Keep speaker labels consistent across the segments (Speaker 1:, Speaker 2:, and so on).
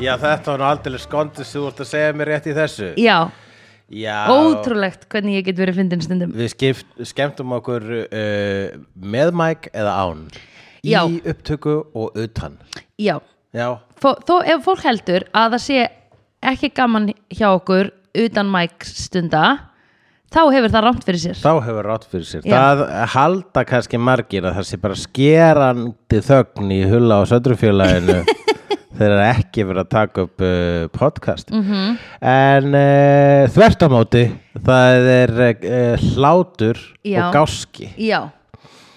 Speaker 1: já þetta var nú aldrei skondið sem þú ert að segja mér rétt í þessu
Speaker 2: Já,
Speaker 1: já,
Speaker 2: ótrúlegt hvernig ég get verið fyndin stundum
Speaker 1: við skipt, skemmtum okkur uh, með mæk eða án
Speaker 2: Já.
Speaker 1: í upptöku og utan
Speaker 2: Já,
Speaker 1: já,
Speaker 2: Fó, þó ef fólk heldur að það sé ekki gaman hjá okkur utan mæk stunda þá hefur það rámt fyrir sér
Speaker 1: þá hefur rátt fyrir sér
Speaker 2: Já.
Speaker 1: það halda kannski margir að það sé bara skerandi þögn í hulla á söndrufélaginu þegar ekki verið að taka upp uh, podcast
Speaker 2: Mhm.
Speaker 1: -hmm. en uh, þvert á móti það er uh, hlátur
Speaker 2: Já.
Speaker 1: og gáski
Speaker 2: Já,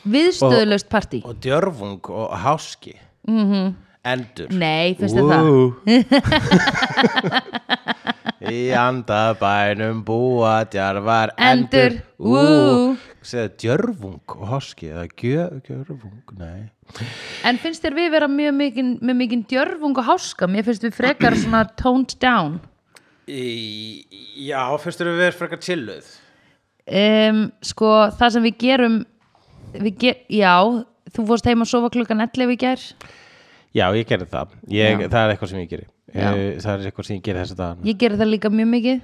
Speaker 2: viðstöðlust partí
Speaker 1: og djörfung og háski mm -hmm. endur
Speaker 2: Nei, Mhm. finnst þér það?
Speaker 1: Í andabænum búa djarfar
Speaker 2: Endur,
Speaker 1: endur
Speaker 2: ú.
Speaker 1: Segðu djörfung og háski eða gjö, gjörfung, nei
Speaker 2: En finnst þér við vera mjög mikinn með mikinn djörfung og háska? Mér finnst við frekar svona toned down
Speaker 1: Í, Já, fyrst erum við verið frekar chilluð
Speaker 2: um, Sko, það sem við gerum við ger, Já, þú fórst heim að sofa klukkan 11 í gær
Speaker 1: Já, ég gerði það ég,
Speaker 2: Já.
Speaker 1: Það er eitthvað sem ég geri
Speaker 2: Já.
Speaker 1: Eh, Það er eitthvað sem ég geri þess að dagann
Speaker 2: Ég gerði það líka mjög mikið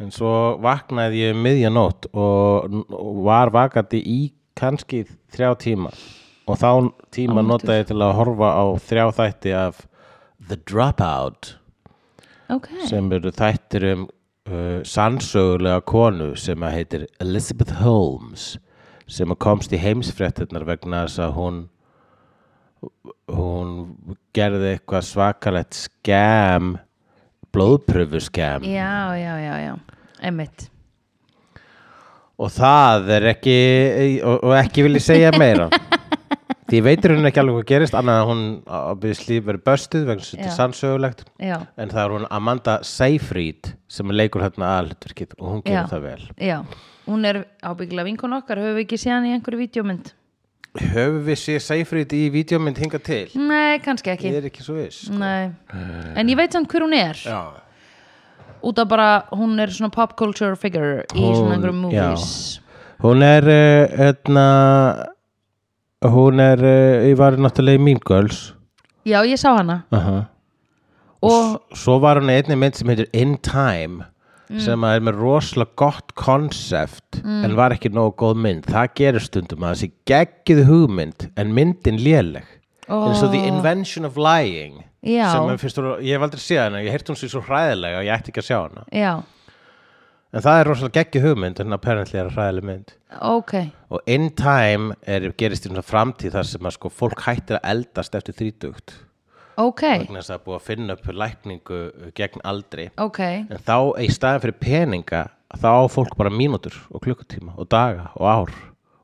Speaker 1: En svo vaknaði ég um miðjanótt og, og var vakandi í kannski þrjá tíma og þá tíma notaði ég til að horfa á þrjá þætti af The Dropout
Speaker 2: Ok,
Speaker 1: sem eru þættir um uh, sannsögulega konu sem að heitir Elizabeth Holmes sem að komst í heimsfréttirnar vegna þess að hún hún gerði eitthvað svakalegt skam blóðpröfu skam
Speaker 2: já, já, já, já Einmitt
Speaker 1: og það er ekki og, og ekki vil ég segja meira því ég veitur hún ekki alveg hvað gerist annað að hún uh, obviously verið böstuð vegna þess að þetta
Speaker 2: Já.
Speaker 1: er sannsögulegt
Speaker 2: Já,
Speaker 1: en það er hún Amanda Seyfried sem leikur hérna aðlutverkið og hún
Speaker 2: já,
Speaker 1: gerir það vel
Speaker 2: já Hún er ábyggilega vinkun okkar, höfum við ekki séð hann í einhverju vídjómynd?
Speaker 1: höfum við séð Seyfried í vídeómynd hinga til
Speaker 2: Nei, kannski ekki Mm.
Speaker 1: ég er ekki svo viss
Speaker 2: Nei, en ég veit samt hver hún er
Speaker 1: já.
Speaker 2: út af bara, hún er svona pop culture figure í svona
Speaker 1: Hún-
Speaker 2: einhverjum
Speaker 1: já.
Speaker 2: movies
Speaker 1: hún er uh, hérna hún er uh, ég var náttúrulega í Mean Girls
Speaker 2: já. ég sá hana
Speaker 1: uh -huh.
Speaker 2: og
Speaker 1: svo var hún í einni mynd sem heitir In Time sem að er með rosalega gott konsept en var ekki nógu góð mynd það gerir stundum að þessi geggið hugmynd en myndin léleg eins og The Invention of Lying
Speaker 2: Já.
Speaker 1: sem er fyrst, og- ég hef aldrei séð hana, ég heyrti hún sér svo hræðilega og ég ætti ekki að sjá hana
Speaker 2: já,
Speaker 1: en það er rosalega geggið hugmynd en apparently er það hræðileg mynd
Speaker 2: ok
Speaker 1: og In Time er, gerist í svona framtíð þar sem að sko fólk hættir að eldast eftir þrítugt
Speaker 2: ok,
Speaker 1: vegna þess að það er búið að finna upp lækningu gegn aldri
Speaker 2: ok
Speaker 1: En þá í staðan fyrir peninga þá á fólk bara mínútur og klukkutíma og daga og ár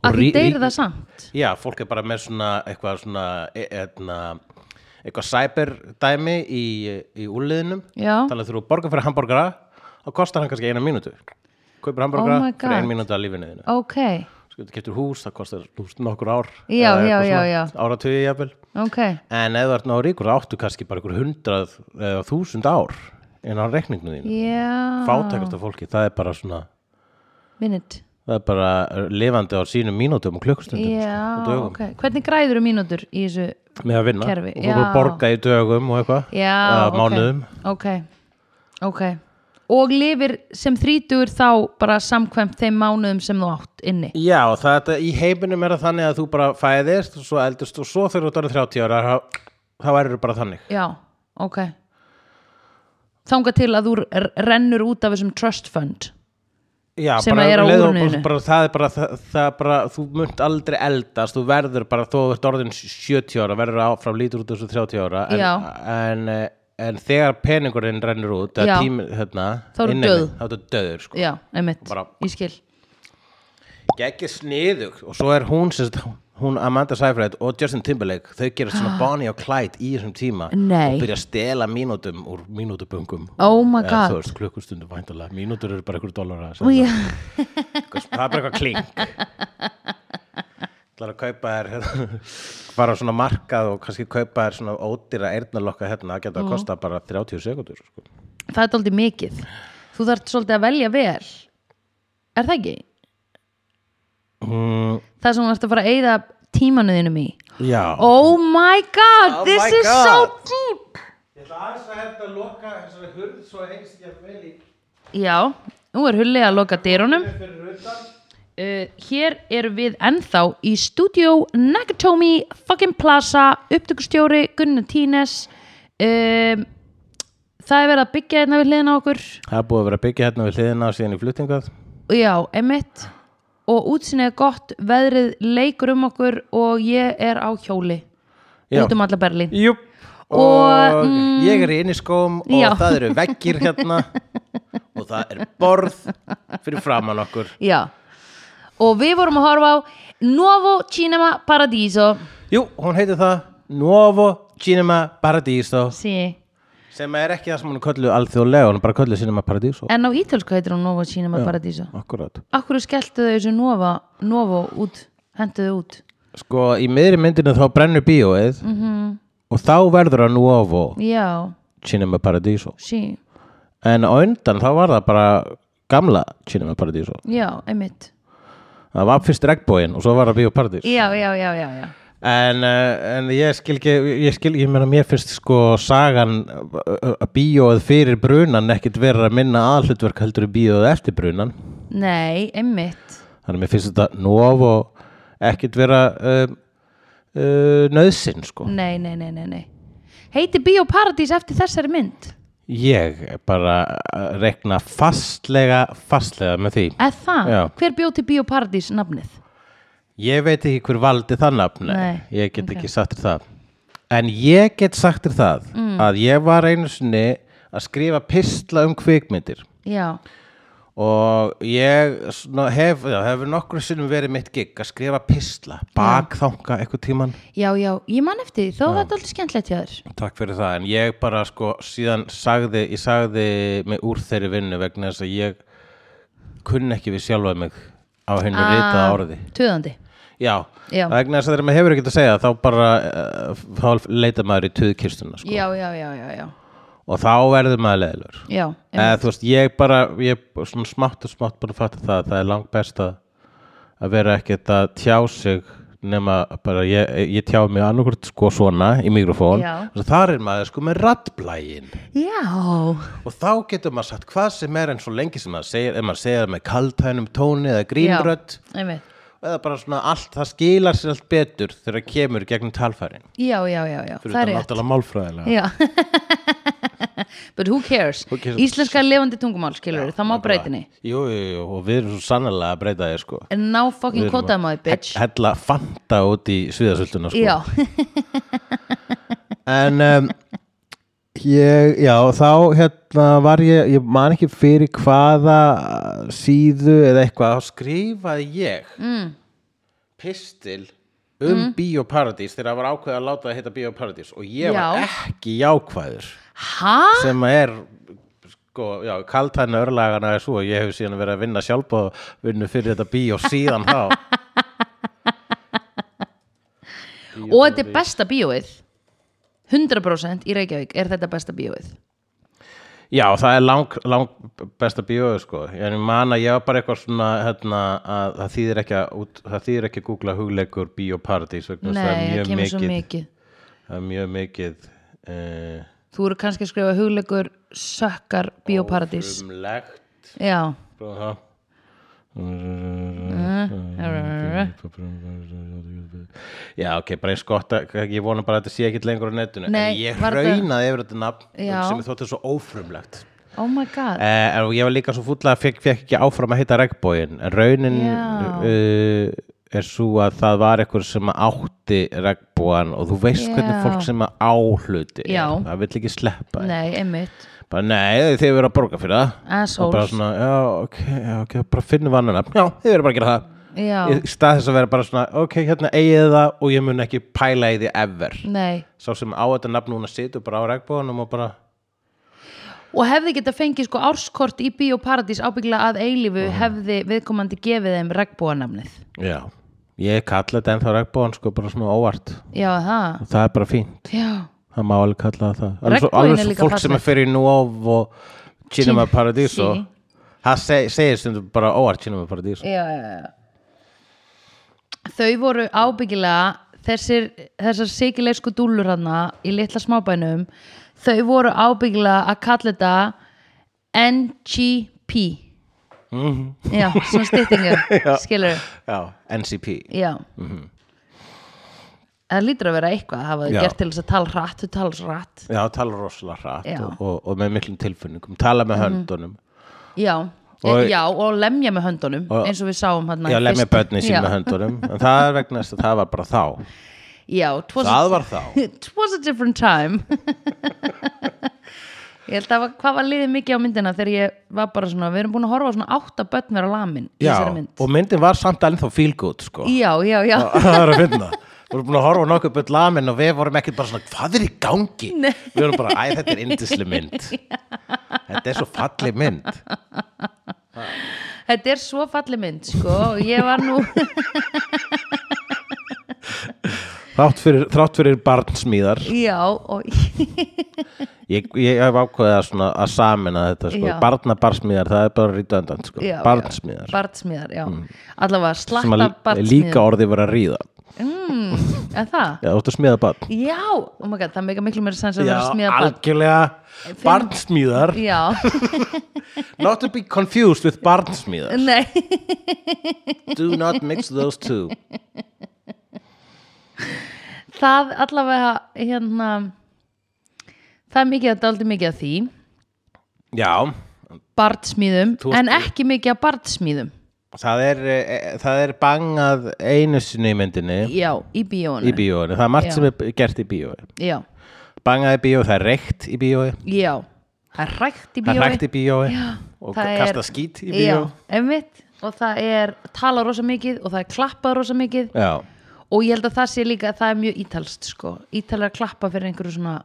Speaker 1: og
Speaker 2: að því deyri það samt
Speaker 1: Já, fólk er bara með svona eitthvað svona e- eitna, eitthvað cyberdæmi í, í úliðinum
Speaker 2: Já.
Speaker 1: þannig að þú borgar fyrir hamburgara þá kostar hann kannski eina mínútu kaupir hamburgara
Speaker 2: Oh my
Speaker 1: fyrir eina
Speaker 2: God.
Speaker 1: mínútu að lífinu þínu
Speaker 2: ok,
Speaker 1: Sko, þú keftur hús, það kostar þú veist, nokkur ár
Speaker 2: Já,
Speaker 1: eða
Speaker 2: já,
Speaker 1: eitthvað
Speaker 2: já,
Speaker 1: svona,
Speaker 2: já.
Speaker 1: áratugi jafnvel
Speaker 2: ok
Speaker 1: en ef þú ert ná ríkur þá áttu kannski bara einhver hundrað eða þúsund ár inn á reikningnum þínu
Speaker 2: já,
Speaker 1: fátækasta fólki, það er bara svona
Speaker 2: minute
Speaker 1: það er bara lifandi á sínum mínútum og klukkstundum
Speaker 2: já,
Speaker 1: og dögum
Speaker 2: ok, hvernig græður um mínútur í þessu
Speaker 1: með að vinna
Speaker 2: Kerfi,
Speaker 1: og þú bara
Speaker 2: já.
Speaker 1: borga í dögum og eitthvað
Speaker 2: já,
Speaker 1: eða mánuðum
Speaker 2: ok, ok og lifir sem þrítugur þá bara samkvæmt þeim mánuðum sem þú átt inni
Speaker 1: Já, og það, þetta, í heiminum er það þannig að þú bara fæðist og svo eldist og svo þegar þú dörðu 30 ára þá, þá erum þú bara þannig
Speaker 2: já, ok þanga til að þú r- rennur út af þessum trust fund
Speaker 1: Já,
Speaker 2: Sem
Speaker 1: bara,
Speaker 2: að er á
Speaker 1: um leið og
Speaker 2: úrinu
Speaker 1: bara,
Speaker 2: þínu.
Speaker 1: bara, það er bara, það, það er bara þú munt aldrei eldast, þú verður bara þó þú ert orðin 70 ára, verður áfram lítur út þessu 30 ára en,
Speaker 2: Já.
Speaker 1: en, eh, en þegar peningurinn rennur út
Speaker 2: Já.
Speaker 1: eða tími, hérna,
Speaker 2: Þá eru
Speaker 1: inneignin,
Speaker 2: dauð.
Speaker 1: þá er þetta döður sko.
Speaker 2: já, einmitt,
Speaker 1: Bara-
Speaker 2: ég skil
Speaker 1: geggir sniðug og svo er hún sérst, hún Amanda Seyfried og Justin Timberlake þau gerast svona Bonnie og Clyde í þessum tíma
Speaker 2: Ah. Nei.
Speaker 1: og byrja að stela mínútum úr mínútuböngum
Speaker 2: Oh my
Speaker 1: Eða,
Speaker 2: God.
Speaker 1: þú veist klukkustundum væntalega mínútur eru bara einhverjum dólarar
Speaker 2: Ú, já.
Speaker 1: það er bara eitthvað klink Það er að kaupa þér hérna, fara á svona markað og kannski kaupa þér svona ódýra eyrnalokka hérna, það getur að kosta bara 30 sekundur sko.
Speaker 2: það er daldið mikið þú þarft svolítið að velja vel er það ekki?
Speaker 1: mm,
Speaker 2: það sem þú ert að fara að eyða tímanuðinum í
Speaker 1: Já
Speaker 2: oh my god,
Speaker 1: Oh
Speaker 2: this
Speaker 1: my
Speaker 2: is
Speaker 1: God.
Speaker 2: so deep
Speaker 1: Ég ætla aðeins að hérna loka þessari hurð svo eins ég að vel í
Speaker 2: Já, nú er hullið að loka dyrunum.
Speaker 1: fyrir utan.
Speaker 2: Uh, hér erum við ennþá í Studio Nakatomi fucking Plaza, upptökustjóri Gunnar Tínes. Um, það er verið að byggja hérna við hliðina á okkur.
Speaker 1: Það er búið að vera að byggja hérna við hliðina og síðan í fluttingað.
Speaker 2: Já, emitt. Og útsinnið er gott, veðrið leikur um okkur og ég er á hjóli.
Speaker 1: Já.
Speaker 2: Út um alla Berlín.
Speaker 1: Jú. Og,
Speaker 2: Og, mm,
Speaker 1: ég er í inniskóm og
Speaker 2: Já.
Speaker 1: það eru veggir hérna og það er borð fyrir framann okkur.
Speaker 2: Já. Og við vorum að horfa á Nuovo Cinema Paradiso.
Speaker 1: Jú, hún heitir það Nuovo Cinema Paradiso
Speaker 2: Sí.
Speaker 1: sem er ekki það sem hún kölluð alþjóðlega, hún er bara kölluð Cinema Paradiso.
Speaker 2: En á ítölsku heitir hún Nuovo Cinema Paradiso.
Speaker 1: Akkurát.
Speaker 2: Akkur skelltu þau þessu Nova, Novo út, hendu þau út
Speaker 1: Sko, í miðri myndinu þá brennur bíóið
Speaker 2: Mhm.
Speaker 1: og þá verður það Nuovo
Speaker 2: Já,
Speaker 1: Cinema Paradiso.
Speaker 2: sí,
Speaker 1: En á undan þá var það bara gamla Cinema Paradiso.
Speaker 2: já, einmitt
Speaker 1: Það var fyrst regnbóin og svo var það Bíó Paradís.
Speaker 2: Já, já, já, já, já
Speaker 1: En, eh, en ég skil ekki, ég skil, ég meina mér finnst sko sagan eh, eh, bíóið fyrir brunan ekkit vera að minna aðhlutverk heldur í bíóið eftir brunan.
Speaker 2: Nei, einmitt
Speaker 1: Þannig að mér finnst þetta nóf og ekkit vera um, uh, nöðsinn sko.
Speaker 2: Nei, nei, nei, nei, nei Heiti Bíó Paradís eftir þessari mynd
Speaker 1: Ég er bara að rekna fastlega, fastlega með því.
Speaker 2: Eð það,
Speaker 1: Já.
Speaker 2: hver bjó til Bíó Paradís nafnið?
Speaker 1: Ég veit ekki hver valdi það nafn,
Speaker 2: Nei,
Speaker 1: ég get ekki sagt þér það. En ég get sagt þér það að ég var einu sinni að skrifa pistla um kvikmyndir
Speaker 2: Já,
Speaker 1: og ég svona hef, já, hefur nokkru sinnum verið mitt gig að skrifa pistla, bakþanga eitthvað tíman.
Speaker 2: já, já, ég man eftir því, þó var þetta aldrei skemmtilegt hjá þér
Speaker 1: Takk fyrir það, en ég bara sko síðan sagði, ég sagði mig úr þeirri vinnu vegna þess að ég kunni ekki við sjálfa mig á hennu ah. ritaða orði.
Speaker 2: Töðandi
Speaker 1: Já,
Speaker 2: Já.
Speaker 1: vegna þess að þegar maður hefur ekkert að segja þá bara uh, þá leita maður í tuðkistuna sko.
Speaker 2: Já, já, já, já, já
Speaker 1: og þá verður maður leðilur
Speaker 2: Já,
Speaker 1: eða þú veist, ég bara ég svona smátt og smátt bara fatta það að það er langt best að, að vera ekkert að tjá sig nema bara ég, ég tjá mig annarkvort sko svona í mikrofón
Speaker 2: Já.
Speaker 1: og þar er maður sko með rattblægin
Speaker 2: já,
Speaker 1: og þá getur maður sagt hvað sem er en svo lengi sem maður segir ef maður segir það með kaltænum tóni eða grínrödd
Speaker 2: já Einmitt
Speaker 1: eða bara svona allt, það skilar sér allt betur þegar það kemur gegnum talfærin
Speaker 2: Já, já, já, já, það er
Speaker 1: fyrir þetta
Speaker 2: rétt
Speaker 1: náttúrulega málfræðilega
Speaker 2: Já But who cares?
Speaker 1: Who cares?
Speaker 2: Íslenska levandi tungumál skilur það má breytinni
Speaker 1: jú, jú, jú, og við erum svo sannlega að breyta þér sko
Speaker 2: En ná fucking
Speaker 1: Við erum
Speaker 2: kótaði maður
Speaker 1: að
Speaker 2: bitch
Speaker 1: he- hella fanta út í sviðasölduna sko
Speaker 2: Já,
Speaker 1: en um, ég, já, þá hérna var ég, ég man ekki fyrir hvaða síðu eða eitthvað, þá skrifaði ég mm. pistil um mm. Bíóparadís þegar það var ákveðið að láta það heita Bíóparadís og
Speaker 2: Já.
Speaker 1: ég var ekki jákvæður
Speaker 2: ha?
Speaker 1: sem að er sko, já, kaltæna örlagana er svo ég hef síðan verið að vinna sjálfbóðvinnu fyrir þetta bíó síðan þá
Speaker 2: Og þetta er besta bíóið 100% í Reykjavík er þetta besta bíóið
Speaker 1: já, það er lang, lang besta bíó sko, en ég man að ég var bara eitthvað svona hérna, að það þýðir ekki að út, það þýðir ekki að googla hugleikur bíóparadís vegna þess að
Speaker 2: Nei,
Speaker 1: það
Speaker 2: það
Speaker 1: er
Speaker 2: kemur
Speaker 1: mjög
Speaker 2: svo
Speaker 1: mikið
Speaker 2: mikið
Speaker 1: það er mjög mikið uh,
Speaker 2: Þú eru kannski að skrifa hugleikur sökkar bíóparadís
Speaker 1: frumlegt
Speaker 2: Já
Speaker 1: prófa það Já, ok, bara eins gott að ég vona bara að þetta sé ekkit lengur á netinu
Speaker 2: Nei,
Speaker 1: en ég
Speaker 2: var þetta-
Speaker 1: raunaði yfir þetta nafn
Speaker 2: Já.
Speaker 1: sem ég þótti svo ófrumlegt
Speaker 2: Oh my god
Speaker 1: eh, og ég var líka svo fúll að fekk, fekk ekki áfram að heita regnbóin en raunin
Speaker 2: Já.
Speaker 1: uh, er svo að það var eitthvað sem átti regnbóan og þú veist
Speaker 2: Já.
Speaker 1: hvernig fólk sem að áhluti er.
Speaker 2: Já.
Speaker 1: það vill ekki sleppa því.
Speaker 2: Nei, einmitt
Speaker 1: bara nei, þið verður að borga fyrir það og bara
Speaker 2: Assholes
Speaker 1: svona, já, ok, já, ok, bara finnum við annan nafn já, þið verður bara að gera það
Speaker 2: Já,
Speaker 1: í stað þess að vera bara svona, ok, hérna eigið það og ég mun ekki pæla í því ever
Speaker 2: nei
Speaker 1: sá sem á þetta nafn núna situr bara á regnbóðanum og bara,
Speaker 2: og hefði geta fengið sko árskort í Bíóparadís ábyggilega að eilífu hefði viðkomandi gefið þeim regnbúanamnið
Speaker 1: já ég kalla þetta ennþá regnbóðan sko bara svona óvart
Speaker 2: já það,
Speaker 1: það er bara fínt,
Speaker 2: já,
Speaker 1: það má alveg kalla það það alveg svo,
Speaker 2: Regnboginn
Speaker 1: alveg
Speaker 2: er
Speaker 1: svo
Speaker 2: líka
Speaker 1: fólk
Speaker 2: fallegt.
Speaker 1: sem er fyrir Nuov og Cinema Paradiso
Speaker 2: sí.
Speaker 1: það seg, segir stundum bara óvart Cinema Paradiso
Speaker 2: já, já, já. þau voru ábyggilega þessir, þessar sikilegsku dúllur hana í litla smábænum þau voru ábyggilega að kalla þetta NGP já, svona styttingu skilur
Speaker 1: Mhm. já, NCP
Speaker 2: já það lítur að vera eitthvað að hafa þau
Speaker 1: Já.
Speaker 2: gert til þess að tala rætt þau tala svo rætt
Speaker 1: já, tala rosalega hratt
Speaker 2: Já. Mhm.
Speaker 1: og, og, og með miklum tilfinningum tala með höndunum
Speaker 2: já,
Speaker 1: Og-
Speaker 2: og, já, og lemja með höndunum
Speaker 1: Og-
Speaker 2: eins og við sáum hann
Speaker 1: já, lemja börni sín með höndunum en það er vegna þess að það var bara þá
Speaker 2: já, it was,
Speaker 1: það var þá
Speaker 2: it was a different time ég held að var- hvað var liðið mikið á myndina þegar ég var bara svona, við erum búin að horfa á svona átta börn vera lamin í
Speaker 1: já,
Speaker 2: þessari mynd
Speaker 1: og myndin var samt ennþá feel good sko.
Speaker 2: já, já, já,
Speaker 1: það er að finna við vorum búin að horfa á nokkuð börn lamin og við vorum ekkert bara svona, hvað er í gangi við vorum bara, æ, þetta er indisli mynd þetta er svo falli mynd
Speaker 2: þetta er svo falli mynd sko, og ég var nú
Speaker 1: þrátt fyrir, þrátt fyrir barnsmíðar
Speaker 2: já, og
Speaker 1: ég, ég hef ákveðið að, svona, að samina þetta sko.
Speaker 2: Já.
Speaker 1: barna barnsmíðar, það er bara rítandant sko.
Speaker 2: já,
Speaker 1: barnsmíðar,
Speaker 2: já, barnsmíðar, já allavega
Speaker 1: Mm. sem
Speaker 2: slatta
Speaker 1: að
Speaker 2: barnsmíðar
Speaker 1: líka orðið vera að ríða
Speaker 2: en það,
Speaker 1: já, þú ert að smíða barn
Speaker 2: já, oh my god, það meika miklu meira sens að vera að smíða barn
Speaker 1: algjörlega barnsmíðar
Speaker 2: já,
Speaker 1: not to be confused with barnsmíðar
Speaker 2: nei
Speaker 1: do not mix those two
Speaker 2: það allavega hérna það er mikið að daldi mikið að því
Speaker 1: já,
Speaker 2: barnsmíðum,
Speaker 1: Þú ert-
Speaker 2: en ekki mikið að barnsmíðum
Speaker 1: það er, eh, það er bangað einu sinni í myndinni
Speaker 2: já, í bíónu
Speaker 1: í bíóinu, það er margt
Speaker 2: Já.
Speaker 1: sem er gert í bíói
Speaker 2: já,
Speaker 1: bangaði bíó, það er reykt í bíói
Speaker 2: já, það er rækt í
Speaker 1: það
Speaker 2: bíói
Speaker 1: er reykt í bíói og
Speaker 2: það er-
Speaker 1: kasta skít í bíó
Speaker 2: já, einmitt og það er tala rosa mikið og það er klappað rosa mikið
Speaker 1: já.
Speaker 2: og ég held að það sé líka að það er mjög ítalst sko. ítalar klappa fyrir einhverju svona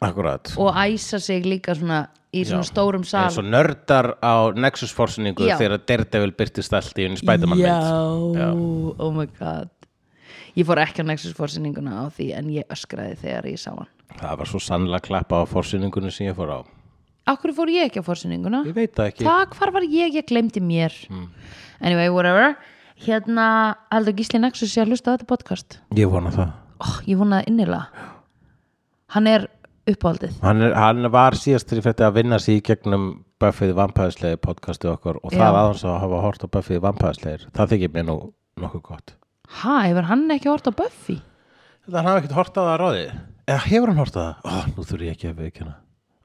Speaker 1: Akkurat
Speaker 2: og æsa sig líka svona í svona
Speaker 1: Já.
Speaker 2: stórum sal
Speaker 1: eins og nördar á Nexus forsinningu
Speaker 2: Já.
Speaker 1: þegar Daredevil byrtist allt í unni Spiderman
Speaker 2: já,
Speaker 1: mynd Já.
Speaker 2: oh my god ég fór ekki á Nexus fórsýninguna á því en ég öskraði þegar ég sá hann
Speaker 1: það var svo sannlega klappa á forsinningunni sem ég fór á
Speaker 2: Akkur fór ég ekki á fórsýninguna?
Speaker 1: ég veit það ekki Hmm.
Speaker 2: Það, hvar var ég? Ég glemdi mér Anyway, whatever Hérna, heldur Gísli Nexus sé að hlusta á þetta podcast
Speaker 1: ég vona það
Speaker 2: oh, Ég vonaði innilega Hann er uppáhaldið
Speaker 1: hann, er, hann var síðast til fyrir að vinna sér í gegnum Buffy vampæðislegir podcastu okkar og það
Speaker 2: Já.
Speaker 1: aðeins að hafa hort á Buffy vampæðislegir það þykir mér nú nokkuð gott
Speaker 2: Ha, hefur hann ekki hort á Buffy?
Speaker 1: Þetta hann hafi ekkert hort á það að ráði eða hefur hann hort á það? Ó, nú þurfi ég ekki að veikina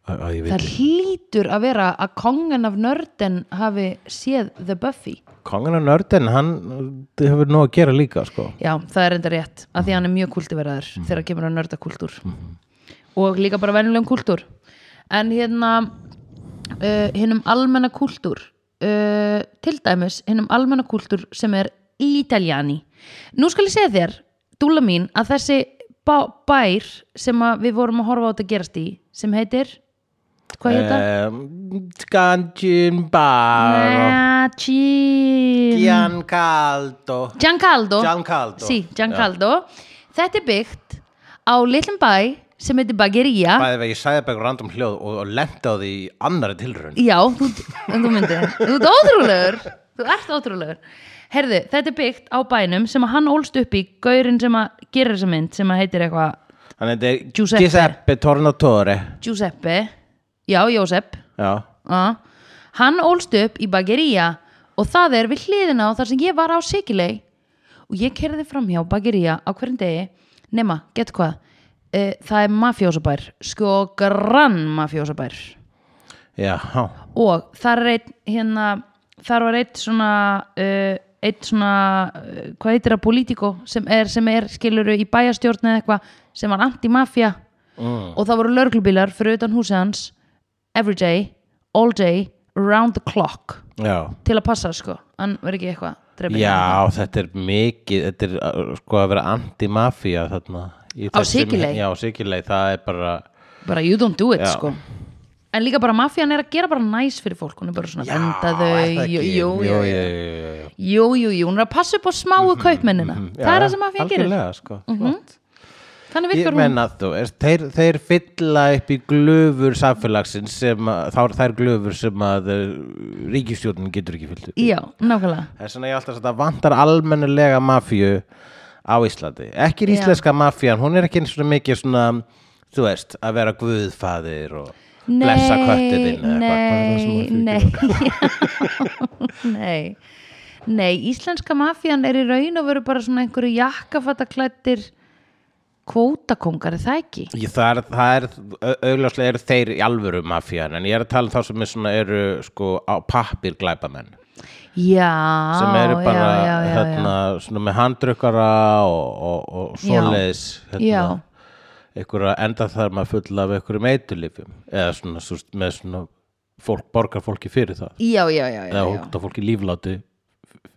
Speaker 1: að, að ég veit
Speaker 2: Það hlýtur að vera að kongen af nörden hafi séð The Buffy
Speaker 1: Kongan og nördin, hann þau hefur nóg að gera líka sko.
Speaker 2: Já, það er enda rétt að því hann er mjög kultiveraður þegar kemur að nörda kultúr og líka bara venjulegum kultúr en hérna uh, hinnum almenna kultúr uh, til dæmis hinnum almenna kultúr sem er ítaljani Nú skal ég segja þér, dúla mín að þessi bá, bær sem að við vorum að horfa á þetta gerast í sem heitir hvað heita?
Speaker 1: Um, Skanjin Eh, Bar
Speaker 2: Nachi
Speaker 1: Giancaldo
Speaker 2: Giancaldo
Speaker 1: Giancaldo.
Speaker 2: sí, Giancaldo. Þetta er byggt á litlum bæ sem heitir Baggeria
Speaker 1: Bæði vegi, ég sagði bara einhver random hljóð og, og lendi á því í annari tilraun
Speaker 2: Já, þú, en þú myndir Þú ert ótrúlegur Þú ert ótrúlegur Herðu, þetta er byggt á bænum sem að hann ólst upp í gaurinn sem að gera þessa mynd sem að heitir eitthvað
Speaker 1: Þannig þetta er
Speaker 2: Giuseppe.
Speaker 1: Giuseppe Tornatore
Speaker 2: Giuseppe Já, Jósep
Speaker 1: Já,
Speaker 2: uh. Hann ólst upp í Baggeria og það er við hliðina á þar sem ég var á Sikilei og ég kerði fram hjá Baggeria á hverjum degi nema, gett hvað uh, það er mafjósabær sko grann mafjósabær
Speaker 1: já,
Speaker 2: og þar er einn hérna, þar var einn svona uh, einn svona uh, hvað heitir það, politiko sem er, sem er skiluru í bæjarstjórn eða eitthvað sem var anti-mafja
Speaker 1: Mm.
Speaker 2: og það voru lörglubílar fyrir utan húsið hans every day, all day round the clock
Speaker 1: já
Speaker 2: til að passa sko, hann verður ekki eitthvað drepinn eða
Speaker 1: Já, þetta er mikið, þetta er uh, sko að vera anti-mafía þarna í
Speaker 2: Á
Speaker 1: þessum-
Speaker 2: Sikiley?
Speaker 1: Já, á Sikilei, það er bara
Speaker 2: eitthvað. bara you don't do it
Speaker 1: Já.
Speaker 2: sko en líka bara mafjan er að gera bara næs fyrir fólk hún er bara svona
Speaker 1: Já,
Speaker 2: venda
Speaker 1: er
Speaker 2: þau
Speaker 1: það
Speaker 2: jú,
Speaker 1: ekki?
Speaker 2: jú, jú,
Speaker 1: jú,
Speaker 2: jú.
Speaker 1: jú, jú.
Speaker 2: jú, jú, jú, hún er að passa upp á smáu kaupmennina það er það sem mafjan gerir
Speaker 1: mhm,
Speaker 2: Mhm,
Speaker 1: algjörlega, sko. Flott.
Speaker 2: Þannig
Speaker 1: ég
Speaker 2: virkar hún
Speaker 1: menna þú, er, þeir, þeir fylla upp í glöfur samfélagsins sem að, þá er þær glöfur sem að uh, ríkistjórnin getur ekki fyllt upp í.
Speaker 2: Já, nákvæmlega
Speaker 1: það er svona ég alltaf að það vantar almennilega mafíu á Íslandi ekki er
Speaker 2: Já.
Speaker 1: íslenska mafían, hún er ekki eins og mikið svona þú veist, að vera guðfaðir og
Speaker 2: Nei,
Speaker 1: blessa köttið þinn eða eitthvað.
Speaker 2: Nei,
Speaker 1: um?
Speaker 2: nei, já, nei Nei, íslenska mafían er í raun og veru bara svona einhverju jakkafattaklættir kvótakongar, er það ekki?
Speaker 1: Ég, það er, það er au- augljóslega eru þeir í alvöru mafían en ég er að tala um þá sem er svona eru sko á pappir glæpamenn
Speaker 2: Já,
Speaker 1: sem eru bara
Speaker 2: já, já, já,
Speaker 1: hérna, svona með handrukkara og, og, og
Speaker 2: Já.
Speaker 1: svoleiðis
Speaker 2: Já.
Speaker 1: hérna, einhverja enda þar maður fulla af einhverjum eitulifjum eða svona, svona með svona fólk, borgar fólki fyrir það
Speaker 2: já, já, já, já, já,
Speaker 1: eða hóta fólki lífláti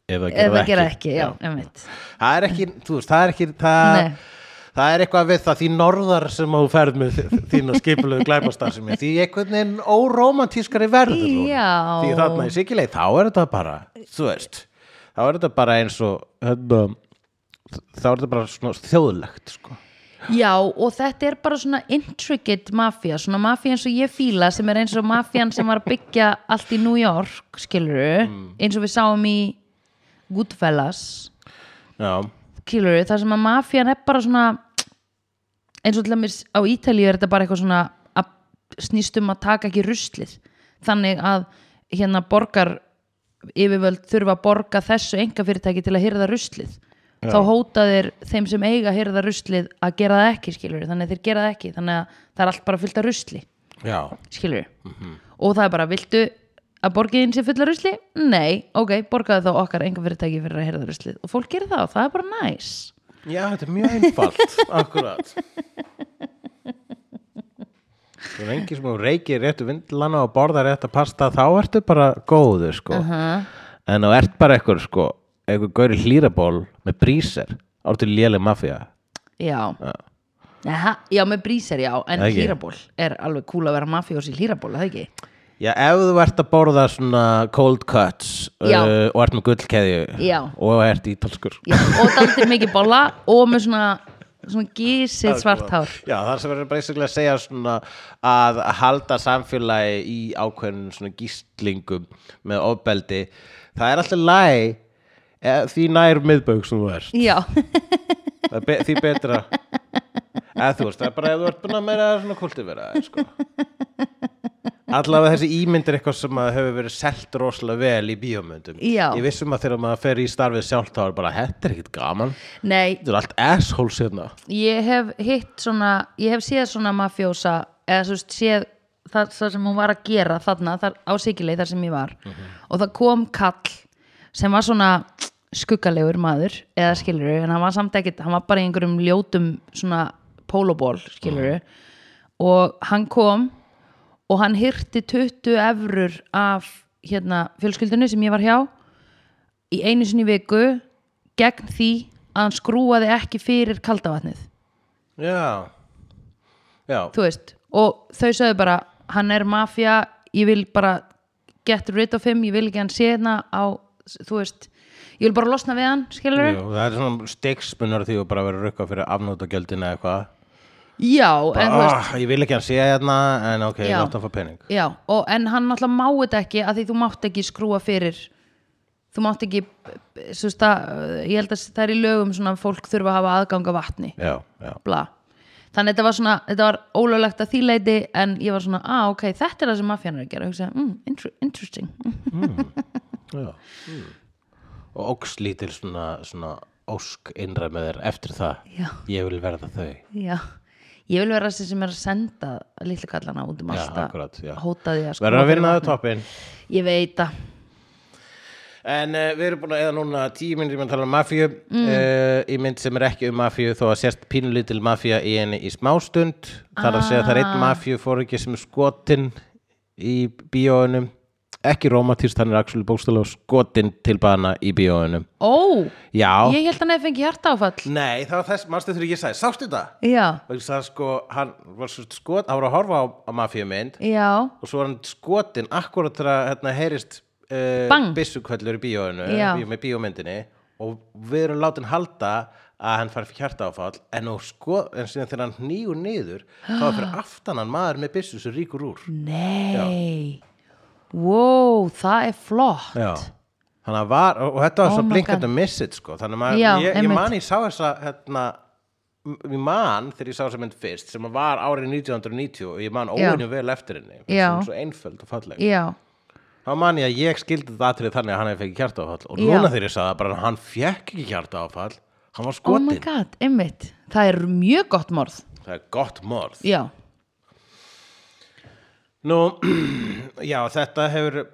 Speaker 1: ef
Speaker 2: Ef
Speaker 1: það gera
Speaker 2: það
Speaker 1: ekki,
Speaker 2: gera ekki, já, einmitt
Speaker 1: Það er ekki, þú veist, það er ekki það,
Speaker 2: Nei.
Speaker 1: það er eitthvað við það því norðar sem þú ferð með þi- þína skipulegu glæpastarfsemi því einhvern veginn órómantískari verður hún.
Speaker 2: Já.
Speaker 1: því þarna í sikileg þá er þetta bara, þú veist þá er þetta bara eins og hérna, þá er þetta bara svona þjóðlegt sko.
Speaker 2: Já, og þetta er bara svona intricate mafía, svona mafía eins og ég fíla sem er eins og mafían sem var að byggja allt í New York, skiluru eins og við sáum í Goodfellas
Speaker 1: Já,
Speaker 2: kilur, þar sem að mafían er bara svona eins og til dæmis á Ítalíu er þetta bara eitthvað svona að snýst um að taka ekki ruslið þannig að hérna borgar yfirvöld þurfa að borga þessu enga fyrirtæki til að hyrða ruslið þá hóta þeir þeim sem eiga að hyrða ruslið að gera það ekki skilur þannig að þeir gera það ekki þannig að það er allt bara fyllt af rusli
Speaker 1: já,
Speaker 2: skilur og það er bara, viltu að borgiðin sé fulla rusli? Nei, ok, borgaðu þá okkar enga fyrirtæki fyrir að herða ruslið og fólk gerir það og það er bara næs
Speaker 1: já, þetta er mjög einfalt akkurat Þú er engin sem þú reykir réttu vindlana og borðar rétt að pasta þá ertu bara góður sko.
Speaker 2: -huh.
Speaker 1: en þú ert bara eitthvað sko eitthvað gauri hlýraból með bríser ártu léleg mafía
Speaker 2: Já Aha, Já, með brísar já, en
Speaker 1: Ekki.
Speaker 2: hlýraból er alveg kúl að vera mafjós í hlýraból, er það ekki?
Speaker 1: Já, ef þú ert að borða svona cold cuts
Speaker 2: Já.
Speaker 1: uh, og ert með gullkeðju
Speaker 2: Já.
Speaker 1: og ert ítalskur
Speaker 2: Já, og daldir mikið bolla og með svona, svona gísið svart hár
Speaker 1: Já, það sem verður basically að segja svona að halda samfélagi í ákveðnum svona gíslingum með ofbeldi það er alltaf læg því nær miðbaug sem þú ert
Speaker 2: Já,
Speaker 1: Það er be því betra eða þú veist, það er bara ef þú ert búin að meira svona kultivera þær, sko. allavega þessi ímynd er eitthvað sem að hefur verið selt rosalega vel í bíómyndum
Speaker 2: Já.
Speaker 1: ég vissum að þegar maður fer í starfið sjálft þá er bara, þetta er ekkit gaman
Speaker 2: nei,
Speaker 1: þetta er allt assholes hérna
Speaker 2: ég hef hitt svona, ég hef séð svona mafjósa eða svo veist, séð það, það sem hún var að gera þarna þar, á Sikileg þar sem ég var og það kom kall sem var svona skuggalegur maður eða skiluru, en hann var samt ekkert hann var bara í einhverjum ljótum svona pólóból skiluru og hann kom og hann hirti 20 efrur af hérna fjölskyldinu sem ég var hjá í einu sinni í viku gegn því að hann skrúaði ekki fyrir kaldavatnið
Speaker 1: já, já,
Speaker 2: þú veist, og þau sögðu bara hann er mafja, ég vil bara get rid of him, ég vil ekki að hann sé hérna á, þú veist ég vil bara losna við hann, skilur
Speaker 1: Jú, það er svona stegspunar því að bara vera rukka fyrir afnótagjöldina eða eitthvað
Speaker 2: já, en þú veist
Speaker 1: ah, ég vil ekki hann sé hérna en ok,
Speaker 2: Já.
Speaker 1: láta hann fá pening
Speaker 2: já, og, en hann náttúrulega má þetta ekki að því þú mátt ekki skrúa fyrir þú mátt ekki svo veist að, ég held að það er í lögum svona að fólk þurfa að hafa aðgang að vatni
Speaker 1: já, já,
Speaker 2: bla þannig þetta var svona, þetta var ólöglegt að þýleiti en ég var svona, ah ok, þetta er það sem mafjan er að gera, hugsa, mm, inter interesting
Speaker 1: Já. og ógslítil svona, svona ósk innra með þér eftir það
Speaker 2: Já.
Speaker 1: ég vil verða þau
Speaker 2: Já, ég vil vera þessi sem er að senda litlu kallana út um
Speaker 1: Já,
Speaker 2: allt að
Speaker 1: akkurat, já.
Speaker 2: hóta því að sko
Speaker 1: verður að vinna það toppin
Speaker 2: Ég veit það,
Speaker 1: en uh, við erum búin að eða núna tíu minnir að tala um mafíu mm. uh, í mynd sem er ekki um mafíu þó að sérst pínlítil mafía í henni í smástund þar að segja að það er einn mafíu fóringi sem er skotin í bíóunum ekki rómatíst, hann er axlu bókstælega skotin til bana í bíóunum
Speaker 2: ó,
Speaker 1: já,
Speaker 2: ég held hann hefði fengið hjartáfall
Speaker 1: nei, það var þess mannstu þegar ég sagði, sástu þetta?
Speaker 2: Já,
Speaker 1: og það sko, hann var svo skot hann var að horfa á, á mafíumynd
Speaker 2: já,
Speaker 1: og svo var hann skotin akkurat þegar hérna heyrist uh,
Speaker 2: Bang.
Speaker 1: byssukvöllur í bíóinu
Speaker 2: Já.
Speaker 1: bíó, með bíómyndinni og við erum látin halda að hann fari fyrir hjartaáfall en, og sko, en síðan þegar hann nýgur niður þá er fyrir aftan hann maður með byssu sem ríkur úr
Speaker 2: nei Wow, það er flott
Speaker 1: Já. Þannig að var, og og þetta var
Speaker 2: Oh
Speaker 1: svo
Speaker 2: my
Speaker 1: blinkandi
Speaker 2: God.
Speaker 1: message sko, þannig að maður,
Speaker 2: Já,
Speaker 1: ég, ég
Speaker 2: einmitt.
Speaker 1: man ég sá þessa hérna, ég man þegar ég sá þessa mynd fyrst sem var árið 1990 og ég man
Speaker 2: Já.
Speaker 1: óinu vel eftir henni Fannst
Speaker 2: Já.
Speaker 1: hún svo einföld og falleg
Speaker 2: já,
Speaker 1: þá man ég að ég skildi þetta atrið þannig að hann hefði fekk hjartaáfall og
Speaker 2: Já.
Speaker 1: núna þegar ég sagði það bara hann fekk ekki hjartaáfall
Speaker 2: oh
Speaker 1: hann var
Speaker 2: my
Speaker 1: skotin,
Speaker 2: god, einmitt það er mjög gott morð
Speaker 1: það er gott morð
Speaker 2: já,
Speaker 1: nú, já þetta hefur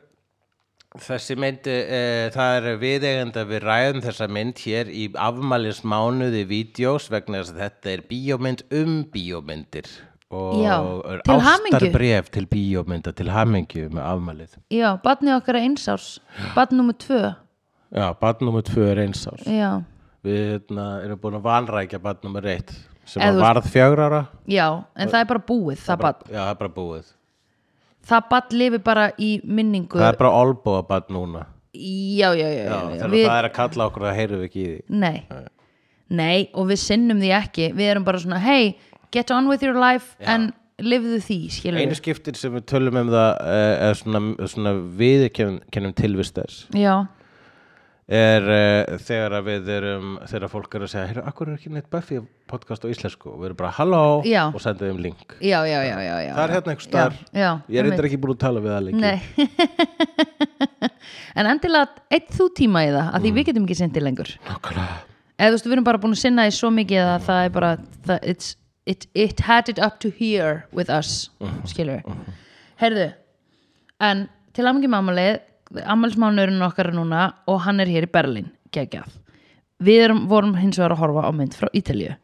Speaker 1: þessi mynd e, það er viðegend að við ræðum þessa mynd hér í afmælismánuði vídeos vegna þess að þetta er bíómynd um bíómyndir og
Speaker 2: Já,
Speaker 1: er
Speaker 2: til hamingju.
Speaker 1: ástarbréf til bíómynda til hamingju með afmælið
Speaker 2: já, badnið okkar er einsárs badn nummer tvö
Speaker 1: já, barn nummer 2 er eins árs
Speaker 2: já,
Speaker 1: Við hérna, erum búin að vanrækja barn nummer eitt sem
Speaker 2: Eða
Speaker 1: Eð
Speaker 2: þú-
Speaker 1: varð fjögur ára
Speaker 2: já, en það er bara búið það badn,
Speaker 1: Já, það er bara búið
Speaker 2: það badn lifi bara í minningu
Speaker 1: Það er bara olbóa barn núna
Speaker 2: já, já, já, já,
Speaker 1: Já,
Speaker 2: já.
Speaker 1: Þegar
Speaker 2: Við-
Speaker 1: það er að kalla okkur það heyrum við ekki í því
Speaker 2: Nei. Nei, og við sinnum því ekki Við erum bara svona, hey, get on with your life en lifðu því, skilur
Speaker 1: Einu skiptin sem við tölum um það eh, eða svona, svona við kennum tilvist þess
Speaker 2: við Já,
Speaker 1: er uh, þegar að við erum þegar fólk er að segja, heyrðu, akkur er ekki neitt Buffy podcast á íslensku og við erum bara halló
Speaker 2: Já.
Speaker 1: og sendum þeim link
Speaker 2: já, já, já, já, já.
Speaker 1: Það er hérna einhvers staðar.
Speaker 2: Já, já,
Speaker 1: Ég er
Speaker 2: einmitt.
Speaker 1: eitthvað ekki búin að tala við það lengi
Speaker 2: Nei En endilega eitt þú tíma í það að því
Speaker 1: Mm.
Speaker 2: við getum ekki sendið lengur
Speaker 1: Nákvæmlega.
Speaker 2: Eða þú veist, við erum bara búin að sinna því svo mikið að það er bara það, it's, it, it had it up to here with us, skilur Heyrðu, en til ammingum ammalið, ammalsmánurinn okkar er núna og hann er hér í Berlín geggjað. Við erum, vorum hins vegar að horfa á mynd frá Ítalíu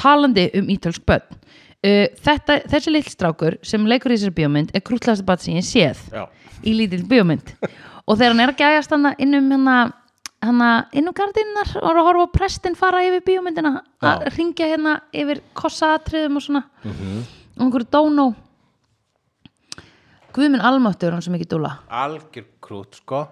Speaker 2: talandi um ítalsk börn uh, þetta, þessi litl strákur sem leikur í þessari bíómynd er krútlasta börn sem ég séð
Speaker 1: Já.
Speaker 2: í lítill bíómynd og þegar hann er að gæjast hann inn um hana, hana inn um gardinnar og er að horfa á prestin fara yfir bíómyndina að
Speaker 1: Já. Mhm.
Speaker 2: ringja hérna yfir kossaatriðum og svona mm -hmm. og einhverju dónó Guðminn almáttur hann sem ekki dúla
Speaker 1: algjör krút sko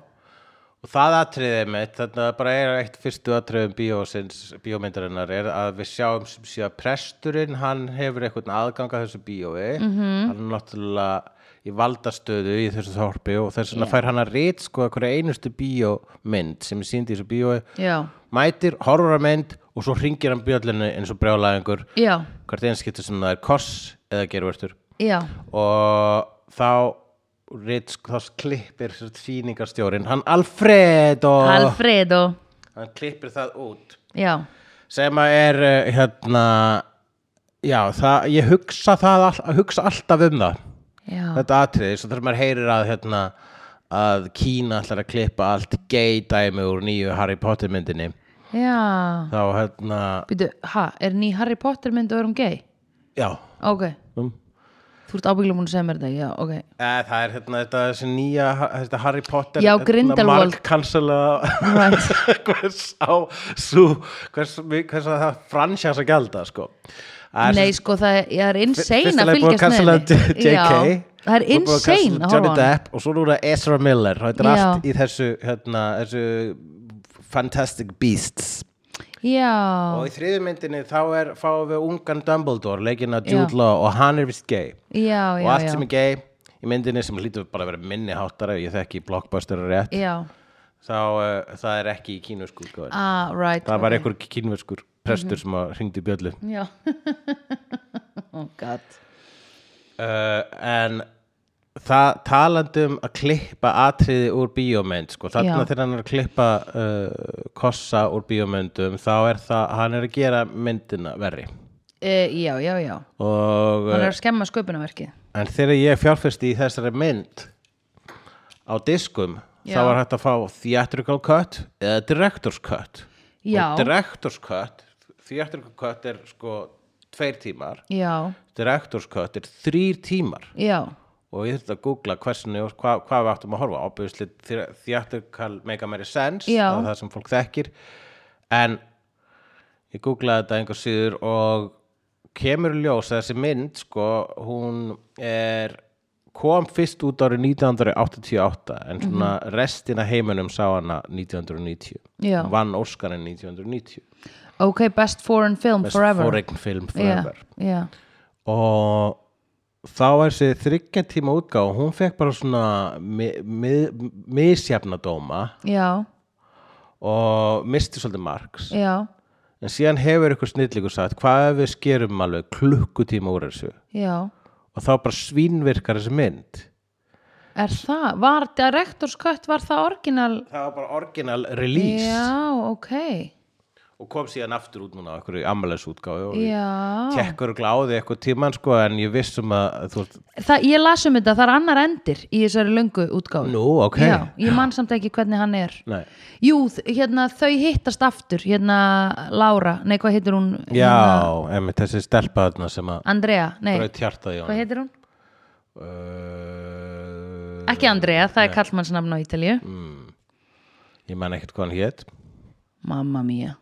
Speaker 1: og það atriðið mitt þannig að bara er eitt fyrstu atriðum bíósins, bíómyndarinnar er að við sjáum sem sé að presturinn hann hefur einhvern aðgang að þessu bíói -hmm. hann er náttúrulega í valdastöðu í þessu þorpi og þess vegna fær hann að rít sko að hverja einustu bíómynd sem er sínd í þessu bíói
Speaker 2: Já,
Speaker 1: mætir, horfur að mynd og svo hringir hann bjöllinu eins og brjálæðingur
Speaker 2: já,
Speaker 1: hvert einskipti sem það er koss eða gervertur
Speaker 2: já,
Speaker 1: og þá Ritz, þá klippir sýningarstjórin, hann Alfredo
Speaker 2: Alfredo
Speaker 1: hann klippir það út
Speaker 2: Já,
Speaker 1: sem að er eh, hérna já, það, ég hugsa það all, hugsa alltaf um það
Speaker 2: já,
Speaker 1: þetta atriði, svo þegar maður heyrir að hérna, að Kína ætlar að klippa allt gay dæmi úr nýju Harry Potter myndinni
Speaker 2: já
Speaker 1: þá hérna,
Speaker 2: Býtu, ha, er ný Harry Potter mynd og er hún gay?
Speaker 1: já
Speaker 2: Ok,
Speaker 1: um.
Speaker 2: þú ert ábyggulega múin að segja mér þetta, já, ok
Speaker 1: Eh, það er hérna þetta þessi nýja þetta Harry Potter
Speaker 2: Já,
Speaker 1: hérna,
Speaker 2: Grindelwald.
Speaker 1: margkansala hvers á svo, hvers, hvers að það fransjans að gælda sko Það er
Speaker 2: Nei,
Speaker 1: sem-
Speaker 2: sko, það er, það er insane
Speaker 1: fyrsta
Speaker 2: að
Speaker 1: lagi búið að
Speaker 2: fylgjast
Speaker 1: cancela
Speaker 2: með henni.
Speaker 1: JK
Speaker 2: Já, það er
Speaker 1: svo búið að
Speaker 2: insane að
Speaker 1: cancela Johnny
Speaker 2: horfa á hann
Speaker 1: Depp og svo núna Ezra Miller þetta er
Speaker 2: Já.
Speaker 1: allt í þessu, hérna, þessu Fantastic Beasts
Speaker 2: Já,
Speaker 1: og í þriðu myndinni þá er, fáum við ungan Dumbledore leikinn að
Speaker 2: Já.
Speaker 1: Jude Law og hann er vist gay
Speaker 2: já, já
Speaker 1: og allt
Speaker 2: já.
Speaker 1: sem er gay í myndinni sem hlýtur bara að vera minni háttara ég þekki blockbuster rétt
Speaker 2: Já,
Speaker 1: þá uh, það er ekki í kínversku útgáfunni.
Speaker 2: ah, right
Speaker 1: það var einhver kínverskur prestur sem að hringdi í bjöllu
Speaker 2: Já Oh god
Speaker 1: uh, en það talandi um að klippa atriði úr bíómynd sko,
Speaker 2: Já.
Speaker 1: þarna þegar hann er að klippa uh, kossa úr bíómyndum þá er það, hann er að gera myndina verri
Speaker 2: uh, Já, já, já
Speaker 1: og
Speaker 2: Hann er að skemma sköpunarverkið
Speaker 1: En þegar ég fjárfesti í þessari mynd á diskum
Speaker 2: Já.
Speaker 1: þá var hægt að fá theatrical cut eða director's cut
Speaker 2: Já.
Speaker 1: og director's cut theatrical cut er sko tveir tímar,
Speaker 2: Já,
Speaker 1: director's cut er þrýr tímar
Speaker 2: já,
Speaker 1: og ég þurfti að googla hversinu og hvað, hvað við áttum að horfa ábyggisli theatrical mega meiri sense
Speaker 2: Já.
Speaker 1: það er það sem fólk þekkir en ég googlaði þetta einhver síður og kemur í ljós að þessi mynd sko, hún er kom fyrst út árið 1988 en
Speaker 2: Mhm.
Speaker 1: svona restina heiminum sá hana 1990
Speaker 2: Já.
Speaker 1: Hún vann Óskarinn 1990
Speaker 2: ok, best foreign film
Speaker 1: Best
Speaker 2: forever
Speaker 1: foreign film
Speaker 2: Já,
Speaker 1: forever
Speaker 2: já,
Speaker 1: og þá er þessi þryggja tíma útgáð hún fekk bara svona mi- mi- misjafna dóma
Speaker 2: já,
Speaker 1: og misti svolítið marks
Speaker 2: já
Speaker 1: en síðan hefur ykkur snillíku sagt hvað ef við skerum alveg klukkutíma úr þessu
Speaker 2: já,
Speaker 1: og þá bara svínvirkar þessi mynd
Speaker 2: er það var direktorskött, var það orginal
Speaker 1: það var bara orginal release
Speaker 2: já, ok
Speaker 1: og kom síðan aftur út núna á einhverju ammælisútgáfi og
Speaker 2: já,
Speaker 1: tekkur og gláði eitthvað tíman sko en ég vissum að þú veist,
Speaker 2: það, ég las um þetta, það er annar endir í þessari löngu útgáfu
Speaker 1: nú, ok
Speaker 2: já, ég man samt ekki hvernig hann er
Speaker 1: Nei.
Speaker 2: jú, þ- hérna, þau hittast aftur hérna, Lára, nei, hvað heitir hún Hérna,
Speaker 1: já, emi, þessi stelpa þarna sem að
Speaker 2: Andrea, nei,
Speaker 1: braut hjartað í
Speaker 2: hvað
Speaker 1: honum
Speaker 2: heitir hún
Speaker 1: uh,
Speaker 2: ekki Andrea, það er kallmannsnafn á Ítalíu
Speaker 1: Mm. ég man ekkert hvað hann hét
Speaker 2: mamma mía,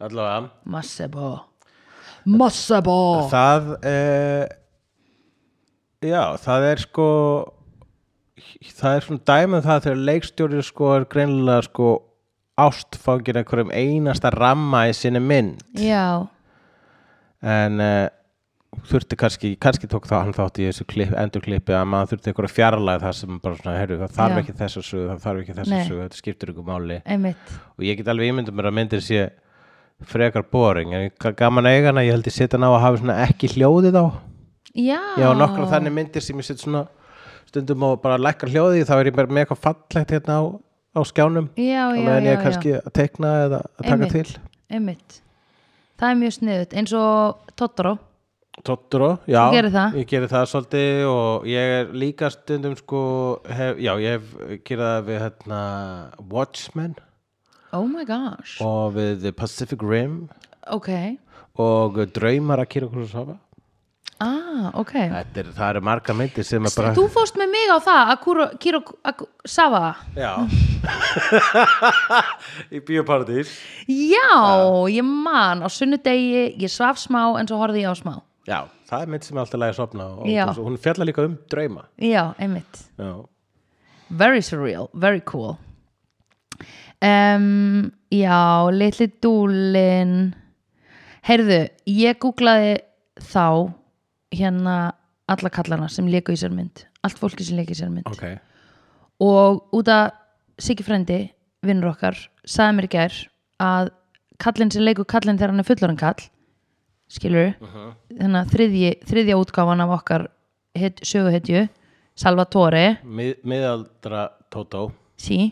Speaker 1: allavega
Speaker 2: massebo massebo
Speaker 1: það uh, já, það er sko það er svona dæmið það þegar leikstjóri sko er greinilega sko ástfangin einhverjum einasta ramma í sinni mynd
Speaker 2: já,
Speaker 1: en uh, þurfti kannski, kannski tók þá hann þátt í þessu klip, endurklippi að maður þurfti einhverja fjarlæð það sem bara svona, heyrðu, það þarf
Speaker 2: Já.
Speaker 1: ekki þessa sögu það þarf ekki þessa
Speaker 2: Nei.
Speaker 1: sögu, þetta skiptir ykkur máli
Speaker 2: einmitt
Speaker 1: og ég get alveg ímyndum mér að myndir sé frekar boring, en ég- gaman að eiga hana ég held ég setja hana á að hafa svona ekki hljóðið á
Speaker 2: já,
Speaker 1: Já,
Speaker 2: Ah.
Speaker 1: nokkra þannig myndir sem ég set svona stundum og bara lækkar hljóðið þá er ég bara með eitthvað fallegt hérna á, á skjánum
Speaker 2: já,
Speaker 1: og
Speaker 2: já, já,
Speaker 1: meðan ég er kannski að tekna eða að taka
Speaker 2: Einmitt.
Speaker 1: til
Speaker 2: já, einmitt það er mjög sniðut, eins og Totoro
Speaker 1: Totoro, já,
Speaker 2: Þú gerir það?
Speaker 1: ég gerir það svolítið og ég er líka stundum sko, hef, já, ég hef gerað það við hérna Watchmen
Speaker 2: oh my gosh,
Speaker 1: og við The Pacific Rim
Speaker 2: ok
Speaker 1: og Draumar að kýra okkur svo
Speaker 2: ah, ok
Speaker 1: Þetta er, það eru marga myndir sem er bara
Speaker 2: þú fórst með mig á það Akuro, Kiro, Ak Sava
Speaker 1: Já Í bíóparadís
Speaker 2: já, ég man á sunnudegi, ég svaf smá en svo horfði ég á smá
Speaker 1: Já, það er mynd sem er alltaf lægið að sopna og
Speaker 2: Já.
Speaker 1: og hún fjallar líka um drauma
Speaker 2: já, einmitt
Speaker 1: Já,
Speaker 2: very surreal, very cool um, já, litli dúlin heyrðu, ég googlaði þá hérna alla kallana sem leiku í sér mynd allt fólki sem leiku í sér mynd
Speaker 1: ok
Speaker 2: og út að Siggi frendi, vinnur okkar sagði mér í gær að kallinn sem leikur kallinn þegar hann er fullorinn kall skilur uh þannig að þriðji, þriðja útgáfan af okkar het, söguhetju Salvatore
Speaker 1: Mið, Miðaldra Tótó
Speaker 2: sí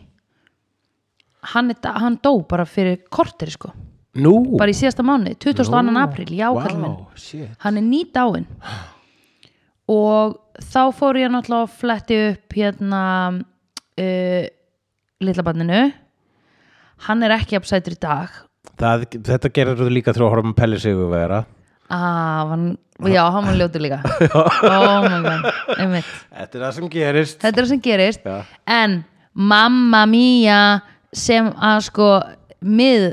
Speaker 2: hann, er, da- hann dó bara fyrir kortir sko,
Speaker 1: Nú,
Speaker 2: bara í síðasta mánuði 22. apríl, já
Speaker 1: wow,
Speaker 2: kallinn minn
Speaker 1: shit
Speaker 2: hann er nýt áinn og þá fór ég náttúrulega að fletti upp hérna uh, litla banninu hann er ekki uppsættur í dag
Speaker 1: það, Þetta gerir þú líka þrjó horfum Pelli Sigurvera
Speaker 2: ah, hann, já, hann var ljótur líka oh my god, einmitt
Speaker 1: Þetta er það sem gerist
Speaker 2: þetta er það sem gerist
Speaker 1: Já.
Speaker 2: en mamma mía sem að sko mið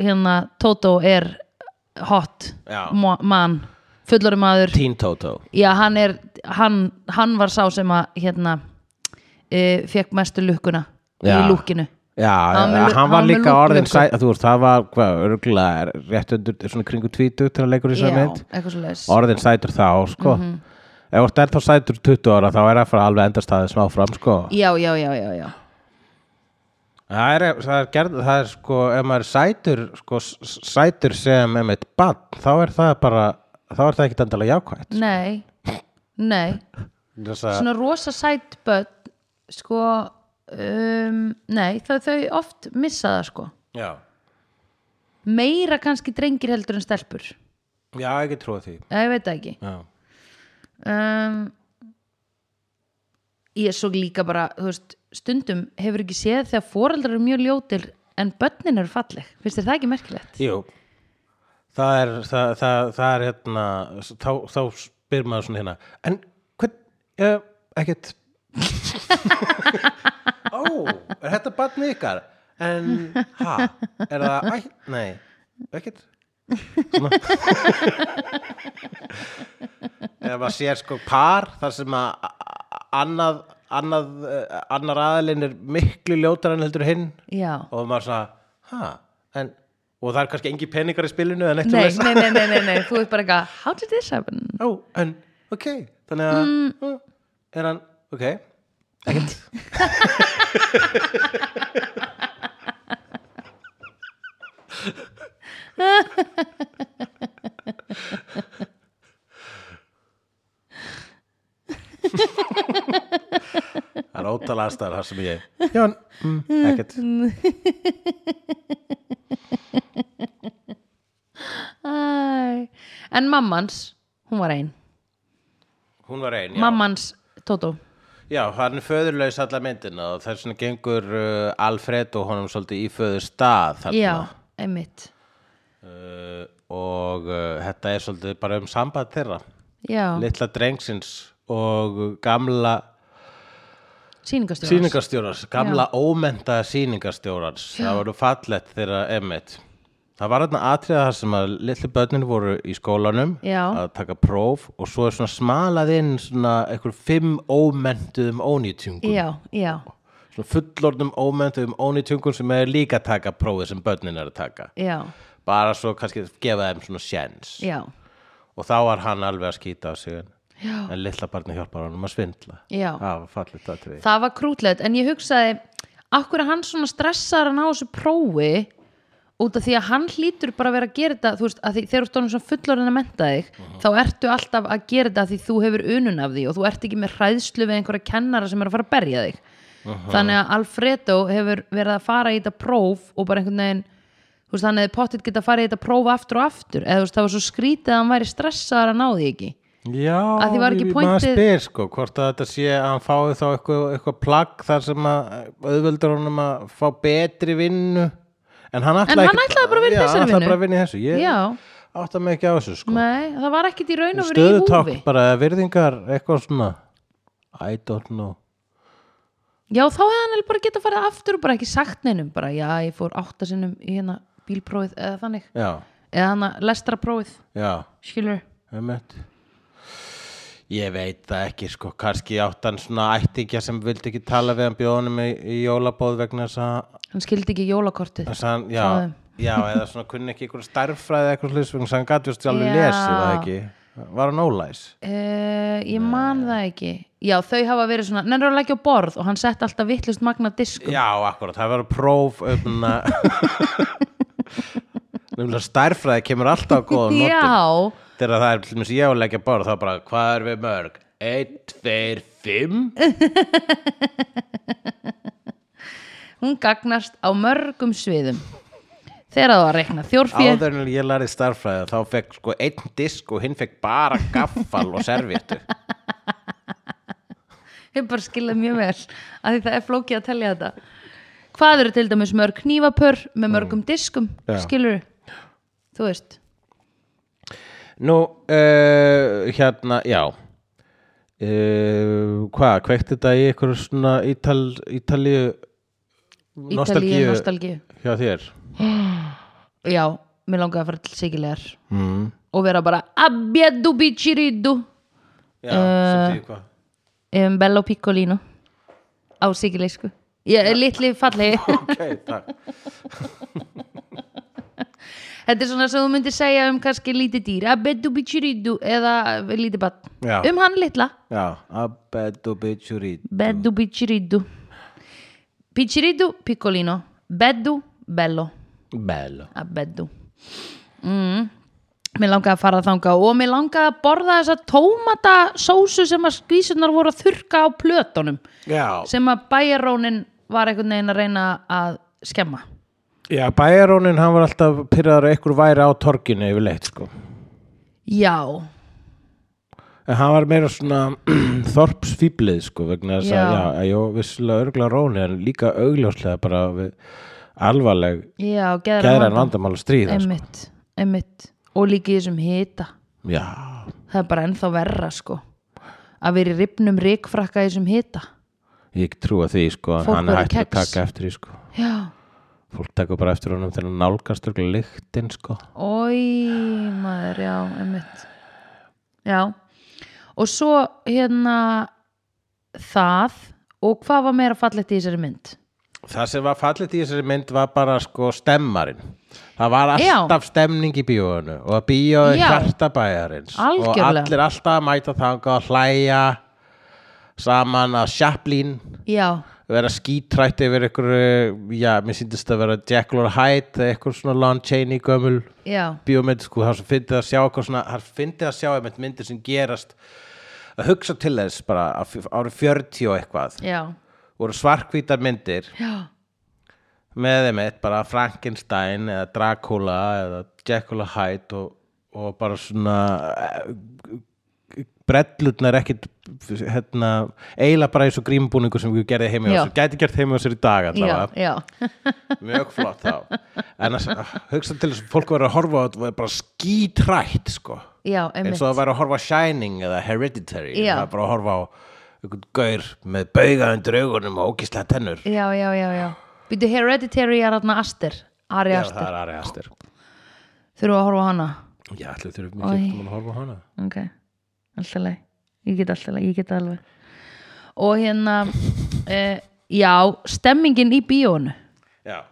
Speaker 2: hérna Tótó er hot
Speaker 1: Já.
Speaker 2: mo- mann, fullori maður
Speaker 1: Teen Tótó
Speaker 2: já hann er hann, hann var sá sem að hérna uh, fekk mestu lukkuna
Speaker 1: Já.
Speaker 2: í lúkinu
Speaker 1: Já,
Speaker 2: Hann
Speaker 1: hann,
Speaker 2: með lu-
Speaker 1: hann var
Speaker 2: hann með
Speaker 1: líka
Speaker 2: lúkku-
Speaker 1: orðin
Speaker 2: lukku.
Speaker 1: sæ, þú veist, það var hvað, örgulega, rétt undur svona kringu tvítu til að leikur í
Speaker 2: já,
Speaker 1: sér mynd
Speaker 2: eitthvað svo leis
Speaker 1: Orðin sætur þá, sko Ef þú ert þá sætur 20 ára, þá er það frá alveg endastaðið smá fram, sko
Speaker 2: já, já, já, já, já
Speaker 1: Það er, það er gerð, það er sko, ef maður er sætur, sko, s- s- sætur sem einmitt bann, þá er það bara, þá er það ekkit endalega jákvætt.
Speaker 2: nei, nei
Speaker 1: Þess að,
Speaker 2: svona rosa sæt börn sko um, nei, það, þau oft missa það sko
Speaker 1: já,
Speaker 2: meira kannski drengir heldur en stelpur
Speaker 1: já, ekki trúið því.
Speaker 2: Já, ég veit það ekki
Speaker 1: Já,
Speaker 2: um, ég er svo líka bara þú veist, stundum hefur ekki séð þegar foreldrar eru mjög ljótir en börnin eru falleg finnst þér það ekki merkilegt?
Speaker 1: jú, það er, það, það, það er hérna, s- þá, þá spyr maður svona hérna, en hvern, uh, ekkert, ó, er þetta bann ykkar? En, ha, er það, æ, nei, ekkert. ef maður sér sko par þar sem að a- annað, annað, eh, annar aðalinn er miklu ljótar en heldur hinn
Speaker 2: Já
Speaker 1: og maður svona, ha, en og það er kannski engi peningar í spilinu en eitt
Speaker 2: nei, nei, nei, nei, nei, nei, þú ert bara eitthvað How did this happen?
Speaker 1: ó, en, ok þannig að, mm. er hann ok, ekkert Það er ótalega staðar þar sem ég Jón, mm, ekkert
Speaker 2: Æ. En mammans, hún var ein
Speaker 1: Hún var ein, já
Speaker 2: Mammans, Tótó
Speaker 1: Já, hann er föðurlaus allar myndina og þess vegna gengur uh, Alfred og honum svolítið í föður stað þarna
Speaker 2: Já, einmitt
Speaker 1: uh, og uh, þetta er svolítið bara um samband þeirra
Speaker 2: Já,
Speaker 1: litla drengsins og gamla
Speaker 2: sýningastjóðans
Speaker 1: sýningastjórans, gamla ómennta sýningastjórans, það voru fallett þeirra emmitt. Það var þarna atriða þar sem að litlu börnin voru í skólanum
Speaker 2: Já.
Speaker 1: að taka próf og svo er svona smalað inn svona einhver fimm ómenntuðum ónýtjungum,
Speaker 2: Já, já,
Speaker 1: svona fullornum ómenntuðum ónýtjungum sem er líka að taka prófið sem börnin er að taka.
Speaker 2: já,
Speaker 1: Bara svo kannski gefa þeim svona sjens
Speaker 2: já
Speaker 1: og þá var hann alveg að skýta á sig Já. en litla barni hjálpar honum að svindla.
Speaker 2: Já.
Speaker 1: Það var fallið þetta við.
Speaker 2: Það var krútlegt, en ég hugsaði Akkur er hann svona stressar að ná þessu prófi Út af því að hann hlýtur bara að vera að gera þetta Þú veist, að því, þegar þú stóðum svona fullorðin að menta þig Þá ertu alltaf að gera þetta af því þú hefur unun af því Og þú ert ekki með hræðslu við einhverja kennara sem er að fara að berja þig Þannig að Alfredo hefur verið að fara í þetta próf Og bara einhvern veginn Þú veist, hann hefði pottit geta að fara í þetta próf aftur og aftur Eða þú veist, það var svo skrítið að hann væri stressaðar að ná því ekki
Speaker 1: Já,
Speaker 2: Að því var ekki
Speaker 1: ég- maður
Speaker 2: pointið-
Speaker 1: spyr sko hvort að þetta sé að hann fái þá eitthvað, eitthvað plagg þar sem að auðveldur honum að fá betri vinnu en hann ætlaði,
Speaker 2: hann
Speaker 1: ekkert-
Speaker 2: ætlaði bara að vinna í
Speaker 1: Já,
Speaker 2: þessari
Speaker 1: hann ætlaði
Speaker 2: vinnu.
Speaker 1: bara að vinna í þessu ég
Speaker 2: Já.
Speaker 1: átta mig ekki á þessu sko
Speaker 2: Nei, það var ekkit í raun og veru í húfi
Speaker 1: stöðutátt bara virðingar eitthvað svona I don't know
Speaker 2: Já, þá hefði hann eiginlega bara geta farið aftur og bara ekki sagt neinum, bara já, ég fór áttasinnum í hérna bílprófið eða þannig
Speaker 1: Já,
Speaker 2: eða hann að lestra prófið,
Speaker 1: já,
Speaker 2: skilur
Speaker 1: emmett Ég veit það ekki sko, kannski áttan svona ættingja sem vildi ekki tala við hann bjóðunum í, í jólabóð vegna þess að
Speaker 2: hann skildi ekki jólakortið
Speaker 1: Þess að hann,
Speaker 2: Frá
Speaker 1: já,
Speaker 2: þeim.
Speaker 1: já, eða svona kunni ekki einhverja starffræði eða eitthvað sluðis þannig að hann gæti vist alveg
Speaker 2: Já.
Speaker 1: lesið það ekki var hann ólæs
Speaker 2: uh, Ég man það ekki Já, þau hafa verið svona, nennur að leggja á borð og hann sett alltaf vittlust magna diskum
Speaker 1: já, akkurat, það var próf um að nefnilega starffræði kemur alltaf á góðan notum
Speaker 2: Já,
Speaker 1: þegar það er, til dæmis ég á að leggja bara þá bara, hvað er við mörg? 1, 2, 5
Speaker 2: hún gagnast á mörgum sviðum þegar það var að rekna þjórfé
Speaker 1: áður en ég lærði starffræði þá fekk sko einn disk og hinn fekk bara gaffal og servietu
Speaker 2: Ég bara skiljaði mjög vel að því það er flókið að telja þetta Hvað eru til dæmis mörg knífapör með mörgum diskum,
Speaker 1: Mm. Já.
Speaker 2: skilur Þú veist
Speaker 1: Nú, uh, hérna, já uh, Hvað, kveikti þetta í einhverju svona ítal, ítalíu
Speaker 2: Ítalíu
Speaker 1: nostalgíu
Speaker 2: nostalgíu
Speaker 1: hjá þér?
Speaker 2: Já, mér langaði að fara til sigilegar
Speaker 1: Mm.
Speaker 2: og vera bara Abbiadu biciridu
Speaker 1: Já, uh, sem því hvað
Speaker 2: um Bello Piccolino á sigilegsku Ég er litli fallegi
Speaker 1: Ok, takk
Speaker 2: Þetta er svona sem þú myndir segja um kannski lítið dýr Abbiadu biciridu eða lítið bann
Speaker 1: Já.
Speaker 2: Um hann litla
Speaker 1: Já, abedu bichurit
Speaker 2: Beddu picciriddu Picciriddu piccolino Beddu bello
Speaker 1: Bello
Speaker 2: að beddu mm. Mér langaði að fara þanga og mér langaði að borða þessa tómata sósu sem að skvísunar voru að þurka á plötunum
Speaker 1: Já,
Speaker 2: sem að bæjarónin var einhvern veginn að reyna að skemma
Speaker 1: já bæjarónin hann var alltaf pyrraður ekkur væri á torginu yfirleitt sko
Speaker 2: Já,
Speaker 1: En hann var meira svona þorpsfýblið sko vegna þess
Speaker 2: Já.
Speaker 1: að, já, að jó, vissulega örgla róni en líka augljóslega bara við alvarleg
Speaker 2: já, geðra
Speaker 1: gæðra en vandamál að stríða sko.
Speaker 2: Einmitt, einmitt og líka í þessum hita
Speaker 1: Já,
Speaker 2: það er bara ennþá verra sko að vera í ripnum rikfrakka í þessum hita
Speaker 1: ég trúa því sko en
Speaker 2: Fólk
Speaker 1: hann er
Speaker 2: verður
Speaker 1: hægt að
Speaker 2: kex.
Speaker 1: taka eftir því sko
Speaker 2: Já,
Speaker 1: Fólk tekur bara eftir honum þegar hann nálgast örgla lyktin sko
Speaker 2: Ói, maður, já, einmitt Já Og svo hérna það og hvað var meira fallegt í þessari mynd?
Speaker 1: Það sem var fallit í þessari mynd var bara sko stemmarinn. Það var
Speaker 2: Já.
Speaker 1: alltaf stemning í bíóinu og að bíói
Speaker 2: Já.
Speaker 1: hjartabæjarins og
Speaker 2: Algjörlega.
Speaker 1: allir alltaf að mæta þanga að hlæja saman að Chaplin
Speaker 2: Já,
Speaker 1: vera skítrætt yfir ykkur, já, mér síndist að vera Jack Lord Hyde, eða eitthvað svona Lon Chaney gömul
Speaker 2: já,
Speaker 1: bíómynd, sko, það finnst að sjá eitthvað svona, það finnst að sjá einmitt myndir sem gerast að hugsa til þess bara á f- árið 40 og eitthvað
Speaker 2: já,
Speaker 1: voru svarkvítar myndir
Speaker 2: já,
Speaker 1: með þeim eitt bara Frankenstein eða Dracula eða Jekyll og Hyde og, og bara svona brellutnar ekkit hérna, eiginlega bara eins og grímbúningu sem við gerði heimi á
Speaker 2: Já.
Speaker 1: sér, gæti gert heimi á sér í dag
Speaker 2: já,
Speaker 1: allavega,
Speaker 2: já.
Speaker 1: mjög flott þá en að hugsa til þess að fólk verið að horfa á þetta og það er bara skítrætt sko,
Speaker 2: já
Speaker 1: eins
Speaker 2: einmitt,
Speaker 1: og það væri að horfa á Shining eða Hereditary,
Speaker 2: Já.
Speaker 1: það er bara að horfa á einhvern gaur með bauga undir augunum og ókislega tennur
Speaker 2: já, já, já, já. Býtu Hereditary er hérna Aster, Ari
Speaker 1: Já,
Speaker 2: Aster
Speaker 1: það er Ari Aster
Speaker 2: þurfum við að horfa á hana
Speaker 1: Já, ætli
Speaker 2: Oj.
Speaker 1: þurfum ekki eftir að horfa á hana
Speaker 2: ok, alltaf leið ég get alltaf leið, ég get alveg og hérna uh, já, stemmingin í bíónu
Speaker 1: Já,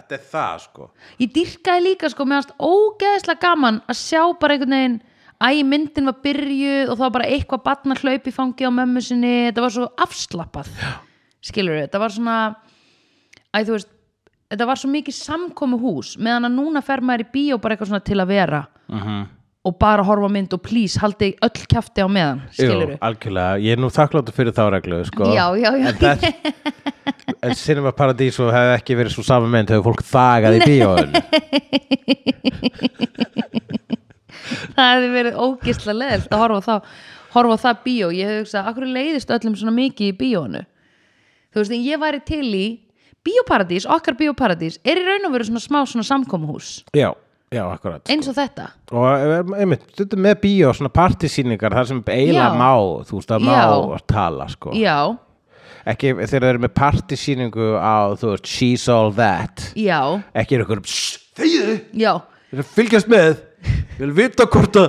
Speaker 1: þetta er það sko
Speaker 2: ég dyrkaði líka sko meðast ógeðslega gaman að sjá bara einhvern veginn æ, myndin var byrjuð og það var bara eitthvað batna hlaup í fangi á mömmu sinni þetta var svo afslappað skilur við, þetta var svona æ, þú veist, þetta var svo mikið samkomi hús meðan að núna fer maður í bíó bara eitthvað svona til að vera
Speaker 1: -hmm.
Speaker 2: og bara horfa á mynd og please haldi öll kjafti á meðan, skilur við
Speaker 1: algjörlega, ég er nú þakkláttur fyrir þá reglu sko.
Speaker 2: Já, já, já.
Speaker 1: En, það, en Cinema Paradiso hefði ekki verið svo saman mynd hefur fólk þagað í bíóðun
Speaker 2: það hefði verið ógisla leðilt að horfa á það horfa á það bíó, ég hefði hugsað akkur leiðist öllum svona mikið í bíónu þú veist, en ég væri til í bíóparadís, okkar bíóparadís er í raun og veru svona smá svona samkomuhús
Speaker 1: Já, já, akkurat
Speaker 2: eins og þetta
Speaker 1: Og eh, einmitt, stundum með bíó, svona partysýningar þar sem eiginlega
Speaker 2: Já.
Speaker 1: má, þú veist að má
Speaker 2: Já.
Speaker 1: tala sko
Speaker 2: já,
Speaker 1: Ekki þegar það eru með partysýningu á, þú veist, She's All That
Speaker 2: já,
Speaker 1: Ekki er ykkur, "Shh, þegiðu
Speaker 2: já
Speaker 1: Ég er að fylgjast með Ég vil vita hvort að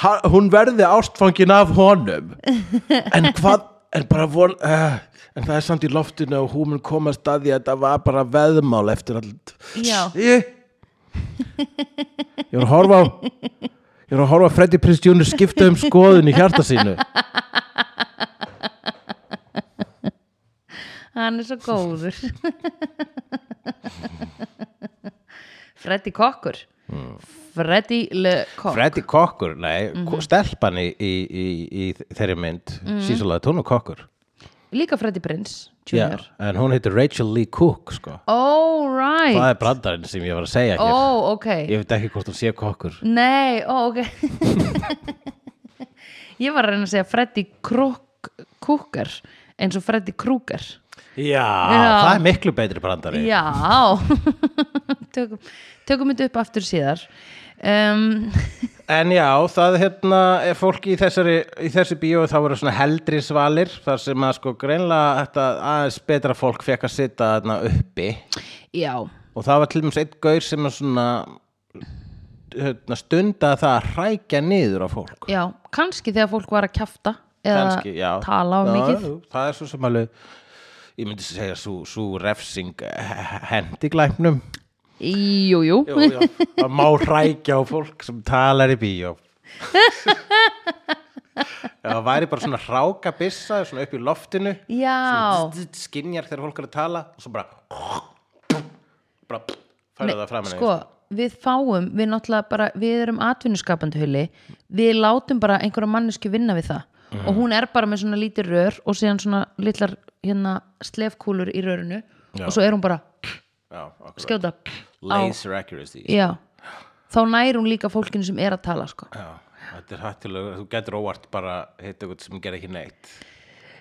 Speaker 1: ha- hún verði ástfangin af honum En hvað En bara von uh, En það er samt í loftinu og hún mun komast að því að þetta var bara veðmál eftir allt
Speaker 2: Já.
Speaker 1: Ég Ég er að horfa á Ég er að horfa að Freddy Prince Jr. skipta um skoðun í hjarta sínu
Speaker 2: hann er svo góður Freddy Kokkur Freddy Le Kokk
Speaker 1: Freddy Kokkur, nei, mm
Speaker 2: Mhm.
Speaker 1: stelpan í, í, í, í þeirri mynd mm -hmm. Sísulega tónu Kokkur
Speaker 2: líka Freddy Prince
Speaker 1: Já,
Speaker 2: Junior
Speaker 1: En hún heitir Rachel Lee Cook sko.
Speaker 2: oh right
Speaker 1: Það er brandarinn sem ég var að segja hér
Speaker 2: oh ok
Speaker 1: Ég veit ekki hvort hún sé kokkur
Speaker 2: Nei, ó, ok Ég var að reyna að segja Freddy Krok Kúkar eins og Freddy Krúkar
Speaker 1: Já, það er miklu betri brandari
Speaker 2: Já tökum, tökum þetta upp aftur síðar um,
Speaker 1: En já, það hérna er fólki í þessari í þessi bíói þá voru svona heldri svalir þar sem að sko greinlega þetta aðeins betra fólk fekk að sitja þarna uppi
Speaker 2: Já,
Speaker 1: og það var til dæmis einn gaur sem að svona hérna, stunda það að hrækja niður á fólk
Speaker 2: já, kannski þegar fólk var að kjafta eða
Speaker 1: Kannski, já.
Speaker 2: tala á
Speaker 1: Já,
Speaker 2: mikið
Speaker 1: jú, Það er svo sem alveg ég myndi segja svo, svo refsing hendi glæpnum
Speaker 2: Jú, jú,
Speaker 1: Jú, já, það má hrækja á fólk sem talar í bíó Já, það væri bara svona hráka bissa svona upp í loftinu
Speaker 2: Já,
Speaker 1: skinjar þegar fólk er að tala og svo bara bara færa það fram
Speaker 2: sko, við fáum við náttúrulega bara, við erum atvinnuskapandi huli, við látum bara einhverja mannesku vinna við það og hún er bara með svona lítið rör og síðan svona litlar hérna slefkúlur í rörinu og svo er hún bara
Speaker 1: henni
Speaker 2: skjóta á,
Speaker 1: laser accuracy
Speaker 2: já þá nær hún líka fólkinu sem er að tala sko.
Speaker 1: Já, þetta er hættilega, þú getur óvart bara hitt eitthvað sem ger ekki neitt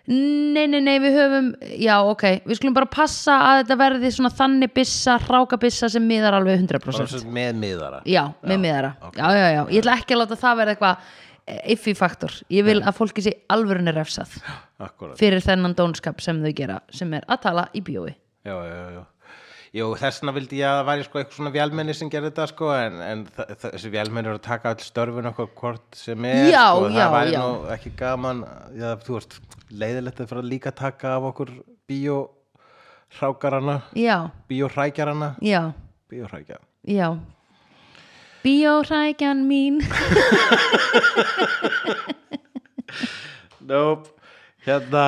Speaker 2: nei, nei, nei, við höfum já, ok, við skulum bara passa að þetta verði svona þannig byssa, hráka byssa sem miðar alveg 100%
Speaker 1: bara svo með miðara
Speaker 2: Já, með miðara
Speaker 1: ok.
Speaker 2: já, já, já. Ég ætla ekki að láta það verða eitthvað iffi faktor, ég vil að fólki sé alvörunni refsað
Speaker 1: Akkurat,
Speaker 2: fyrir þennan dónskap sem þau gera sem er að tala í bíói
Speaker 1: já, já, já Jú, þessna vildi ég að það væri sko eitthvað svona vélmenni sem gerði þetta sko en, en þa- þa- þessi vélmenni eru að taka all störfun okkur hvort sem er
Speaker 2: Já,
Speaker 1: sko,
Speaker 2: já,
Speaker 1: það væri
Speaker 2: já.
Speaker 1: nú ekki gaman já, þú veist, leiðilegt að fara líka að taka af okkur bíóhrákarana
Speaker 2: Já,
Speaker 1: bíóhrækjarana
Speaker 2: já,
Speaker 1: bíóhrækja
Speaker 2: já Bíóhrækjan mín
Speaker 1: Nope Hérna,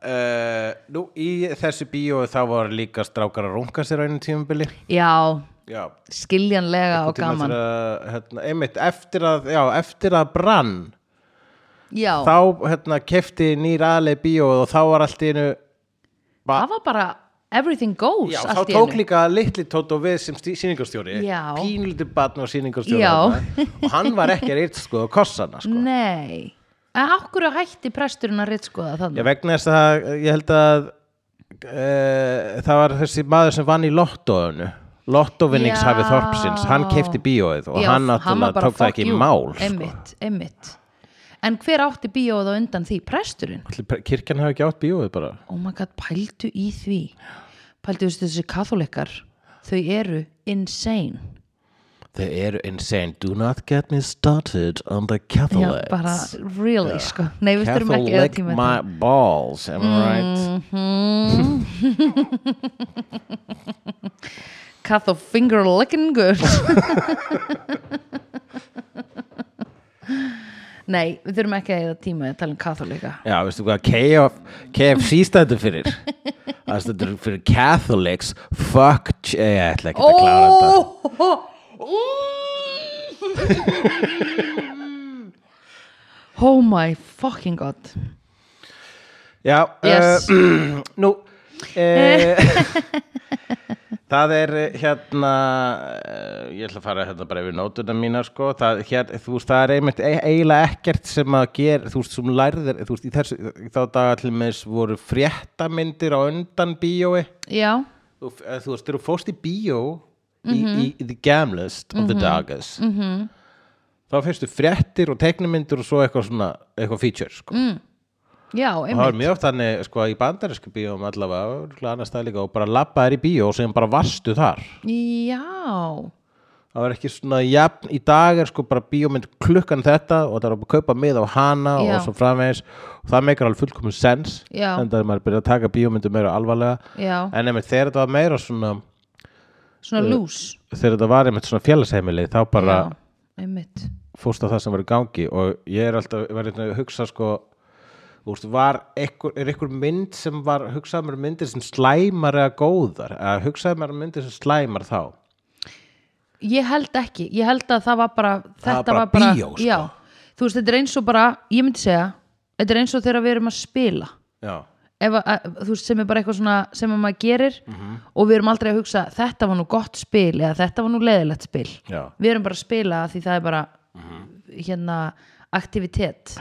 Speaker 1: uh, nú í þessu bíói þá var líka strákar að runga sér á einu tímabili.
Speaker 2: já,
Speaker 1: Já.
Speaker 2: skiljanlega og
Speaker 1: Tíma
Speaker 2: gaman
Speaker 1: þegar að, Hérna, einmitt, eftir að, já, eftir að brann,
Speaker 2: já,
Speaker 1: þá hérna kefti nýr aðlega bíóið og þá var allt í einu,
Speaker 2: það var bara everything goes
Speaker 1: já, þá
Speaker 2: allt í
Speaker 1: tók
Speaker 2: einu.
Speaker 1: líka litli Tóto við sem síningarstjóri,
Speaker 2: Já.
Speaker 1: pínlítið batn og síningarstjóri
Speaker 2: Já. Mm.
Speaker 1: og hann var ekki að reyta sko á kossana sko.
Speaker 2: nei en okkur hætti presturinn að ritskoða
Speaker 1: Já,
Speaker 2: þannig
Speaker 1: vegna þess að ég held að e, það var þessi maður sem vann í lottóinu lottóvinningshafi
Speaker 2: Já.
Speaker 1: Þorpsins, hann keipti bíóið og hann
Speaker 2: var
Speaker 1: náttúrulega
Speaker 2: bara,
Speaker 1: tók það
Speaker 2: "Fuck
Speaker 1: ekki í
Speaker 2: you."
Speaker 1: mál sko.
Speaker 2: einmitt, einmitt en hver átti bíóð á undan því? presturinn?
Speaker 1: Ætli pre- kirkjan hafi ekki átt bíóið bara
Speaker 2: oh my god, pældu í því pældu þessi, þessi katholikar þau eru insane
Speaker 1: Þau eru insane, do not get me started on the
Speaker 2: já,
Speaker 1: Catholics
Speaker 2: bara really sko nei, við þurfum ekki að
Speaker 1: Catholic
Speaker 2: tíma Mm.
Speaker 1: my balls, am I right?
Speaker 2: þetta kathol finger licking good nei, við þurfum ekki að eða tíma í að tala um katholika
Speaker 1: Já, veistu hvað KF, KFC stættu fyrir það stættu fyrir Catholics fuck, ch- Eh, ég ætla ekki að klára þetta
Speaker 2: oh my fucking god
Speaker 1: Já,
Speaker 2: Yes.
Speaker 1: uh, nú uh, Það er eh, hérna uh, ég ætla að fara hérna bara yfir nótuna mína sko, það, hér, þú veist, það er einmitt e- eiginlega ekkert sem að gera þú veist, sem lærðir, þú veist, í þessu þá daga til meðs voru fréttamyndir á undan bíói
Speaker 2: já,
Speaker 1: þú, eh, þú veist, þegar þú fórst í bíó í,
Speaker 2: Mhm.
Speaker 1: í, í the gamlest of the dagas -hmm. þá fyrstu fréttir og teiknumyndir og svo eitthvað svona, eitthvað feature sko
Speaker 2: já,
Speaker 1: og það var
Speaker 2: Mm, einmitt
Speaker 1: mjög oft þannig sko í bandarísku bíóm allavega örugglega annars stað líka, og bara labba þær í bíó og sem bara vastu þar
Speaker 2: já,
Speaker 1: það var ekki svona jafn í dag er sko bara bíómynd klukkan þetta og það er að kaupa mið á hana
Speaker 2: Já.
Speaker 1: og svo framvegis og það meikar alveg fullkomun sens
Speaker 2: Já.
Speaker 1: en það er maður byrjað að taka bíómyndu meira alvarlega
Speaker 2: já,
Speaker 1: en einmitt þegar þetta var meira svona
Speaker 2: svona loose
Speaker 1: þegar þetta var einmitt svona félagsheimili þá Eh, bara
Speaker 2: já, einmitt
Speaker 1: fórst á það sem var í gangi og ég er alltaf ég var hérna að hugsa sko þú veist, var ekkur, er einhver mynd sem var hugsaði mér um myndir sem slæmar eða góðar, eða hugsaði mér um myndir sem slæmar þá
Speaker 2: Ég held ekki, ég held að það var bara
Speaker 1: Það
Speaker 2: þetta
Speaker 1: var bara
Speaker 2: var bara,
Speaker 1: bíó, sko.
Speaker 2: já, þú veist, þetta er eins og bara ég myndi segja, þetta er eins og þegar við erum að spila
Speaker 1: já,
Speaker 2: ef að, að, þú veist, sem er bara eitthvað svona sem að maður gerir
Speaker 1: Mhm.
Speaker 2: og við erum aldrei að hugsa þetta var nú gott spil eða þetta var nú leðilegt spil
Speaker 1: já,
Speaker 2: við erum bara að spila af því það er bara
Speaker 1: Mhm.
Speaker 2: hérna, aktivitet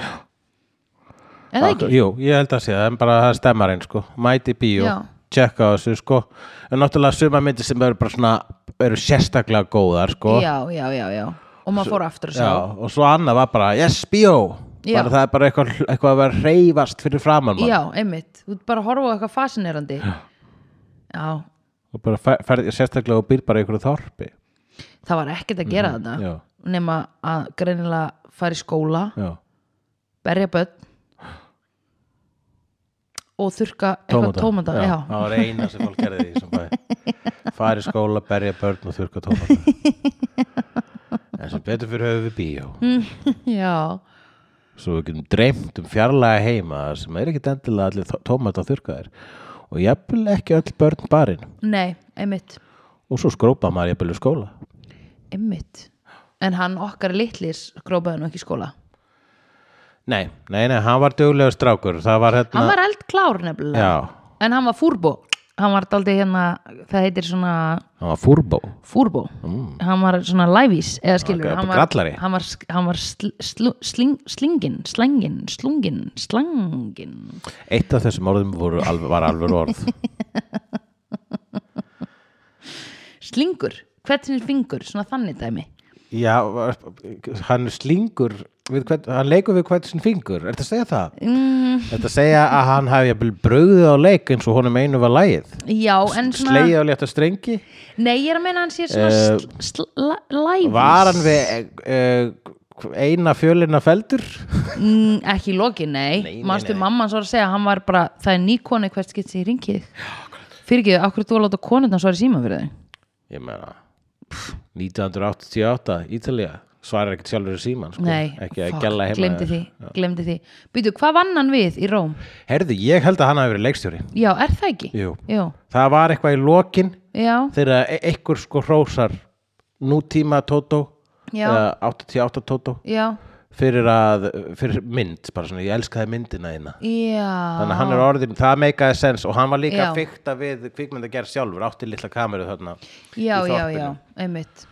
Speaker 2: Er það ekki?
Speaker 1: Jú, ég held að sé það, en bara það stemmar einn sko mæti í bíó,
Speaker 2: Já.
Speaker 1: tjekka á þessu sko en náttúrulega suma myndir sem eru bara svona eru sérstaklega góðar sko
Speaker 2: Já, já, já, já og maður fór aftur að
Speaker 1: Já,
Speaker 2: sjá
Speaker 1: og svo annað var bara, yes, bíó
Speaker 2: Já.
Speaker 1: bara það er bara eitthvað, eitthvað að vera reyfast fyrir framan mann
Speaker 2: Já, einmitt, þú ert bara að horfa á eitthvað fascinerandi Já,
Speaker 1: og bara fer, fer, sérstaklega og býr bara í einhverju þorpi
Speaker 2: það var ekkert að gera þetta
Speaker 1: Mhm, já.
Speaker 2: nema að greinilega fara í skóla
Speaker 1: Já,
Speaker 2: berja börn og þurka eitthvað tómata já.
Speaker 1: það var eina sem fólk gerði í sem bæði fari í skóla, berja börn og þurka tómata en sem betur fyrir höfum við bíó
Speaker 2: Mm. já,
Speaker 1: svo við getum dreymt um fjarlæga heima sem er ekkit endilega allir þó- tómata þurkaðir og jafnvel ekki öll börn barinn
Speaker 2: nei, einmitt
Speaker 1: og svo skrópa maður jafnvel í skóla
Speaker 2: einmitt, en hann okkar litlir skrópaði nú ekki í skóla
Speaker 1: nei, nei, nei, hann var duglega strákur það var hérna
Speaker 2: hann var eldklár nefnilega
Speaker 1: já,
Speaker 2: en hann var fúrbó hann var daldi hérna, það heitir svona
Speaker 1: hann var fúrbó
Speaker 2: fúrbó,
Speaker 1: Mm.
Speaker 2: hann var svona lævís eða skilur,
Speaker 1: Ok,
Speaker 2: hann,
Speaker 1: bara
Speaker 2: var,
Speaker 1: grallari.
Speaker 2: hann var, sl- hann var sl, sl, sling, slingin slangin, slungin, slangin
Speaker 1: Eitt af þessum orðum voru, alv- var alveg orð
Speaker 2: slingur, hvernig fingur, svona þannig dæmi
Speaker 1: Já, var- hann slingur við hvern, hann leikur við hvern sinn fingur Er þetta að segja það? Mm. Er þetta að segja að hann hafi bröðið á leik eins og honum einu var lagið?
Speaker 2: já, en svona
Speaker 1: Slegið á létta strengi?
Speaker 2: nei, ég er að meina hann sé svona
Speaker 1: Eh,
Speaker 2: uh, sl, sl, lævís
Speaker 1: Var hann við uh, eina fjölina feldur?
Speaker 2: mm, ekki í lokin, nei,
Speaker 1: Nei, nei,
Speaker 2: manstu
Speaker 1: nei.
Speaker 2: mamman svo að segja, hann var bara, það er ný koni hvert skipt sér í ringið fyrir ekki, akkur þú að láta konurna svara í síma fyrir þau
Speaker 1: Ég meina 1988, Ítalía svarar ekkert sjálfur í síman sko.
Speaker 2: Nei,
Speaker 1: ekki að
Speaker 2: fuck,
Speaker 1: gæla heima
Speaker 2: glemdi því, glemdi því Býtu, hvað vann hann við í Róm?
Speaker 1: herðu, ég held að hann hafi verið leikstjóri
Speaker 2: Já, er það ekki?
Speaker 1: Jú.
Speaker 2: Jú.
Speaker 1: það var eitthvað í lokin
Speaker 2: Já,
Speaker 1: þegar e- einhver sko hrósar nútíma Tótó
Speaker 2: Já.
Speaker 1: eða 88 Tótó
Speaker 2: já,
Speaker 1: fyrir að, fyrir mynd bara svona, ég elska það myndina þína
Speaker 2: já
Speaker 1: þannig að hann er orðin, það meikaði sens og hann var líka
Speaker 2: Já.
Speaker 1: að fykta við kvikmyndagerð sjálfur átti litla kameru þarna
Speaker 2: Já,
Speaker 1: í
Speaker 2: já,
Speaker 1: þorpinu.
Speaker 2: já, einmitt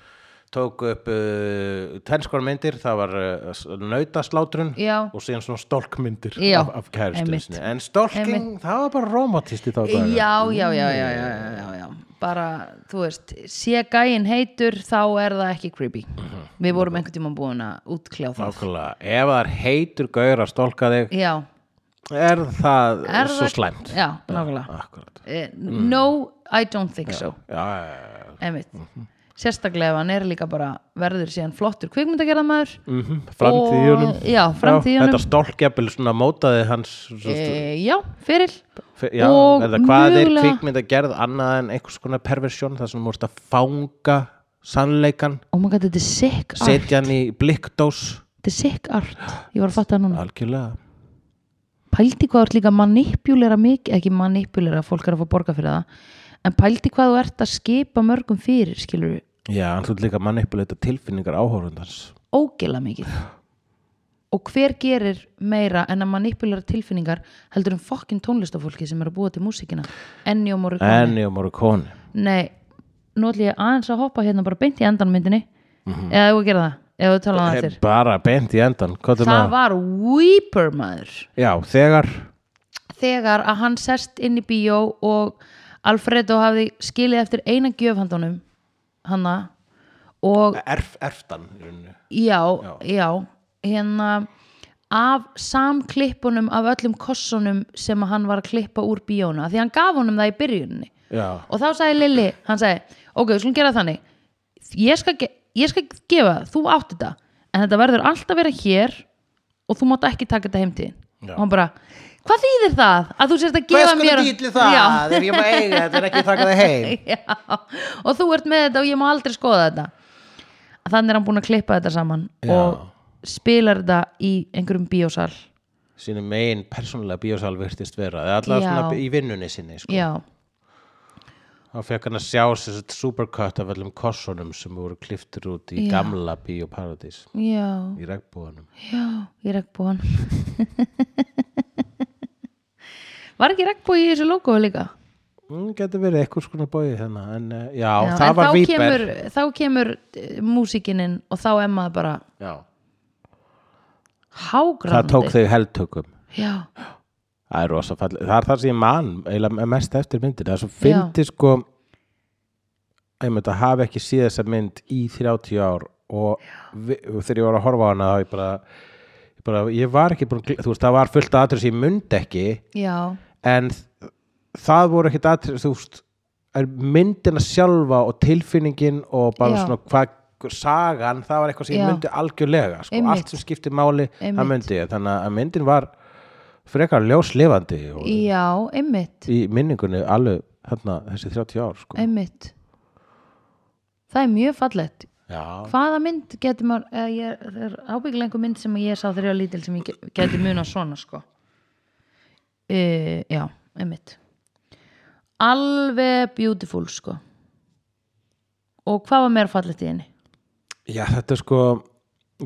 Speaker 1: tók upp uh, tennskora myndir, það var uh, nautasláttrun
Speaker 2: Já.
Speaker 1: og síðan svona stólkmyndir
Speaker 2: Já,
Speaker 1: af, af kærustunni
Speaker 2: einmitt.
Speaker 1: sinni. en stólking,
Speaker 2: Einmitt.
Speaker 1: það var bara romantist í þá
Speaker 2: Já,
Speaker 1: daga
Speaker 2: já, já, já, já, já, já, já Bara, þú veist, sé gæin heitur þá er það ekki creepy
Speaker 1: Mhm.
Speaker 2: Við vorum einhvern tímann búin að útkljá það
Speaker 1: Nákvæmlega, ef það er heitur gaur að stólka þig,
Speaker 2: Já,
Speaker 1: er það
Speaker 2: er
Speaker 1: svo
Speaker 2: það
Speaker 1: slæmt
Speaker 2: Já, nákvæmlega
Speaker 1: Akkurat
Speaker 2: Eh, No, I don't think so
Speaker 1: Já, já, já.
Speaker 2: Einmitt Sérstaklega ef hann er líka bara verður síðan flottur kvikmyndagerðamaður
Speaker 1: Mhm, framtíðunum
Speaker 2: Og- já, framtíðunum.
Speaker 1: þetta stólkjafnvel svona mótaði hans svo,
Speaker 2: e, Já, fyrir
Speaker 1: Fe- Já,
Speaker 2: Og
Speaker 1: eða hvað
Speaker 2: mögulega-
Speaker 1: er kvikmynd að gerð annað en einhvers konar perversjón þar sem þú múst að fanga sannleikan,
Speaker 2: Oh my god, þetta er sick art
Speaker 1: setja hann í blikkdós
Speaker 2: Þetta er sick art Ég var að fatta það núna
Speaker 1: algjörlega
Speaker 2: Pældi hvað þú ert líka að manipulera mikið Ekki manipulera, fólk er að fá borga fyrir það En pældi hvað þú ert að skipa mörgum fyrir Skilur við
Speaker 1: Já, hann hlut líka að manipuleita tilfinningar áhórundans
Speaker 2: ógila mikið Og hver gerir meira en að manipulera tilfinningar heldur um fokkin tónlistafólki sem er að búa til músíkina Ennjó Morricone
Speaker 1: Enni og Morricone
Speaker 2: Nei, nú ætlum ég aðeins að hoppa hérna bara beint í endanmyndinni
Speaker 1: Mhm.
Speaker 2: eða þú að gera það, ef þú tala á það
Speaker 1: Eh,
Speaker 2: eftir
Speaker 1: bara beint í endan hvað er
Speaker 2: Það
Speaker 1: maður?
Speaker 2: var Weeper maður
Speaker 1: Já, þegar
Speaker 2: þegar að hann sest inn í bíó og Alfredo hafði skilið eftir eina gjöfhandunum hanna og
Speaker 1: Erf, Erftan í rauninni.
Speaker 2: já, já, hérna af samklippunum af öllum kossunum sem að hann var að klippa úr bíóna því hann gaf honum það í byrjuninni
Speaker 1: Já,
Speaker 2: og þá sagði Lilli, hann sagði ok, við skulum gera þannig ég skal, ge- ég skal gefa, það, þú átt þetta en þetta verður alltaf vera hér og þú mátt ekki taka þetta heimtíðin
Speaker 1: Já.
Speaker 2: og hann bara, hvað þýðir það að þú sérst að
Speaker 1: Hvers
Speaker 2: gefa
Speaker 1: konar
Speaker 2: mér
Speaker 1: dýtli það?
Speaker 2: Já,
Speaker 1: Er ég bara eiga þetta er ekki taka það heim
Speaker 2: já, og þú ert með þetta og ég má aldrei skoða þetta þannig er hann búin að klippa þetta saman
Speaker 1: Já.
Speaker 2: og spilar þetta í einhverjum bíósal
Speaker 1: Sýnum megin persónulega bíósal virtist vera eða allavega
Speaker 2: Já.
Speaker 1: svona í vinnunni sinni sko.
Speaker 2: já,
Speaker 1: þá fekk hann að sjá þessi supercut af öllum kossunum sem voru kliftur út í
Speaker 2: Já.
Speaker 1: gamla bíóparadís
Speaker 2: já,
Speaker 1: í regnbúanum
Speaker 2: já ég er ekki búin var ekki regnbúi í þessu logoðu líka?
Speaker 1: mm, getur verið eitthvað skona bóið hérna en uh, já,
Speaker 2: Já,
Speaker 1: það
Speaker 2: en
Speaker 1: var
Speaker 2: þá
Speaker 1: Víber
Speaker 2: kemur, þá kemur músikininn og þá er maður bara
Speaker 1: já,
Speaker 2: hágrandi
Speaker 1: það tók þau heldtökum
Speaker 2: já,
Speaker 1: það er rosa fallið, það er það sem ég man eiginlega mest eftir myndin, það er svo fyndi sko einmitt að hafa ekki séð þessa mynd í 30 ár og, vi, og þegar ég var að horfa á hana þá ég bara, ég bara ég var ekki búin, að gl- þú veist, það var fullt af atrið sem ég mundi ekki
Speaker 2: já,
Speaker 1: en þ- það voru ekkit atrið þú veist, er myndina sjálfa og tilfinningin og bara
Speaker 2: Já.
Speaker 1: svona hvað sagan, það var eitthvað sem ég
Speaker 2: Já.
Speaker 1: myndi algjörlega, sko,
Speaker 2: Einmitt.
Speaker 1: allt sem skipti máli
Speaker 2: Einmitt.
Speaker 1: það myndi ég, þannig að myndin var frekar ljóslifandi og
Speaker 2: já, einmitt
Speaker 1: í minningunni alveg hérna, þessi 30 ár, sko
Speaker 2: einmitt það er mjög fallegt
Speaker 1: Já,
Speaker 2: hvaða mynd getur maður eða ég, það er ábyggilega einhver mynd sem ég sá þegar ég var lítil sem ég ge- gæti muna svona sko e, já, einmitt alveg beautiful sko og hvað var meira fallegt í henni?
Speaker 1: já þetta er sko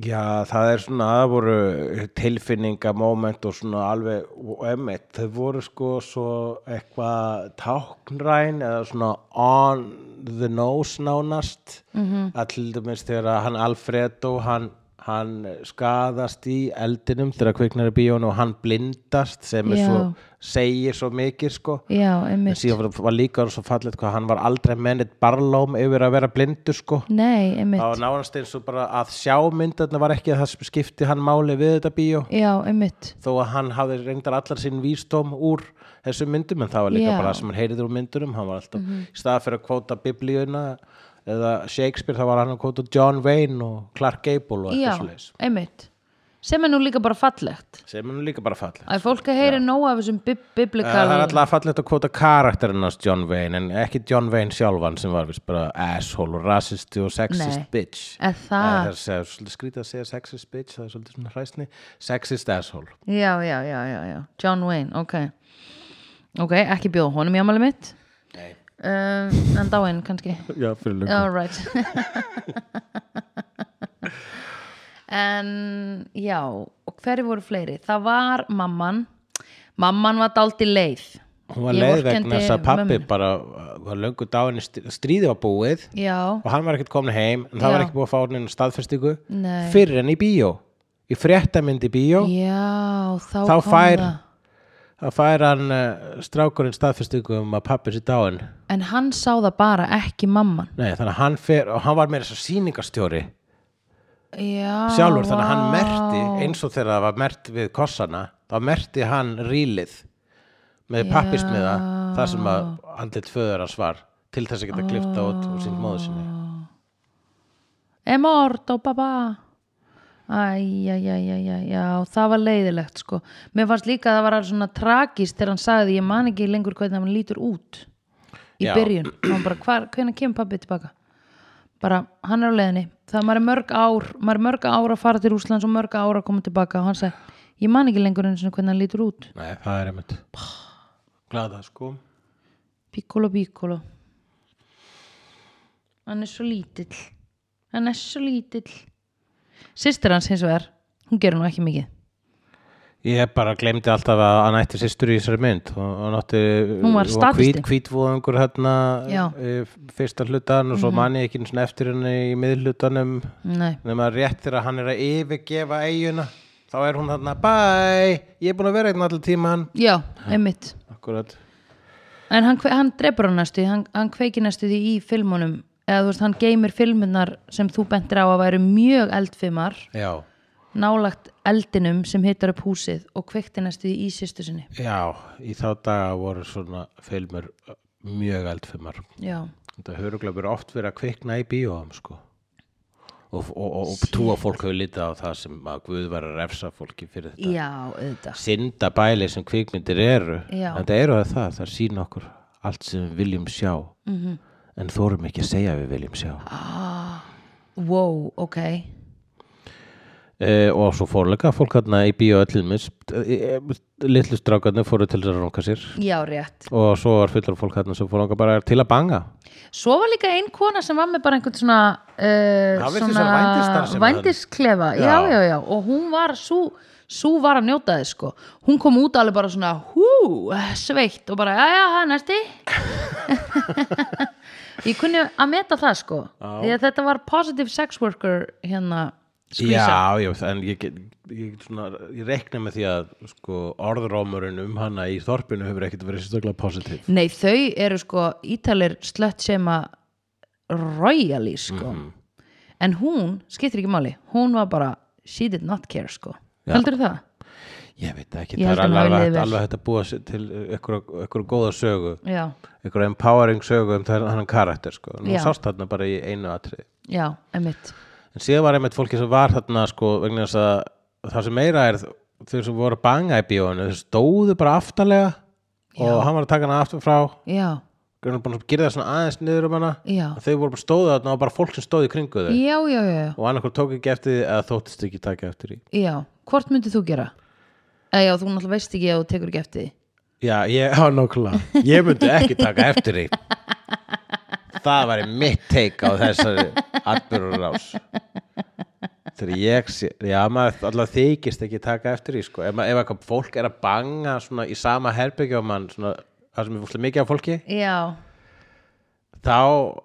Speaker 1: Já, það er svona, það voru tilfinningamóment og svona alveg, og emmitt, þau voru sko svo eitthvað táknræn eða svona on the nose nánast
Speaker 2: Mhm.
Speaker 1: -hmm. að til dæmis þegar að hann Alfredo, hann, hann skadast í eldinum þegar kviknar í bíónu og hann blindast sem er
Speaker 2: Já.
Speaker 1: svo, segir svo mikið sko
Speaker 2: já,
Speaker 1: en
Speaker 2: einmitt,
Speaker 1: síðan var- var líka svo fallet hvað hann var aldrei mennit barlóm yfir að vera blindur sko
Speaker 2: nei, einmitt
Speaker 1: það var nánast eins og bara að sjá myndarna var ekki það sem skipti hann máli við þetta bíó
Speaker 2: Já, einmitt
Speaker 1: þó að hann hafði reyndar allar sín vísdóm úr þessum myndum en það var líka
Speaker 2: Já. Mhm.
Speaker 1: bara það sem hann heyrið úr myndunum hann var alltaf, í staða fyrir að kvóta biblíuna eða Shakespeare þá var hann að kvóta John Wayne og Clark Gable og
Speaker 2: Já,
Speaker 1: eitthvað svoleiðis
Speaker 2: einmitt sem er nú líka bara fallegt
Speaker 1: sem er nú líka bara fallegt Eh,
Speaker 2: að fólk að heyri nóg af þessum bib biblikal
Speaker 1: Það er alltaf fallegt að kvota karakterinn hans John Wayne en ekki John Wayne sjálfan sem var vist bara asshole og rasisti og sexist
Speaker 2: Nei.
Speaker 1: bitch
Speaker 2: Er það?
Speaker 1: Það er se- svolítið skrítið að segja sexist bitch það er svolítið svona hræsni sexist asshole
Speaker 2: já, já, já, já, já, John Wayne ok, ok, ekki bjóða honum í amalið mitt
Speaker 1: Nei.
Speaker 2: um, en dáinn kannski
Speaker 1: Já, fyrir löngu
Speaker 2: all right en já, og hverju voru fleiri það var mamman mamman var daldi leið
Speaker 1: Hún var
Speaker 2: Ég
Speaker 1: leið vegna
Speaker 2: vorkenndi
Speaker 1: þess að pappi
Speaker 2: mömmunni.
Speaker 1: bara uh, var löngu dáinni stríði var búið
Speaker 2: já,
Speaker 1: og hann var ekkert komin heim en það
Speaker 2: Já.
Speaker 1: var ekki búið að fá hann inn staðfestingu
Speaker 2: Nei.
Speaker 1: fyrir en í bíó í fréttamynd í bíó
Speaker 2: já þá,
Speaker 1: Þá
Speaker 2: kom
Speaker 1: fær-
Speaker 2: það.
Speaker 1: þá fær hann uh, strákurinn staðfestingu um að pappi sér dáin
Speaker 2: en hann sá það bara ekki mamman
Speaker 1: Nei, þannig að hann fer og hann var meira svo sýningastjóri
Speaker 2: já,
Speaker 1: sjálfur þannig að hann
Speaker 2: Ah, vá.
Speaker 1: merti eins og þegar það var mert við kossana þá merti hann rílið með pappismiða það sem að andlit föður hans var til þess að geta klifta út og sínt móðu sinni
Speaker 2: Ah. E morto papà Æj, æj, æj, æj, æj, já, það var leiðilegt sko. Mér fannst líka að það var alveg svona tragist þegar hann sagði, ég man ekki lengur hvernig hann lítur út í
Speaker 1: Já.
Speaker 2: byrjun. Hann bara, hvar, hvenær kemur pabbi tilbaka? Bara, hann er á leiðinni. Það er maður er mörg ár, maður er mörg ár að fara til Rúslands og mörg ár að koma tilbaka og hann sagði, ég man ekki lengur einu sinni hvernig hann lítur út.
Speaker 1: Nei, það er einmitt glada sko
Speaker 2: Piccolo, piccolo. Hann er svo lítill. Hann er svo lítill. Systir hans hins vegar, hún gerir nú ekki mikið.
Speaker 1: Ég bara glemdi alltaf að hann ætti sýstur í þessari mynd og hann átti
Speaker 2: Hún var statisti.
Speaker 1: kvítvóðungur hérna
Speaker 2: Já. Mhm.
Speaker 1: eh, fyrsta hlutan og svo manni ekki einu sinni eftir henni í miðhlutanum
Speaker 2: Nei.
Speaker 1: nema rétt þegar hann er að yfirgefa eiguna þá er hún þarna bye, ég er búin að vera einn allir tíman
Speaker 2: Já, einmitt.
Speaker 1: Akkurat
Speaker 2: En hann, kve- hann drepur hann næstu, því, hann, hann kveikir næstu því í filmunum. Eða þú veist, hann geymir filmunar sem þú bentir á að væru mjög eldfimar,
Speaker 1: Já,
Speaker 2: nálagt eldinum sem hittar upp húsið og kveikti næstu því í sýstu sinni.
Speaker 1: já, í þá daga voru svona filmur uh, mjög eldfimar
Speaker 2: Já.
Speaker 1: Þetta höruglöfur oft verið að kvikna í bíóum sko og, og, og, og trúa fólk hefur litið á það sem að Guð var að refsa fólki fyrir þetta
Speaker 2: Já, auðvitað.
Speaker 1: synda bæli sem kvikmyndir eru
Speaker 2: Já.
Speaker 1: en það eru það það, það sína okkur allt sem við viljum sjá -hmm. en þórum ekki að segja að við viljum sjá
Speaker 2: Wow, ok.
Speaker 1: e, og svo fórleika fólk hérna í bíó öllumis e, litlu strákarnir fóru til þess að ranka sér
Speaker 2: Já, rétt.
Speaker 1: og svo var fullur fólk hérna sem fór langa bara til að banga
Speaker 2: Svo var líka ein kona sem var með bara einhvern svona uh,
Speaker 1: Það virtist vera vændisstarfsemi þarna.
Speaker 2: vændisklefa já.
Speaker 1: Já.
Speaker 2: já, já, og hún var svo svo var að njóta þið sko hún kom út alveg bara svona hú, sveitt og bara, já, já, það er næsti ég kunni að meta það sko því að þetta var positive sex worker hérna, skvísa
Speaker 1: Já, já, en ég, get- ég, get svona, ég reikna með því að sko, orðrómurinn um hana í þorpinu hefur ekkert verið sérstaklega positiv
Speaker 2: nei, þau eru sko ítalir slött sem að royally sko en hún, skiptir ekki máli hún var bara, she did not care sko
Speaker 1: Já.
Speaker 2: heldur það?
Speaker 1: Ég veit ekki,
Speaker 2: Ég
Speaker 1: það er
Speaker 2: held að hún
Speaker 1: alveg,
Speaker 2: hafi liðið vel.
Speaker 1: alveg, alveg hægt að búa sér til ykkur góða sögu
Speaker 2: Já,
Speaker 1: einhverja empowering sögu um þannig karakter sko. nú
Speaker 2: Já.
Speaker 1: sást þarna bara í einu atrið
Speaker 2: já, emitt
Speaker 1: en síðan var einmitt fólki sem var þarna sko, vegna þess að það sem meira er þau sem voru að banga í bíóinu þau stóðu bara aftarlega og hann var að taka hana aftur frá
Speaker 2: Já,
Speaker 1: hann var búin að gera það svona aðeins niður um hana
Speaker 2: já
Speaker 1: þau voru bara stóðu þarna og bara fólk sem stóðu í kringu þau
Speaker 2: Já, já, já,
Speaker 1: og annarkur tók ekki eftir því eða þóttist ekki taka eftir því
Speaker 2: já Hvort myndið þú gera? Eða já, þú náttúrulega veist ekki að þú tekur ekki eftir því
Speaker 1: Já, ég, á nákvæmlega Ég myndi ekki taka eftir því Það væri mitt teik á þessari atbyrðurás Þegar ég sé Já, maður alltaf þykist ekki taka eftir því sko. Ef, ma- ef eitthvað fólk er að banga svona, í sama herbyggja og mann svona, það sem er fólk mikið af fólki
Speaker 2: Já,
Speaker 1: þá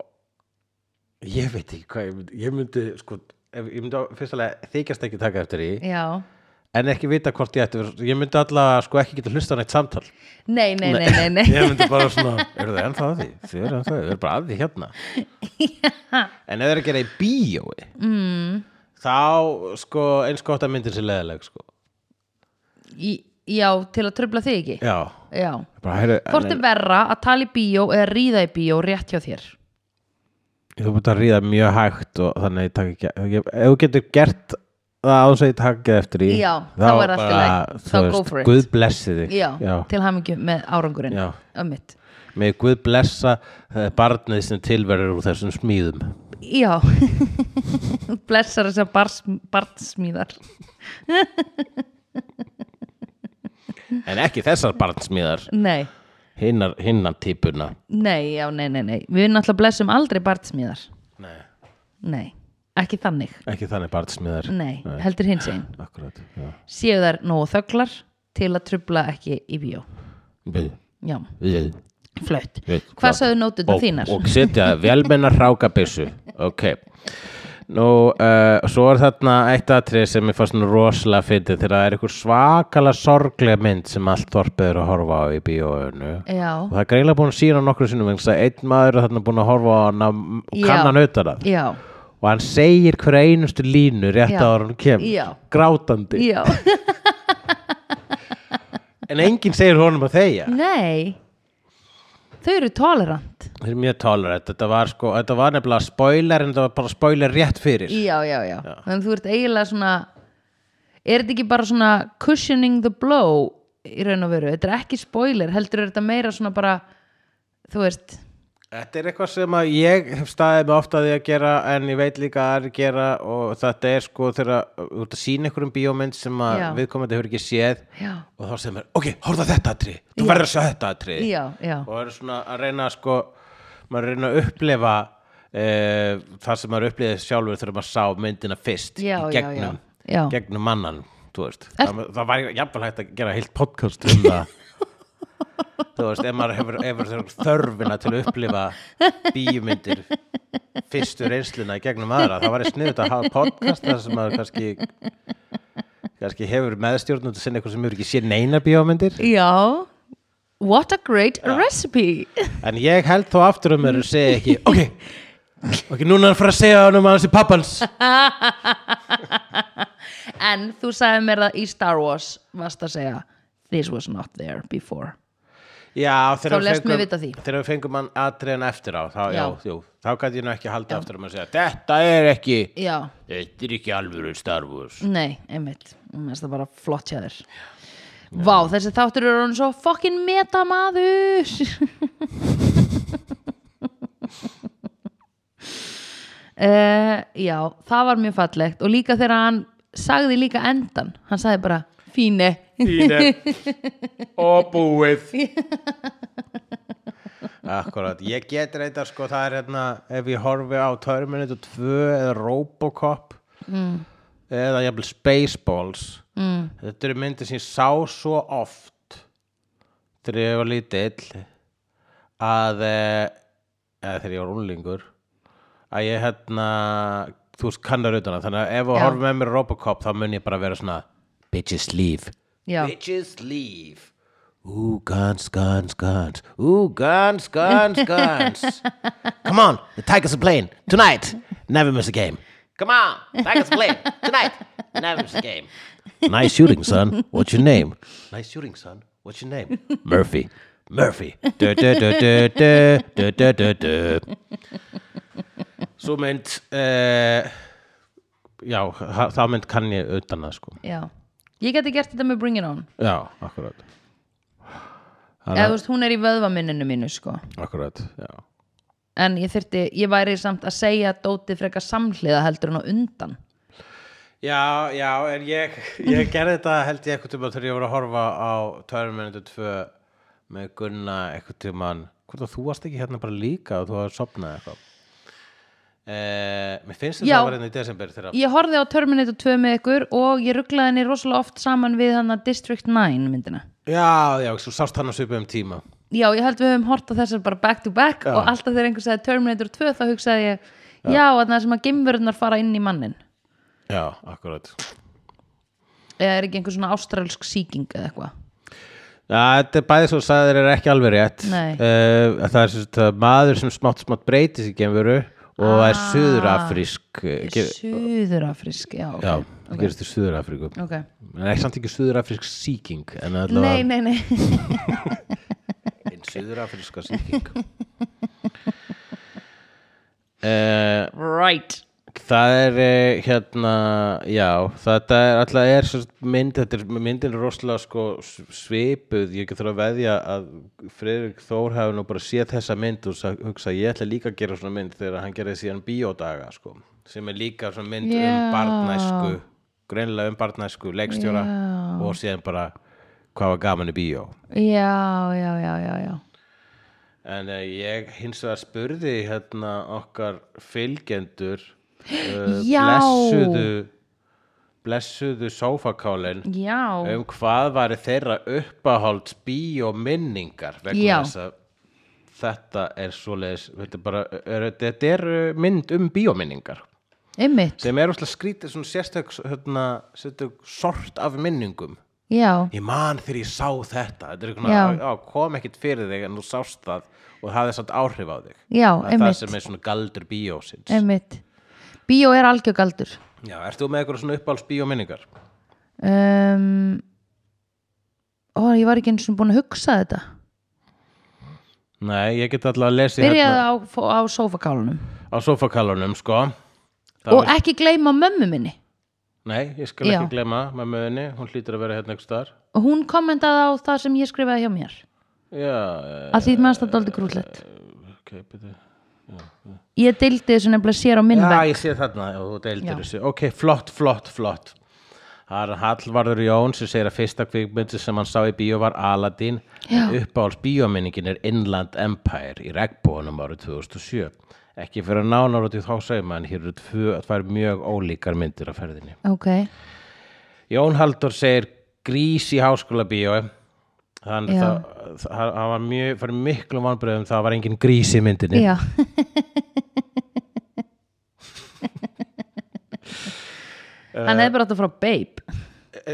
Speaker 1: ég veit ekki hvað ég myndi, ég myndi sko, ef, ég myndi á- fyrst alveg þykjast ekki taka eftir því
Speaker 2: já
Speaker 1: en ekki vita hvort ég ætti að vera- ég myndi alltaf sko, ekki geta hlusta á neitt samtal
Speaker 2: Nei, nei, nei, nei, nei
Speaker 1: ég myndi bara svona eru þið ennþá að því, þið eru ennþá að því þið eru bara að því hérna en ef þið eru að gera í bíói mm. þá sko eins gott að myndin sér leðileg sko.
Speaker 2: Í, Já, til að tröfla þig ekki
Speaker 1: já,
Speaker 2: Já
Speaker 1: bara heyri
Speaker 2: Hvort er verra að tala í bíó eða ríða í bíó rétt hjá þér?
Speaker 1: þú búið að ríða mjög hægt og þannig að ég takk ekki ég, ef þú getur gert það ás að ég takið eftir í
Speaker 2: Já, þá er allt í lagi.
Speaker 1: þú
Speaker 2: Þá go for it.
Speaker 1: Guð blessi þig
Speaker 2: já, til hamingju með árangurinn Um
Speaker 1: Já.
Speaker 2: ömmit
Speaker 1: með Guð blessa eh, barnið sem tilverður úr þessum smíðum
Speaker 2: já blessar þessar bars, barnsmíðar Mm.
Speaker 1: en ekki þessar barnsmíðar
Speaker 2: nei,
Speaker 1: hinnar, hinnar típuna
Speaker 2: nei, já, nei, nei, nei við náttúrulega blessum aldrei barnsmíðar
Speaker 1: Nei.
Speaker 2: nei, ekki þannig
Speaker 1: ekki þannig barnsmíðar
Speaker 2: nei, heldur hins einn
Speaker 1: akkurat já.
Speaker 2: séu þær nógu þöglar til að trubla ekki í bíó
Speaker 1: Við-
Speaker 2: já,
Speaker 1: við-
Speaker 2: flött
Speaker 1: Veit,
Speaker 2: hvað
Speaker 1: flott.
Speaker 2: sagðu nótuna
Speaker 1: og,
Speaker 2: þínar?
Speaker 1: og setja velmennar rákabissu ok Nú, uh, svo er þarna eitt atrið sem ég fannst nú rosalega fyndið þegar það er einhver svakalega sorglega mynd sem allt þorpið er að horfa á í bíóinu
Speaker 2: já,
Speaker 1: og það er greinlega búin að sína nokkru sinnum vegna þess að einn maður er þarna búin að horfa á hana og
Speaker 2: Já.
Speaker 1: kann hann utan að
Speaker 2: já,
Speaker 1: og hann segir hverja einustu línu rétt
Speaker 2: Já.
Speaker 1: á hann kemur
Speaker 2: Já.
Speaker 1: grátandi
Speaker 2: já
Speaker 1: en enginn segir honum að þegja
Speaker 2: nei þau eru tolerant
Speaker 1: það er mjög tolerant þetta var, sko, þetta var nefnilega spoiler en þetta var bara spoiler rétt fyrir
Speaker 2: já, já, já, þannig að þú ert eiginlega svona er þetta ekki bara svona cushioning the blow í raun og veru, þetta er ekki spoiler heldur er þetta meira svona bara þú veist,
Speaker 1: Þetta er eitthvað sem að ég hef staðið með ofta því að gera en ég veit líka að aðri gera og þetta er sko þegar að- þú ert að sína einhverjum bíómynd sem að
Speaker 2: Já.
Speaker 1: viðkomandi hefur ekki séð
Speaker 2: já,
Speaker 1: og þá segir mér, ok, horfðu að þetta atri þú verður að sjá þetta atri
Speaker 2: já, já
Speaker 1: og er svona að reyna að sko maður er að reyna að upplifa e, það sem maður upplifið sjálfur þegar maður sá myndina fyrst
Speaker 2: Já,
Speaker 1: í
Speaker 2: já,
Speaker 1: gegnum,
Speaker 2: já. Já.
Speaker 1: gegnum mannan þú veist, það, það var jafnvel hægt að gera heilt podcast um það þú veist, ef maður hefur, hefur þörf- þörfina til að upplifa bíumyndir fyrstu reynsluna í gegnum aðra, það var ég sniðut að hafa podcast þar sem maður kannski kannski hefur meðstjórnum til að sinna eitthvað sem hefur ekki séð neina bíómyndir
Speaker 2: já, what a great recipe
Speaker 1: En ég held þó aftur um mér og segi ekki Ok, ok, núna er hann fyrir að segja hann um hans í pappans
Speaker 2: en þú sagði mér það í Star Wars varst að segja this was not there before
Speaker 1: Já,
Speaker 2: Þá
Speaker 1: þegar við
Speaker 2: lést mér
Speaker 1: fengum-
Speaker 2: vita því.
Speaker 1: Þegar við fengum hann atriðan eftir á Þá, já,
Speaker 2: Já.
Speaker 1: jú, þá gæti ég nú ekki haldið aftur um að segja Þetta er ekki
Speaker 2: já,
Speaker 1: Þetta er ekki alvöru Star Wars
Speaker 2: nei, einmitt Mér finnst það bara flott hjá þér Vá, þessi þáttur eru hann svo fucking metamaður uh, Já, það var mjög fallegt og líka þegar hann sagði líka endan hann sagði bara, fíne
Speaker 1: Fínu Og búið Akkurat, ég get reynda sko það er hérna ef ég horfi á Terminator 2 eða Robocop eða jafnvel Spaceballs mm. þetta eru myndir sem ég sá svo oft þegar ég var lítill að eh, eða þegar ég var unlingur að ég hérna þú veist kannar utan að þannig að ef þú
Speaker 2: Já.
Speaker 1: horfir með mér Robocop þá mun ég bara vera svona bitches leave
Speaker 2: Já.
Speaker 1: bitches leave Ooh, guns, guns, guns. Ooh, guns, guns, guns. Come on, the Tigers are playing tonight. Never miss a game. Come on, Tigers are playing tonight. Never miss a game. Nice shooting, son. What's your name? Nice shooting, son. What's your name? Murphy. Murphy. Du, du, du, du, du, du, du, du, du. Svo mynd, uh, já, ha- þá mynd kann ég utan að sko.
Speaker 2: Já, ég geti gert þetta með Bring It On
Speaker 1: Já, akkurat. Þannig-
Speaker 2: eða þú veist, hún er í vöðvaminninu mínu sko
Speaker 1: Akkurat, já.
Speaker 2: en ég þyrfti, ég væri samt að segja dótið frekar samhliða heldur en á undan
Speaker 1: Já, já, en ég, ég gerði þetta held ég eitthvað tíma þegar ég voru að horfa á Terminator 2 með Gunna eitthvað tíman hvort að þú varst ekki hérna bara líka og þú hafði sopnað eitthvað eh, Mér finnst þetta
Speaker 2: Já.
Speaker 1: að það var hérna í desember þegar
Speaker 2: ég horfði á Terminator 2 með ykkur og ég rugglaði henni rosalega oft saman við hann að District 9 myndina
Speaker 1: Já, já, þú sást hann á svipum tíma
Speaker 2: já, ég held við höfum hort á þessar bara back to back og alltaf þegar einhver sagði Terminator 2 þá hugsaði ég, já, já að það sem að gemvörunar fara inn í mannin
Speaker 1: Já, akkurat
Speaker 2: eða er ekki einhver svona ástralsk sýking eða eitthvað
Speaker 1: Já, þetta er bæðið svo sagðir er ekki alveg rétt
Speaker 2: Nei.
Speaker 1: uh, Það er sem sagt, maður sem smátt smátt breytis í genveru og ah, er suðurafrísk eh, ger-
Speaker 2: Suðurafrisk, já, ok,
Speaker 1: Já, það gerist í Suðurafríku
Speaker 2: ok
Speaker 1: En ekki samt ekki suðurafrisk sýking en
Speaker 2: nei,
Speaker 1: allavega
Speaker 2: nei, nei,
Speaker 1: einn suðurafriska sýking uh,
Speaker 2: right
Speaker 1: Það er eh, hérna, já, þetta er alltaf er svo mynd, þetta er myndin er rosalega sko s- svipuð, ég þarf að veðja að Friðrik Þór hafi nú bara séð þessa mynd og sa- hugsa ég ætla líka að gera svona mynd þegar hann gerði síðan bíódaga sko, sem er líka svona mynd
Speaker 2: Já.
Speaker 1: um barnæsku, greinilega um barnæsku, leikstjóra
Speaker 2: Já.
Speaker 1: og síðan bara hvað var gaman í bíó.
Speaker 2: já, já, já, já, já.
Speaker 1: En uh, ég hins vegar spurði hérna okkar fylgjendur uh,
Speaker 2: Já.
Speaker 1: blessuðu blessuðu sófakálin
Speaker 2: Já,
Speaker 1: um hvað var þeirra uppahálds bíóminningar
Speaker 2: Já.
Speaker 1: vegna þess að þetta er svoleiðis þetta, er bara, er, þetta er uh, mynd um bíóminningar Eh,
Speaker 2: einmitt,
Speaker 1: sem er óslega skrítið svona sérstök, hérna, sérstök sort af minningum
Speaker 2: já,
Speaker 1: ég man þegar ég sá þetta þetta er
Speaker 2: Já.
Speaker 1: eitthvað, á, kom ekkert fyrir þig en þú sást það og það er samt áhrif á þig
Speaker 2: Já,
Speaker 1: það, er það
Speaker 2: einmitt.
Speaker 1: sem er svona galdur bíósins
Speaker 2: einmitt. Bíó er algjögaldur.
Speaker 1: já, ert þú með eitthvað svona uppáhalds bíóminningar?
Speaker 2: Um, ó, ég var ekki eins og búin að hugsa þetta.
Speaker 1: nei, ég get allavega að lesi
Speaker 2: Byrjaði á, á sófakálunum.
Speaker 1: á sofakallunum sko Það
Speaker 2: Og ekki gleyma mömmu minni.
Speaker 1: nei, ég skal
Speaker 2: Já.
Speaker 1: ekki glema með möðinni hún hlýtur að vera hérna einhvers staðar
Speaker 2: Og hún kommentaði á það sem ég skrifaði hjá mér.
Speaker 1: já,
Speaker 2: Að því mannst þetta aldrei grúllett.
Speaker 1: eh, ok, byrju
Speaker 2: Ég deildi þessu nefnilega sér á minn
Speaker 1: Já,
Speaker 2: vegg.
Speaker 1: ég sé þarna og
Speaker 2: Já.
Speaker 1: þú deildir þessu. Ok, flott, flott, flott. Það er Hallvarður Jón sem segir að fyrsta kvikmyndi sem hann sá í bíó var Aladdin.
Speaker 2: Já.
Speaker 1: Uppáhalds bíóminningin er Inland Empire í regnbónum árið 2007. Ekki fyrir að nánar út í þá segir maður, en hér eru tvö, tvær mjög ólíkar myndir af ferðinni.
Speaker 2: Ok,
Speaker 1: Jón Halldór segir grís í háskóla bíói. Þannig
Speaker 2: Já.
Speaker 1: það, það, það var mjög, fyrir miklum vonbröðum, það var engin grís í myndinni.
Speaker 2: já, hann hefði bara átt að fara á babe.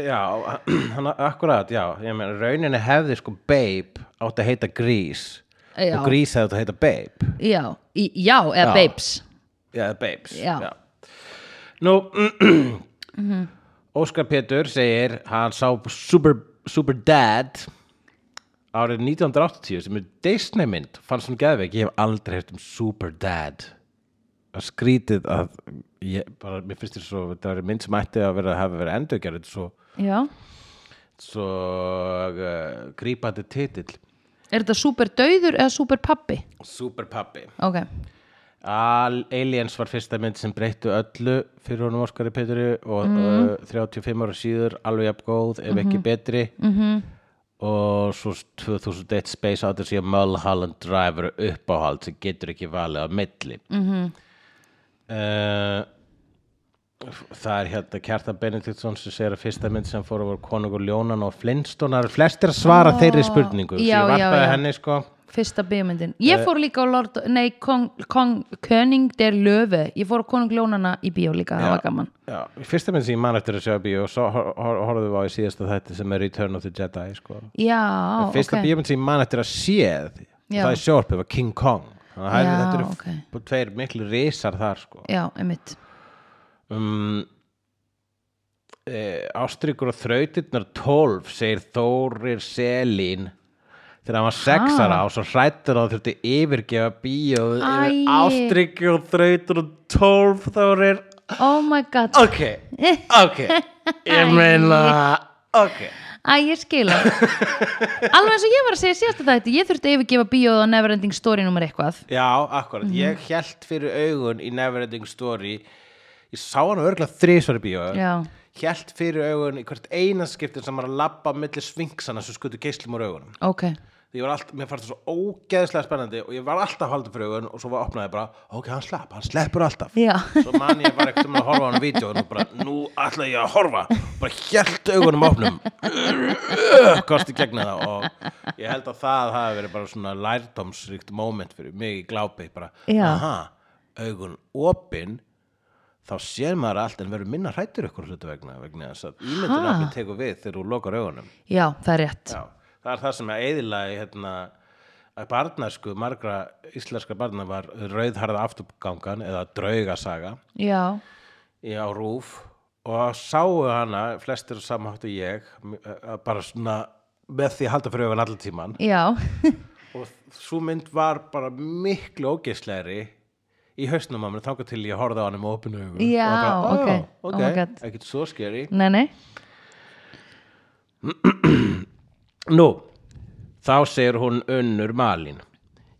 Speaker 1: Já, hann, akkurat, já ég meina, rauninni hefði sko Babe átt að heita Grís
Speaker 2: Já.
Speaker 1: og Grís hefði átt að heita Babe
Speaker 2: Já, í, já eða
Speaker 1: Já.
Speaker 2: babes.
Speaker 1: Já, eða Babes
Speaker 2: Já.
Speaker 1: Nú, Óskar Pétur segir hann sá Super, Super Dad árið 1980 sem er Disney mynd fannst hún geðveik, ég hef aldrei heyrt um Super Dad að skrítið að ég, bara, mér finnst þér svo þetta er mynd sem ætti að vera að hafa verið endurgerð svo
Speaker 2: Já,
Speaker 1: svo uh, grípandi titill
Speaker 2: er þetta super döður eða super pappi?
Speaker 1: Super Pappi
Speaker 2: Ok,
Speaker 1: Al Aliens var fyrsta mynd sem breyttu öllu fyrir honum Óskari Petri og
Speaker 2: Mhm.
Speaker 1: uh, 35 ára síður alveg jafn góð ef ekki betri
Speaker 2: Mhm.
Speaker 1: -hmm. og svo 2001 Space Odyssey og Mulholland Drive eru uppáhald sem getur ekki valið á milli mm
Speaker 2: Mhm.
Speaker 1: það er hérna Kjartan Benediktsson sem segir að fyrsta mynd sem fór að voru konungur Ljónan og Flintstonar flestir að svara þeirri spurningu
Speaker 2: Já,
Speaker 1: svo ég
Speaker 2: já,
Speaker 1: varpaði
Speaker 2: já.
Speaker 1: henni sko
Speaker 2: fyrsta bíómyndin.
Speaker 1: Eh.
Speaker 2: Ég fór líka á Lord, nei, Kong, Kong, König der Löve. Ég fór á Konung Ljónana í bíó líka, það var gaman.
Speaker 1: Já, fyrsta minn sem ég man eftir að sjá í bíó og svo hor- hor- horfðum við á í síðasta þætti sem er Return of the Jedi sko.
Speaker 2: Já,
Speaker 1: fyrsta
Speaker 2: ok.
Speaker 1: bíómynd sem ég man eftir að séð
Speaker 2: Já.
Speaker 1: það er sjórpið var King Kong þannig að
Speaker 2: Já,
Speaker 1: það- þetta eru
Speaker 2: ok.
Speaker 1: okay. tveir miklu risar þar sko.
Speaker 2: Já, einmitt.
Speaker 1: um, e, Ástryggur og þrautirnar 12 segir Þórir Selín þegar hann var sex
Speaker 2: Ha?
Speaker 1: ára og svo hrættur að það þurfti yfirgefa bíó yfir
Speaker 2: Æi.
Speaker 1: Ástryggur og þrautir og 12 Þórir
Speaker 2: Oh my god.
Speaker 1: ok, ok ég meina, ok
Speaker 2: Æ, ég skila Alveg eins og ég var að segja síðast að þetta Ég þurfti að yfirgefa bíóð á Neverending Story nummer eitthvað
Speaker 1: já, akkurat, ég held fyrir augun í Neverending Story ég sá hann örgulega þrísvar í bíó
Speaker 2: Já.
Speaker 1: held fyrir augun í hvert einaskiptin sem var að labba á milli svingsana sem skutu geislum úr augunum
Speaker 2: Ok,
Speaker 1: Því ég var alltaf, mér fannst það svo ógeðslega spennandi og ég var alltaf haldið fyrir augun og svo var opnaði bara, ok, hann slapp, hann sleppur alltaf
Speaker 2: já
Speaker 1: svo man ég bara ekkert um að horfa á hann á vídjóin og bara, nú ætla ég að horfa bara hjælt augunum opnum kosti gegna það og ég held að það hafi verið bara svona lærdómsríkt moment fyrir mig í glápi bara,
Speaker 2: Já.
Speaker 1: aha, augun opin þá sér maður allt en verður minna hrættur ykkur hlutu vegna vegna þess að ímyndunafni tekur við þegar þú lokar augunum
Speaker 2: Já, það er rétt
Speaker 1: Já, það er það sem að eðilaði hérna, að barnasku margra íslenska barna var rauðharða afturgangan eða draugasaga
Speaker 2: Já,
Speaker 1: í- á rúf og sáu hana, flestir samháttu ég m- eh, bara svona með því að halda fyrir auðan allan tíman
Speaker 2: já
Speaker 1: og svo mynd var bara miklu ógeislegri í hausnum á mér þáka til ég horfði á hann um opinu augun
Speaker 2: Já,
Speaker 1: og bara,
Speaker 2: ok.
Speaker 1: "Ó,
Speaker 2: Oh my God."
Speaker 1: ekkert svo skeri
Speaker 2: Nei, nei
Speaker 1: Nú, þá segir hún unnur malin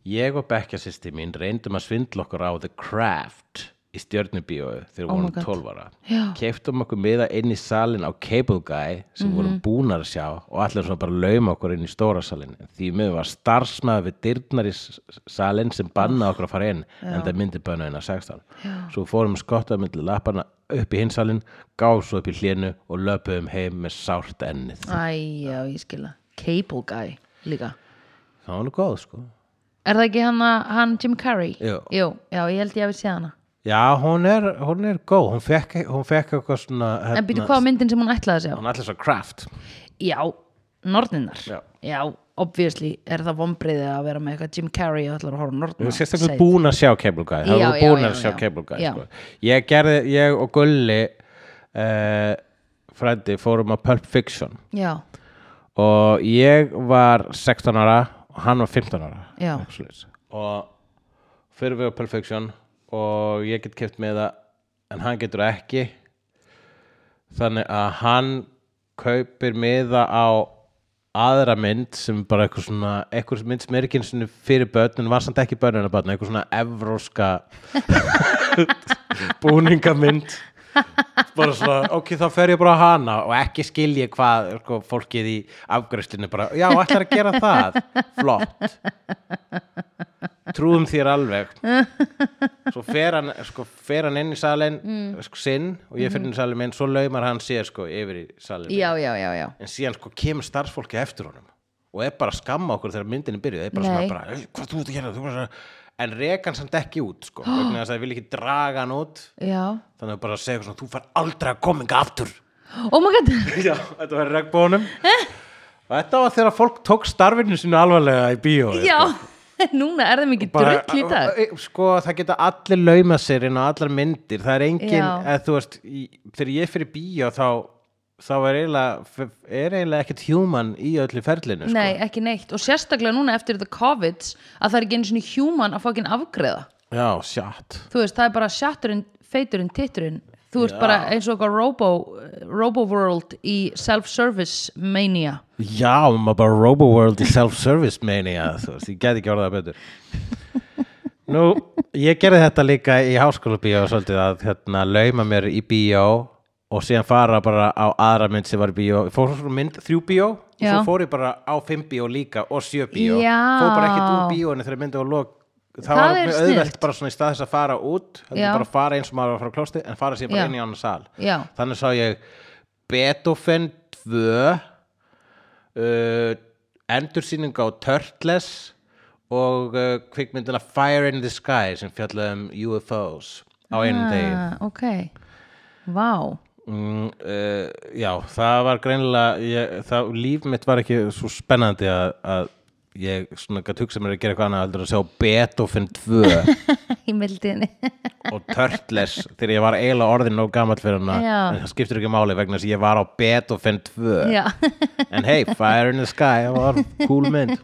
Speaker 1: Ég og bekkjasisti mín reyndum að svindla okkur á The Craft í stjörnubíói þegar við
Speaker 2: Oh my
Speaker 1: vorum
Speaker 2: God.
Speaker 1: 12 ára
Speaker 2: Já.
Speaker 1: Keiftum okkur miða inn í salin á Cable Guy sem vorum búnar að sjá og allir svona bara lauma okkur inn í stóra salin því miður var starfsmaður við dyrnar í s- salin sem bannaði okkur að fara inn en það myndi bönnaðina 16 Já. Svo fórum skottað myndi lappana upp í hinsalin, gáð svo upp í hlénu og löpuðum heim með sárt ennið
Speaker 2: Æ, já, ég skila Cable guy líka
Speaker 1: Það var nú góð sko
Speaker 2: Er það ekki hann, að- hann Jim Carrey?
Speaker 1: Jú.
Speaker 2: Jú, já, ég held ég að við sé hana
Speaker 1: Já, hún er, hún er góð, hún fekk, hún fekk eitthvað svona hérna,
Speaker 2: En býtu hvað var myndin sem hún ætlaði að
Speaker 1: Hún ætla svo kraft
Speaker 2: sjá? Já, norninnar
Speaker 1: Já.
Speaker 2: obviously er það vombriðið að vera með eitthvað Jim Carrey og ætlar að horfa á
Speaker 1: Þú
Speaker 2: nornina
Speaker 1: sést eitthvað búin að sjá Cable Guy Það
Speaker 2: Já,
Speaker 1: voru
Speaker 2: já,
Speaker 1: búin
Speaker 2: já,
Speaker 1: að sjá
Speaker 2: já.
Speaker 1: Cable Guy
Speaker 2: Já.
Speaker 1: sko. Ég gerði, ég og Gulli uh, frændi fórum á Pulp Fiction
Speaker 2: Já,
Speaker 1: og ég var 16 ára og hann var 15 ára
Speaker 2: Já.
Speaker 1: eitthvað svoleiðis. og fyrir við á Pulp Fiction og ég get keft með það en hann getur það ekki þannig að hann kaupir með það á aðra mynd sem bara eitthvað svona eitthvað mynd sem er ekki einu sinni fyrir börn en var samt ekki börnina börn eitthvað svona evróska búningamynd bara svona, ok, þá fer ég bara á hana og ekki skil ég hvað sko, fólkið í afgræslinu bara, já, ætlar að gera það flott trúum þér alveg svo fer hann, sko, fer hann inn í salin
Speaker 2: Mm.
Speaker 1: sko, sinn og ég fer inn í salin minn svo laumar hann sér sko yfir í salin
Speaker 2: já, já, já, já
Speaker 1: en síðan sko kemur starfsfólki eftir honum og er bara að skamma okkur þegar myndinni byrjuð er bara
Speaker 2: Nei.
Speaker 1: svona bara, "Ey, hvað þú ert að gera Þú ert að-" en reka hann samt ekki út sko, vegna þess að ég vil ekki draga hann út
Speaker 2: Já,
Speaker 1: þannig að bara að segja eitthvað svona, þú fær aldrei að koma kominga aftur
Speaker 2: oh my god
Speaker 1: já, þetta var regnbónum
Speaker 2: Eh?
Speaker 1: og þetta var þegar fólk tók starfinu sinu alvarlega í bíó
Speaker 2: Já, núna er það mikið drull í dag
Speaker 1: sko, það geta allir lauma sér inn á allar myndir það er engin,
Speaker 2: Já.
Speaker 1: eða þú veist í, þegar ég fyrir bíó þá þá er eiginlega, er eiginlega ekkert human í öllu ferlinu sko.
Speaker 2: Nei, ekki neitt og sérstaklega núna eftir the COVID að það er ekki einu svona human að fá ekki afgreða
Speaker 1: já, sjátt
Speaker 2: þú veist, það er bara shatturinn, feiturinn, titturinn þú ert bara eins og eitthvað robo, robo world í self-service mania
Speaker 1: Já, maður bara RoboWorld í self-service mania, þú veist, ég get ekki orðað það betur Nú, ég gerði þetta líka í háskóla bíó svolítið að hérna, lauma mér í bíó og síðan fara bara á aðra mynd sem var í bíó, Ég fór svo mynd þrjú bíó og
Speaker 2: Já.
Speaker 1: svo fór ég bara á fimm bíó líka og sjö bíó,
Speaker 2: Já.
Speaker 1: fór bara ekkert úr bíóinu þegar myndi var lok það,
Speaker 2: Það
Speaker 1: var
Speaker 2: er
Speaker 1: mjög
Speaker 2: snillt.
Speaker 1: auðvelt bara svona í stað þess að fara út heldur
Speaker 2: Já.
Speaker 1: bara að fara eins og maður var að fara á klósti en fara síðan
Speaker 2: Já.
Speaker 1: bara inn í annan sal
Speaker 2: Já.
Speaker 1: þannig sá ég Beethoven 2 uh, endursýning á Turtles og uh, kvikmyndina Fire in the Sky sem fjallaði um UFOs á einum um degi
Speaker 2: ah, ok, vá
Speaker 1: mm, uh, já, það var greinilega ég, það, líf mitt var ekki svo spennandi að, að ég svona gætt hugsa mér að gera eitthvað annað heldur að sjá Beethoven 2
Speaker 2: í mildiðinni
Speaker 1: og Turtles þegar ég var eiginlega orðin nóg gamall fyrir hana
Speaker 2: Já.
Speaker 1: en það skiptir ekki máli vegna þess að ég var á Beethoven 2
Speaker 2: Já,
Speaker 1: en hey, Fire in the Sky það var cool mynd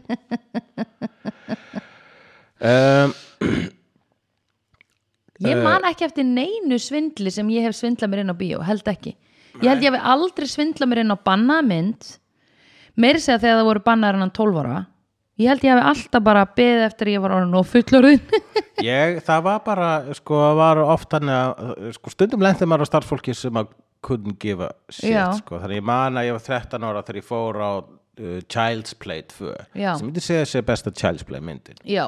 Speaker 1: um,
Speaker 2: ég man ekki eftir neinu svindli sem ég hef svindlað mér inn á bíó, held ekki ég held ég hef aldrei svindlað mér inn á bannað mynd meiri segja þegar það voru bannaðar hann 12 ára ég held ég hef alltaf bara beðið eftir að ég var orðin og fullorðin
Speaker 1: ég, það var bara sko, það var oft hann að sko, stundum lendi maður á starfsfólki sem að couldn't give a shit
Speaker 2: Já.
Speaker 1: sko. þannig ég man að ég var 13 ára þegar ég fór á uh, Child's Play 2
Speaker 2: Já.
Speaker 1: sem myndi segja sé besta Child's Play myndin
Speaker 2: Já,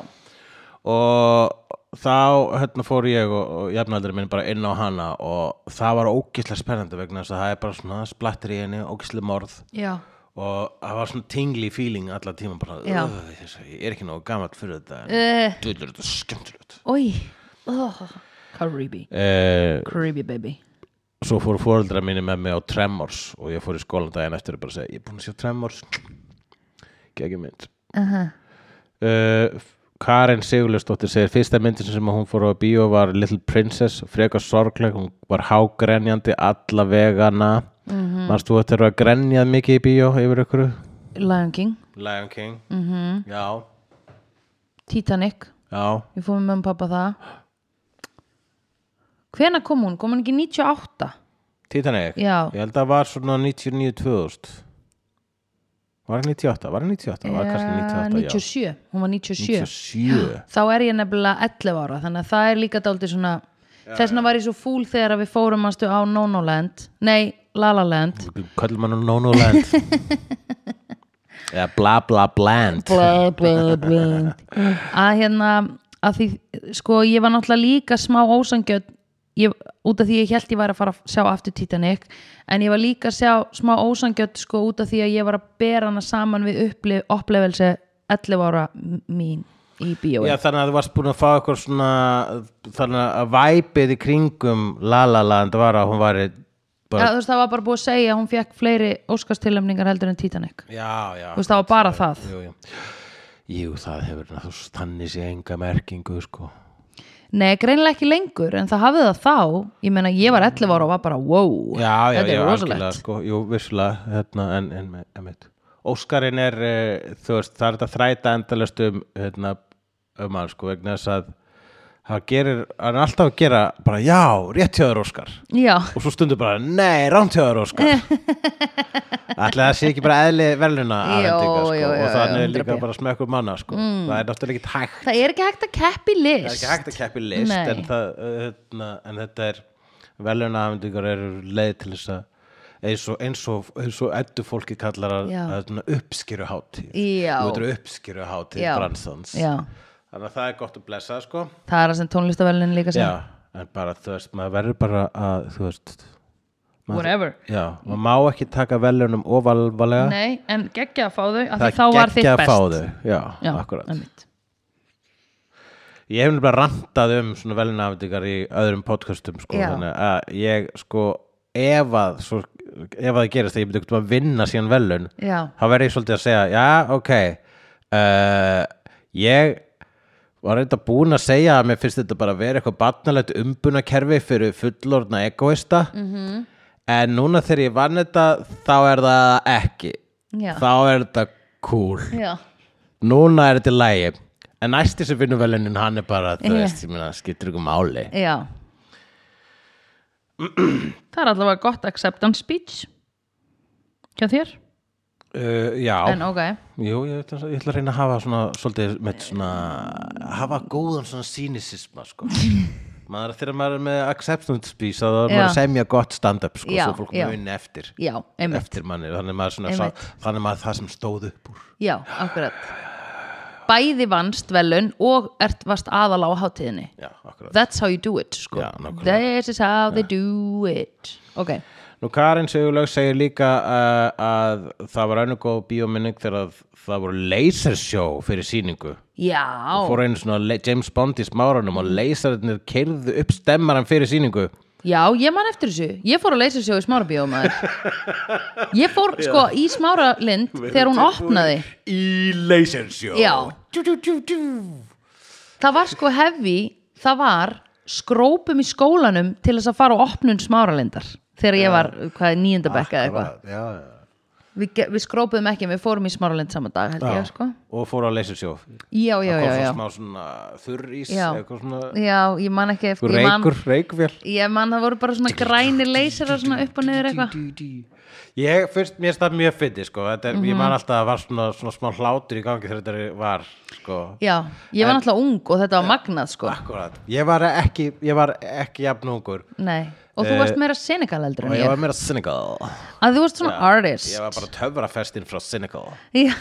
Speaker 1: og þá hérna fór ég og, og jafnaldri minn bara inn á hana og það var ógislega spennandi vegna þess að það er bara svona splattir í henni, ógislega morð
Speaker 2: já,
Speaker 1: og það var svona tingli feeling allan tíma bara,
Speaker 2: Já.
Speaker 1: "Ugh, þessi- ég er ekki nógu gamalt fyrir þetta
Speaker 2: Eh.
Speaker 1: en dulur þetta er skemmtilegt
Speaker 2: oi oh. Creepy,
Speaker 1: uh,
Speaker 2: creepy baby
Speaker 1: svo fóru fóreldra mínir með mig á Tremors og ég fór í skólan daginn eftir og bara segja ég er búin að sjá Tremors geggjum mynd
Speaker 2: Uh-huh.
Speaker 1: uh, Karen Sigurljósdóttir segir fyrsta myndin sem hún fór á bíó var Little Princess, frekar sorgleg hún var hágrenjandi alla vegana mm -hmm. manstu þetta eru að grenjað mikið í bíó yfir ykkur
Speaker 2: Lion King,
Speaker 1: Lion King mm -hmm. já,
Speaker 2: Titanic
Speaker 1: já
Speaker 2: Við fórum með um pappa það hvena kom hún? Kom hún ekki 98?
Speaker 1: Titanic,
Speaker 2: Já.
Speaker 1: ég held að það var svona 99-2000 Var það 98? Var það 98? Var það
Speaker 2: Eh,
Speaker 1: kannski 98,
Speaker 2: 97, hún var 97
Speaker 1: já 97
Speaker 2: þá er ég nefnilega 11 ára þannig að það er líka dálítið svona þess vegna var ég svo fúl þegar að við fórum aðstu á Nonoland, nei Lalaland
Speaker 1: Köllum hann á Nónóland Eða bla bla bland
Speaker 2: bla bla bla að hérna að því, sko ég var náttúrulega líka smá ósangjöld ég, út af því ég held ég var að fara að sjá aftur Titanic en ég var líka að sjá smá ósangjöld sko út af því að ég var að bera hana saman við upplif, upplefelse 11 ára m- mín í bíói
Speaker 1: Já, þannig að þú varst búin að fá eitthvað svona þannig að væpið í kringum La La Land var að hún var
Speaker 2: Já,
Speaker 1: bara,
Speaker 2: þú veist, það var bara búið að segja að hún fekk fleiri óskarstilöfningar heldur en Titanic.
Speaker 1: já, já
Speaker 2: Þú veist, það var bara það.
Speaker 1: jú, jú. jú, það hefur þú veist, þannig sé enga merkingu sko.
Speaker 2: Nei, greinlega ekki lengur, en það hafði það þá. Ég meina, ég var 11 ára og var bara, wow,
Speaker 1: Já, já,
Speaker 2: þetta
Speaker 1: já,
Speaker 2: er
Speaker 1: algjörlega,
Speaker 2: rosalegt.
Speaker 1: sko, Jú, vissulega, hérna, en, en, en, en Óskarinn er, eh, þú veist, það er þetta þræta endalast um, hérna, um hann, sko, vegna þess að hann gerir, hann er alltaf að gera bara, já, rétt hjá þér Óskar
Speaker 2: Já,
Speaker 1: og svo stundur bara, nei, rántjáður Óskar Ætli það sé ekki bara eðli verðluna
Speaker 2: Jó,
Speaker 1: sko,
Speaker 2: jó, jó,
Speaker 1: og
Speaker 2: jó,
Speaker 1: þannig er líka
Speaker 2: 100%.
Speaker 1: bara smekkur manna sko.
Speaker 2: Mm.
Speaker 1: það er náttúrulega ekki hægt
Speaker 2: það er ekki hægt að keppi
Speaker 1: það er
Speaker 2: list.
Speaker 1: ekki hægt að keppi list
Speaker 2: Nei.
Speaker 1: en, það, hérna, en þetta er verðluna afhendingar eru leið til þess að eins og, eins og, eins og eddu fólki kallar að,
Speaker 2: Já.
Speaker 1: að svona uppskeru hátíð
Speaker 2: Já.
Speaker 1: þú veitur uppskeru hátíð
Speaker 2: Já.
Speaker 1: bransans
Speaker 2: Já,
Speaker 1: þannig að það er gott að blessa sko.
Speaker 2: það er að sem tónlistavelin líka sem,
Speaker 1: Já, en bara þú veist, maður verður bara að þú veist
Speaker 2: whatever.
Speaker 1: Já, maður má ekki taka velunum ofalvarlega
Speaker 2: Nei, en geggja að fá þau, af því þá var þitt
Speaker 1: geggjað
Speaker 2: best.
Speaker 1: að fá þau Já,
Speaker 2: Já,
Speaker 1: akkurat
Speaker 2: einmitt.
Speaker 1: Ég hef nefnilega rantað um svona velunafndingar í öðrum podcastum sko,
Speaker 2: Já.
Speaker 1: þannig að ég sko ef að, svo, ef að það gerist að ég myndi ekkert að vinna síðan velun
Speaker 2: Já,
Speaker 1: þá verður ég svolítið að segja, já, ok uh, ég var reynda búin að segja að mér finnst þetta bara að vera eitthvað batnalegt umbunakerfi fyrir fullorðna egoista
Speaker 2: Mhm.
Speaker 1: -hmm. en núna þegar ég vann þetta þá er það ekki
Speaker 2: já,
Speaker 1: þá er þetta cool
Speaker 2: já,
Speaker 1: núna er þetta í lægi en næsti sem finnum velunin hann er bara þú
Speaker 2: Já.
Speaker 1: veist, ég meina, skiptir ykkur máli
Speaker 2: já. það er allavega gott acceptance speech hjá þér,
Speaker 1: uh, já,
Speaker 2: en ok.
Speaker 1: jú, ég, ætla- ég ætla að reyna að hafa svona, svolítið með svona hafa góðan svona sínisisma sko maður þegar maður er með acceptance speech þá er maður
Speaker 2: Já.
Speaker 1: að semja gott stand-up sko,
Speaker 2: Já,
Speaker 1: svo fólk
Speaker 2: já.
Speaker 1: muni eftir
Speaker 2: Já, einmitt.
Speaker 1: eftir manni, þannig maður, svona,
Speaker 2: Einmitt.
Speaker 1: sá, þannig maður það sem stóð upp úr
Speaker 2: Já, akkurat Bæði vannst velun og ert varst aðal á hátíðinni
Speaker 1: já, akkurat
Speaker 2: That's how you do it, sko
Speaker 1: Já, nákvæmlega.
Speaker 2: This is how they do it Ok,
Speaker 1: Nú Karin Sigurlaug segir líka uh, að það var önnur góð bíóminning þegar að það voru lasersjó fyrir sýningu
Speaker 2: já,
Speaker 1: fór einu svona le- James Bond í smáranum og leysarinnir keirðu upp stemmaran fyrir sýningu
Speaker 2: já, ég man eftir þessu Ég fór að leysa sjó í smára bíómaður Ég fór, sko, í smára lind þegar hún opnaði
Speaker 1: í leysarsjó
Speaker 2: Já Það var sko hefi Það var skrópum í skólanum til þess að fara á opnun smáralindar þegar ég var, hvað, níundabekka eða eitthvað
Speaker 1: já, já.
Speaker 2: við, ge- við skrópuðum ekki, en við fórum í smáralind saman dag held ég sko
Speaker 1: og fór á leysarsjó
Speaker 2: já, já, já,
Speaker 1: kom
Speaker 2: já.
Speaker 1: svo smá svona þurrís
Speaker 2: Já.
Speaker 1: eitthvað svona
Speaker 2: já, ég man ekki eftir ég man,
Speaker 1: reykur, reykvél
Speaker 2: ég man það voru bara svona græni leysera svona upp og niður eitthvað
Speaker 1: ég finnst mér stað mjög fyndi sko. Þetta er,
Speaker 2: Mhm.
Speaker 1: ég man alltaf að það var svona, svona smá hlátur í gangi þegar þetta var sko.
Speaker 2: já, ég var náttúrulega ung og þetta var magnað sko
Speaker 1: akkurat, ég var ekki ég var ekki jafnungur
Speaker 2: nei, og þú varst meira Senegal heldur
Speaker 1: Eh, og
Speaker 2: en
Speaker 1: ég var
Speaker 2: ég
Speaker 1: meira cynical
Speaker 2: að þú varst svona artist
Speaker 1: ég var bara töfrafestinn frá cynical
Speaker 2: já,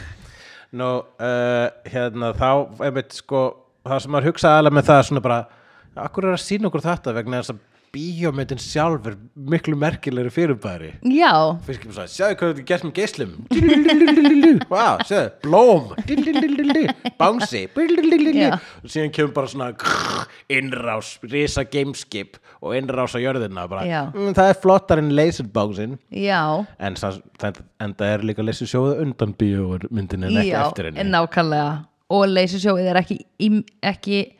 Speaker 1: Nú, uh, hérna, þá, einmitt, sko, það sem maður hugsa aðalega með það er svona bara, akkur er að sína okkur þetta vegna þess að bíómyndin sjálf er miklu merkilegri fyrirbæri.
Speaker 2: já,
Speaker 1: Fyrst kemur svo, sjáðu hvað þetta er gert með geislum. Dillillillillillill. Vá, sjáðu, blóm. Dillillillillill. Bánsi. Dillillillillill.
Speaker 2: Já.
Speaker 1: Og síðan kemur bara svona krr, innrás, risa gameskip og innrás á jörðina. Bara,
Speaker 2: Já.
Speaker 1: mm, það er flottar en laserbánsinn.
Speaker 2: já
Speaker 1: En, sá- það- en það er líka leysið sjóða undan bíómyndin en ekki
Speaker 2: já,
Speaker 1: eftir henni.
Speaker 2: nákvæmlega og leysisjóið er ekki, í- ekki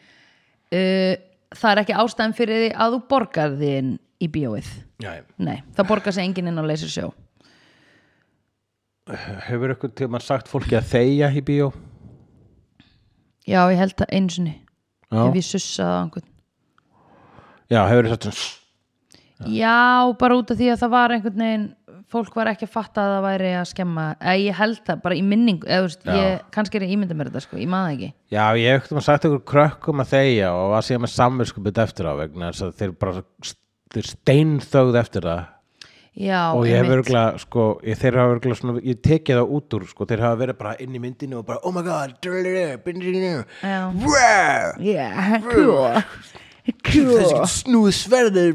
Speaker 2: uh, það er ekki ástæðan fyrir því að þú borgar þín í bíóið
Speaker 1: Já,
Speaker 2: nei, það borgar sig enginn inn á leysisjó
Speaker 1: hefur ykkur til mann sagt fólki að þeia í bíó?
Speaker 2: já, ég held að einu sinni
Speaker 1: Já.
Speaker 2: ef ég sussaði á einhvern
Speaker 1: Já, hefur þið sagt svona
Speaker 2: Já, bara út af því að það var einhvern veginn fólk var ekki að fatta að það væri að skemma eða ég held það, bara í minning eða, þú veist,
Speaker 1: Já.
Speaker 2: ég, kannski er ég ímynda mér þetta sko, ég maður það ekki
Speaker 1: Já, ég hef ekkert maður sagt ykkur krökkum að þegja og var síðan með samvinskupið eftir á vegna þess að þeir bara þeir steinþögð eftir það
Speaker 2: Já,
Speaker 1: og ég hef
Speaker 2: einmitt.
Speaker 1: örgulega, sko, ég, þeir hafa örgulega svona, ég tekið það út úr, sko, þeir hafa verið bara inn í myndinu og bara, oh my god, drrrr, drrrr,
Speaker 2: Já.
Speaker 1: drrrr,
Speaker 2: Yeah, cool
Speaker 1: þessi
Speaker 2: Cool
Speaker 1: getur snúð sverðið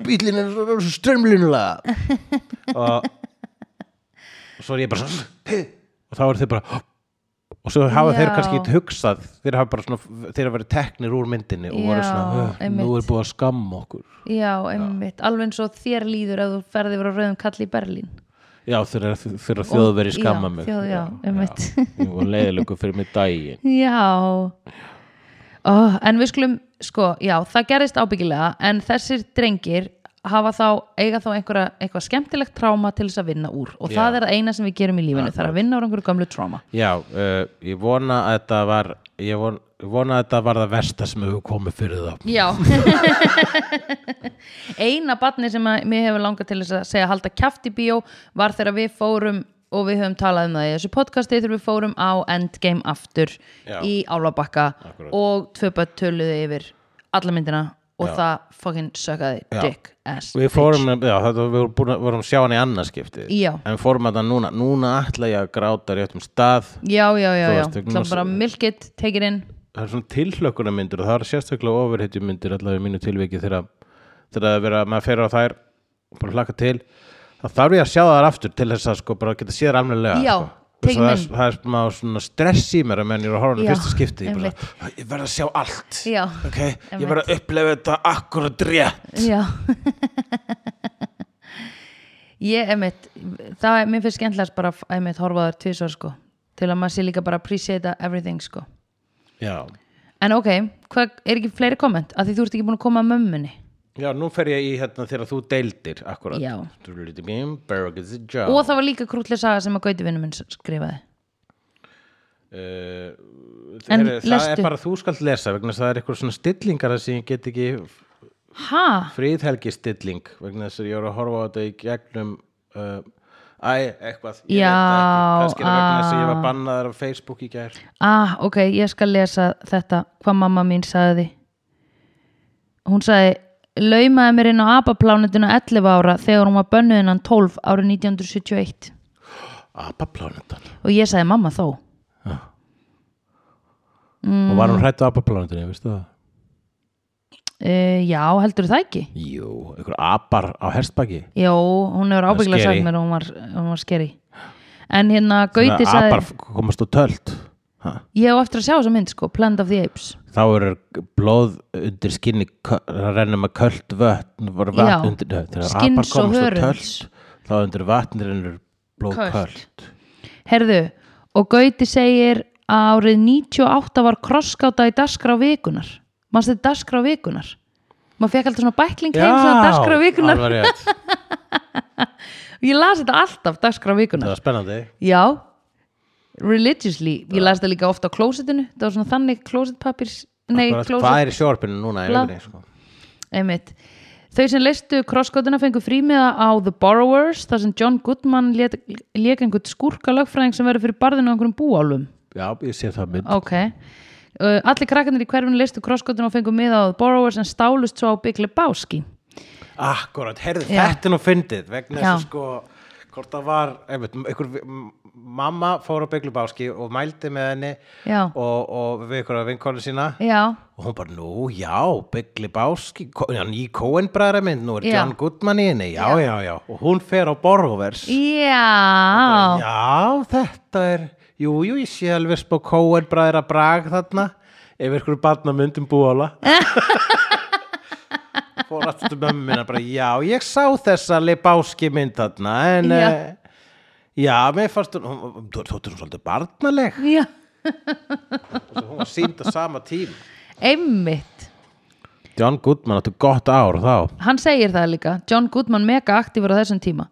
Speaker 1: bílinn er svo strömlunulega og og svo er ég bara svona "Hey!" og þá eru þeir bara "Hopp!" og svo hafa þeir
Speaker 2: Já.
Speaker 1: kannski eitthvað hugsað þeir hafa bara svona, þeir hafa verið teknir úr myndinni og voru
Speaker 2: Já,
Speaker 1: svona, "Ugh, nú
Speaker 2: einmitt.
Speaker 1: er búið að skamma okkur
Speaker 2: Já, einmitt, alveg eins og þér líður ef þú ferði verið á rauðum kalli í Berlín
Speaker 1: já, þeir eru þeir að þjóðveri
Speaker 2: já,
Speaker 1: skamma mig
Speaker 2: þjóð- já, einmitt.
Speaker 1: ég var leiðilegu fyrir mig daginn
Speaker 2: Já oh, En við skulum, sko, já, það gerðist ábyggilega en þessir drengir hafa þá, eiga þá einhverja, eitthvað skemmtilegt tráma til þess að vinna úr og
Speaker 1: Já.
Speaker 2: það er það eina sem við gerum í lífinu, það er að vinna úr einhverju gömlu tráma
Speaker 1: já, uh, ég vona að þetta var ég von- ég vona að þetta var það versta sem hefur komið fyrir þá
Speaker 2: Já Eina barni sem að mér hefur langað til þess að segja halda kjaft í bíó var þegar við fórum og við höfum talað um það í þessu podcasti þegar við fórum á Endgame aftur
Speaker 1: Já.
Speaker 2: í Álabakka
Speaker 1: Akkúrat.
Speaker 2: og tvö börn töluðu yfir alla myndina og það fucking sökkaði
Speaker 1: Já.
Speaker 2: dick ass
Speaker 1: Við fórum, já, þetta við vorum, búin, að- vorum sjá hann í annarskipti
Speaker 2: Já.
Speaker 1: En við fórum að það núna, núna ætla ég að gráta réttum stað
Speaker 2: Já, já, já,
Speaker 1: Þú
Speaker 2: já,
Speaker 1: veist, við-
Speaker 2: það bara milk it, take it in
Speaker 1: Það er svona tilhlökkunarmyndur og það er sérstaklega ofurhetjumyndir allavega í mínu tilviki þegar þegar það er verið að maður fer á þær og bara hlaka til þá þarf ég að sjá þar aftur til þess að sko bara geta séð þær alveglega
Speaker 2: Já,
Speaker 1: sko.
Speaker 2: tekin
Speaker 1: Svo það, er,
Speaker 2: inn.
Speaker 1: það er smá svona stress í mér að menn ég er að horfa á hana í
Speaker 2: Já,
Speaker 1: fyrsta skipti ég, bara, ég verð að sjá allt
Speaker 2: Já.
Speaker 1: ok, ég verð að upplefa þetta akkurat rétt
Speaker 2: Já Ég, einmitt það, mér finnst skemmtilegast bara að einmitt horfa á þær tvisvar sko til að maður sé líka bara appreciate everything sko
Speaker 1: Já,
Speaker 2: En ok, hvað, er ekki fleiri komment? Af því þú ert ekki búin að koma að mömmunni
Speaker 1: Já, nú fer ég í hérna þegar þú deildir akkurat.
Speaker 2: Já.
Speaker 1: Berg is a job.
Speaker 2: Og það var líka krútlega saga sem að Gauti vinnum minn skrifaði
Speaker 1: Uh,
Speaker 2: En
Speaker 1: heyrðu, það
Speaker 2: lestu.
Speaker 1: er bara þú skalt lesa vegna þess að það er eitthvað svona stillingar þar sem ég get ekki
Speaker 2: Ha?
Speaker 1: friðhelgi stilling vegna þess að ég voru að horfa á þetta í gegnum uh, Æ, eitthvað, ég
Speaker 2: Já,
Speaker 1: veit það ekki, kannski er það vegna þess að ég
Speaker 2: ah.
Speaker 1: var bannaðar á Facebook í gær.
Speaker 2: Ah, ok, ég skal lesa þetta hvað mamma mín sagði Hún sagði laumaði mér inn á apaplánetuna 11 ára þegar hún var bönnuð innan 12 árið 1971
Speaker 1: Apaplánetan.
Speaker 2: og ég sagði mamma þó
Speaker 1: Og var hún hrættu apaplánetan, ég veistu það?
Speaker 2: Uh, já, heldur það ekki?
Speaker 1: Jú, einhver apar á herstbaki.
Speaker 2: Jó, hún hefur ábyggilega
Speaker 1: scary.
Speaker 2: sagt mér að hún var, hún var skeri. En hérna Gauti
Speaker 1: Svona
Speaker 2: sagði,
Speaker 1: Apar komast á töld. Ha?
Speaker 2: ég á eftir að sjá þessa mynd sko, Planet of the Apes.
Speaker 1: þá eru blóð undir skinni kö- það rennur með köld vötn voru
Speaker 2: Já.
Speaker 1: vatn undir nei, þegar
Speaker 2: Skinns
Speaker 1: apar
Speaker 2: og
Speaker 1: komast á
Speaker 2: hörunds.
Speaker 1: tölt þá undir vatn rennur blóð
Speaker 2: Költ.
Speaker 1: köld
Speaker 2: Herðu, og Gauti segir að árið 98 var krosskáta í dagskrá vikunar. Manstu þetta dagskrá vikunar? Maður fekk alltaf svona bækling heim svona dagskrá vikunar.
Speaker 1: alveg rétt,
Speaker 2: Ég las þetta alltaf dagskrá
Speaker 1: það
Speaker 2: vikunar.
Speaker 1: var spennandi
Speaker 2: Já, religiously. Ég las þetta líka ofta á klósitinu. Það var svona þannig klósitpapirs, nei,
Speaker 1: Bara,
Speaker 2: klósit...
Speaker 1: hvað er í sjórpinu núna í
Speaker 2: Blað.
Speaker 1: augunni, sko?
Speaker 2: Einmitt. Þau sem leistu krosskotuna fengu frímiða á The Borrowers þar sem John Goodman lék einhvern skúrka lögfræðing sem verður fyrir barðinu á einhverjum búálum.
Speaker 1: já, ég sé það mynd
Speaker 2: Ok. Uh, allir krakkarnir í hverfinu leistu krosskotuna og fengu miða á The Borrowers en stálust svo á Big Lebowski.
Speaker 1: akkurat, heyrðu,
Speaker 2: Já.
Speaker 1: þetta er nú fyndið vegna
Speaker 2: Já.
Speaker 1: þess að sko hvort það var, einmitt, einhver m- mamma fór á bygglubáski og mældi með henni
Speaker 2: Já.
Speaker 1: og, og við ykkur að vinkonu sína
Speaker 2: Já,
Speaker 1: og hún bara, nú, já, Big Lebowski Ko- já, ný Coen bræðra mynd, nú er
Speaker 2: Já.
Speaker 1: John Goodman í henni, já, já, já og hún fer á Borgovers
Speaker 2: já,
Speaker 1: já, þetta er jú, jú, ég sé alveg spá Coen bræðra brag þarna ef ykkur barna myndum búála fór aftur til mömmu minna bara, já, ég sá þessa Lebowski mynd þarna en,
Speaker 2: Já.
Speaker 1: já, já mér fannst hún, hún, hún, þú tóttur hún svolítið barnaleg
Speaker 2: já,
Speaker 1: og svo hún var sínd á sama tíma
Speaker 2: einmitt.
Speaker 1: John Goodman áttu gott ár þá
Speaker 2: Hann segir það líka, John Goodman mega aktífur á þessum tíma.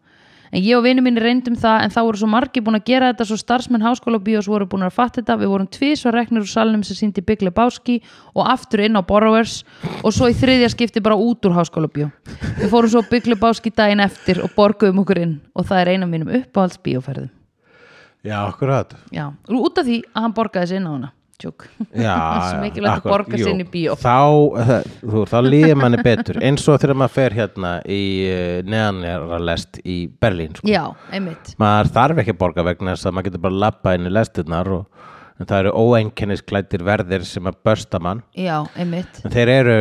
Speaker 2: En ég og vinur minni reyndum það en þá voru svo margir búin að gera þetta svo starfsmenn háskóla bíós voru búin að fatta þetta. Við vorum tvís og reknir úr salnum sem síndi Big Lebowski og aftur inn á Borrowers og svo í þriðja skipti bara út úr háskóla bíó. Við fórum svo Big Lebowski daginn eftir og borguðum okkur inn og það er eina mínum uppáhalds bíóferðum.
Speaker 1: Já, akkurat
Speaker 2: Já, út af því að hann borgaði sér inn á hana. Tjók.
Speaker 1: Já,
Speaker 2: Það er svo mikilvægt að
Speaker 1: akkúrat,
Speaker 2: borga sig
Speaker 1: jú.
Speaker 2: inn í bíó.
Speaker 1: Þá, það- þú, þá líður manni betur eins og þegar maður fer hérna í eh, neðanjarðarlest í Berlín sko.
Speaker 2: Já, einmitt.
Speaker 1: maður þarf ekki að borga vegna þess að maður getur bara lappa inn í lestirnar og en það eru óeinkennisklættir verðir sem að börsta mann
Speaker 2: Já, einmitt.
Speaker 1: en þeir eru,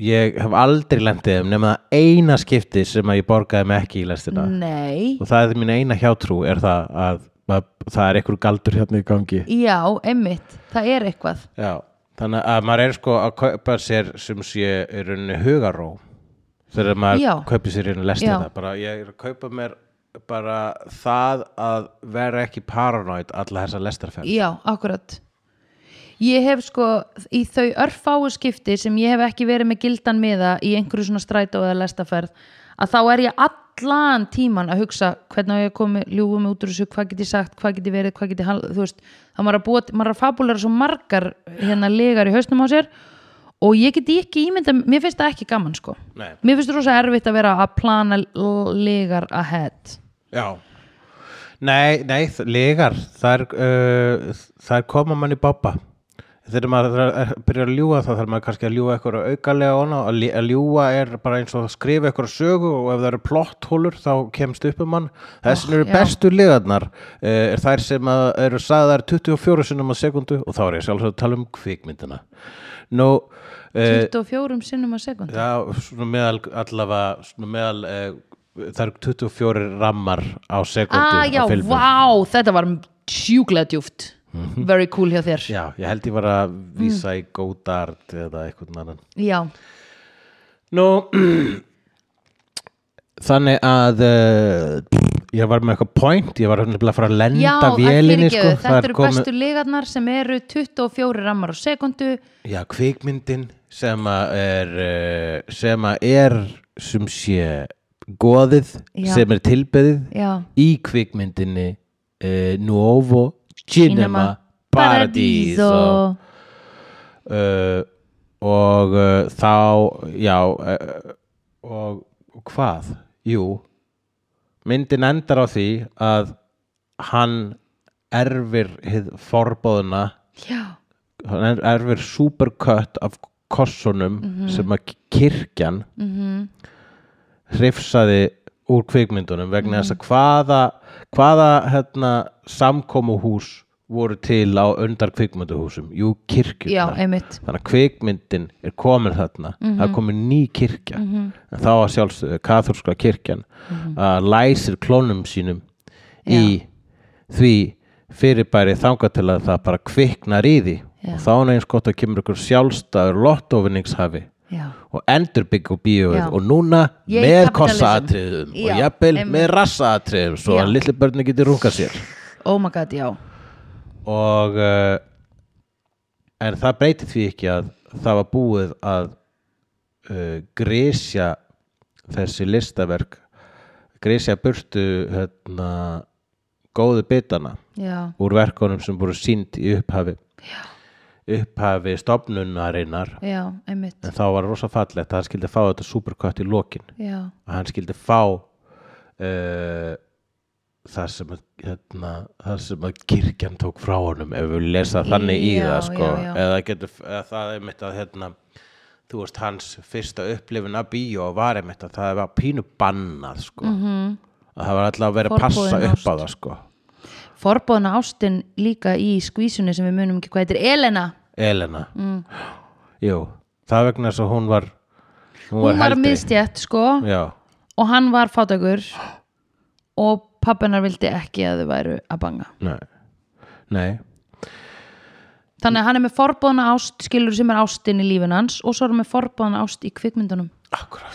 Speaker 1: ég hef aldrei lendið þeim nema það eina skipti sem að ég borgaði mig ekki í lestina
Speaker 2: Mm. Nei.
Speaker 1: og það er mín eina hjátrú er það að, að það er einhver galdur hérna í gangi
Speaker 2: Já, einmitt. Það er eitthvað.
Speaker 1: Já, þannig að maður er sko að kaupa sér sem sé í rauninni hugaró þegar maður
Speaker 2: Já.
Speaker 1: kaupir sér í rauninni lestir
Speaker 2: Já.
Speaker 1: það bara ég er að kaupa mér bara það að vera ekki paranoid alla þessa lestarferð
Speaker 2: Já, akkurat Ég hef sko í þau örfáu skipti sem ég hef ekki verið með gildan miða í einhverju svona strætó eða lestaferð að þá er ég allan tíman að hugsa hvernig á ég að koma ljúfum út úr þessu, hvað get ég sagt, hvað get ég verið, hvað get ég hal- þú veist, þá maður er að, búa, maður er að fabulera svo margar hérna legar í hausnum á sér og ég geti ekki ímynda, mér finnst það ekki gaman sko
Speaker 1: Nei.
Speaker 2: Mér finnst það rosa erfitt að vera að plana l- legar ahead
Speaker 1: Já Nei, nei, þ- legar þar, uh, þar koma mann í bába þegar maður er að byrja að ljúga þá þarf maður kannski að ljúga eitthvað aukalega ona, að lí- að ljúga er bara eins og að skrifa eitthvað sögu og ef það eru plotthólur þá kemst upp um mann þessin eru
Speaker 2: já.
Speaker 1: bestu legarnar uh, er þær sem að, eru sagðar 24 sinnum á sekundu og þá er ég sjálfsög að tala um kvikmyndina Nú, uh,
Speaker 2: 24 sinnum að sekund
Speaker 1: Já, svona meðal allavega, svona meðal eh, það eru 24 rammar á sekundu
Speaker 2: ah,
Speaker 1: á
Speaker 2: já,
Speaker 1: filmum.
Speaker 2: vá, þetta var sjúklega djúft
Speaker 1: Mhm.
Speaker 2: very cool hjá þér já,
Speaker 1: Já, ég held ég var að vísa
Speaker 2: Mm.
Speaker 1: í Godard eða eitthvað annan. Nú, þannig að uh, ég var með eitthvað point, ég var nefnilega að fara að lenda
Speaker 2: já að
Speaker 1: vélinni,
Speaker 2: fyrirgefu,
Speaker 1: sko. það
Speaker 2: þetta
Speaker 1: er
Speaker 2: eru
Speaker 1: komið-
Speaker 2: bestu legarnar sem eru 24 rammar á sekundu
Speaker 1: Já, kvikmyndin sem að er eh, sem að er sem sé goðið
Speaker 2: Já.
Speaker 1: sem er tilbeðið
Speaker 2: já,
Speaker 1: í kvikmyndinni uh, Nuovo Cinema
Speaker 2: Cinema
Speaker 1: Paradiso uh, og uh, þá já uh, og, og hvað? Jú myndin endar á því að hann erfir hið forbóðuna
Speaker 2: já,
Speaker 1: hann er- erfir supercut af kossunum sem að kirkjan hrifsaði úr kvikmyndunum vegna þess að hvaða, hvaða hérna, samkomuhús voru til á undar kvikmynduhúsum jú,
Speaker 2: já,
Speaker 1: kirkjurnar
Speaker 2: einmitt
Speaker 1: þannig að kvikmyndin er komin þarna það er
Speaker 2: Mhm.
Speaker 1: komin ný kirkja en þá var sjálfsögðu kathúrska kirkjan
Speaker 2: Mhm.
Speaker 1: að læsir klónum sínum í því fyrirbæri þanga til að það bara kviknar í því og þá er eins gott að kemur ykkur sjálfstæður lottovinningshafi
Speaker 2: já,
Speaker 1: og endurbyggja
Speaker 2: Já.
Speaker 1: bíóið og núna
Speaker 2: Ég kapitalism.
Speaker 1: með kossaatriðum
Speaker 2: Já,
Speaker 1: og jafnvel
Speaker 2: einmitt.
Speaker 1: með rassaatriðum svo
Speaker 2: Já.
Speaker 1: að litli börni geti runga sér
Speaker 2: oh my god, já
Speaker 1: og uh, en það breytir því ekki að það var búið að uh, grísja þessi listaverk grísja burtu hérna, góðu bitana
Speaker 2: já,
Speaker 1: úr verkunum sem voru sínd í upphafi upphafi stopnunarinnar
Speaker 2: já, einmitt
Speaker 1: en þá var rosa fallegt að hann skildi fá þetta superkött í lokin
Speaker 2: já,
Speaker 1: að hann skildi fá uh, þar sem að, hérna, þar sem að kirkjan tók frá honum ef við lesa þannig í
Speaker 2: Já,
Speaker 1: það sko.
Speaker 2: já, já.
Speaker 1: eða getur, eða það er mitt að hérna, þú veist hans fyrsta upplifun að bíó var einmitt að það var pínu bannað sko. -hmm. að það var alltaf að vera að passa
Speaker 2: Mhm. Forboðin
Speaker 1: upp á það sko.
Speaker 2: forbóðna ástin líka í skvísunni sem við munum ekki hvað heitir, Elena
Speaker 1: Elena mm. jú, það er vegna þess að hún var hún var,
Speaker 2: hún var
Speaker 1: heldri.
Speaker 2: miðstjætt sko
Speaker 1: já,
Speaker 2: og hann var fátakur og pappinar vildi ekki að þau væru að banga
Speaker 1: nei nei,
Speaker 2: þannig að hann er með forbóðna ást skilur sem er ástin í lífin hans og svo er hann með forbóðna ást í kvikmyndunum
Speaker 1: akkurat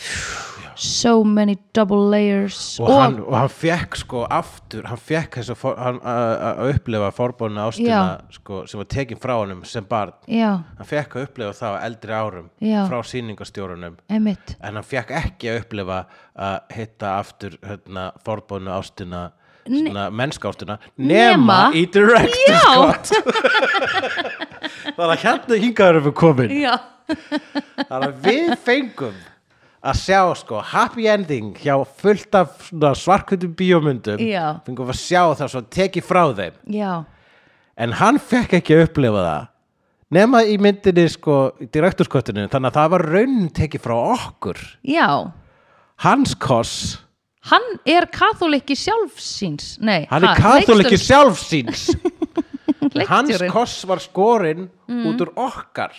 Speaker 2: so many double layers
Speaker 1: og, hann, og hann fekk sko aftur hann fekk þess að for- hann- að að upplifa forbóðinu ástina
Speaker 2: Já.
Speaker 1: sko, sem var tekin frá honum sem barn
Speaker 2: já,
Speaker 1: hann fekk að upplifa það á eldri árum
Speaker 2: Já.
Speaker 1: frá sýningastjórunum
Speaker 2: emitt
Speaker 1: en hann fekk ekki að upplifa að hitta aftur hérna, forbóðinu ástina svona, mennska ástina nema
Speaker 2: Nema-
Speaker 1: í director
Speaker 2: Já.
Speaker 1: sko það er að hérna hingaður við komin
Speaker 2: já,
Speaker 1: Þannig að við fengum að sjá sko happy ending hjá fullt af svona svarkvöldum bíómyndum
Speaker 2: Já.
Speaker 1: fengum að sjá það svo tekið frá þeim
Speaker 2: já,
Speaker 1: en hann fekk ekki að upplifa það nema í myndinni sko direkturskottinu þannig að það var raunin tekið frá okkur
Speaker 2: já
Speaker 1: hans koss
Speaker 2: hann er katholikki sjálfsins nei,
Speaker 1: hann er katholikki sjálfsíns hans
Speaker 2: leikstjórinn.
Speaker 1: koss var skorinn út úr okkar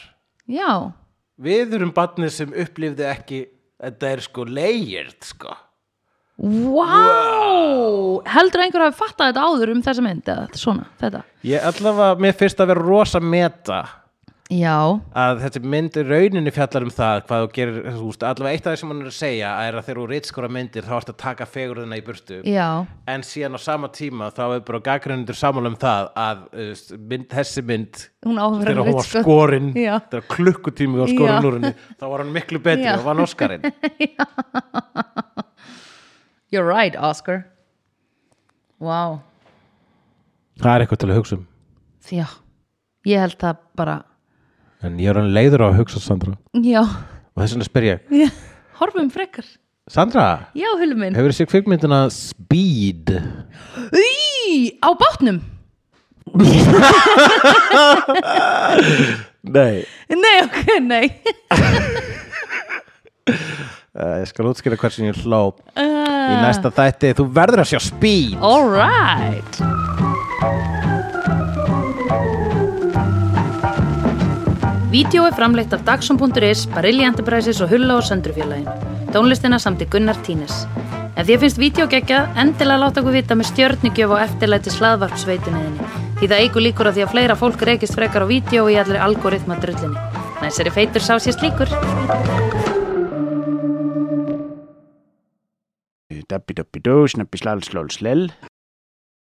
Speaker 2: já,
Speaker 1: við erum barnið sem upplifði ekki þetta er sko layered sko
Speaker 2: wow heldur að einhver hafi fattað þetta áður um þessa mynd eða svona, þetta
Speaker 1: Ég allavega, mér finnst að vera rosa meta
Speaker 2: já,
Speaker 1: að þetta mynd í rauninni fjallar um það hvað þú gerir, þú veist, allavega eitt af því sem hann er að segja er að þegar þú rítskora myndir þá ertu að taka fegurðina í burtu
Speaker 2: já,
Speaker 1: en síðan á sama tíma þá er bara gaggrinundur sammála um það að uh, mynd, þessi mynd
Speaker 2: hún áfram
Speaker 1: þegar hún var sko- skorinn
Speaker 2: Já.
Speaker 1: þegar klukkutími var skorinn
Speaker 2: Já.
Speaker 1: úr henni þá var hann miklu betri
Speaker 2: Já.
Speaker 1: og vann Óskarinn
Speaker 2: you're right Oscar wow,
Speaker 1: það er eitthvað til að hugsa um
Speaker 2: já ég held það bara,
Speaker 1: en ég er hann leiður á að hugsa Sandra
Speaker 2: já
Speaker 1: og þess vegna spyr ég,
Speaker 2: Já, horfum frekar
Speaker 1: Sandra,
Speaker 2: Já, hulum minn
Speaker 1: hefur þessi kvikmyndina Speed?
Speaker 2: Í, á bátnum
Speaker 1: Nei
Speaker 2: Nei, ok, nei
Speaker 1: Uh, ég skal útskýra hversin ég hló
Speaker 2: Ah.
Speaker 1: í næsta þætti, þú verður að sjá speed
Speaker 2: All right Vídeó er framleitt af Dagsum.is, Barilli Enterprises og Hulla og Söndrufjörlægin. Tónlistina samt í Gunnar Tínes. Ef því finnst vídeo geggja, endilega láta okkur vita með stjörnigjöf og eftirlæti slaðvarpsveituninni. Því það eigur líkur að því að fleira fólk reykist frekar á vídeo í allir algoritma drullinni. Næsari feitur sá sér slíkur.
Speaker 3: Dabbi dabbi dó, snabbi slal slól slel.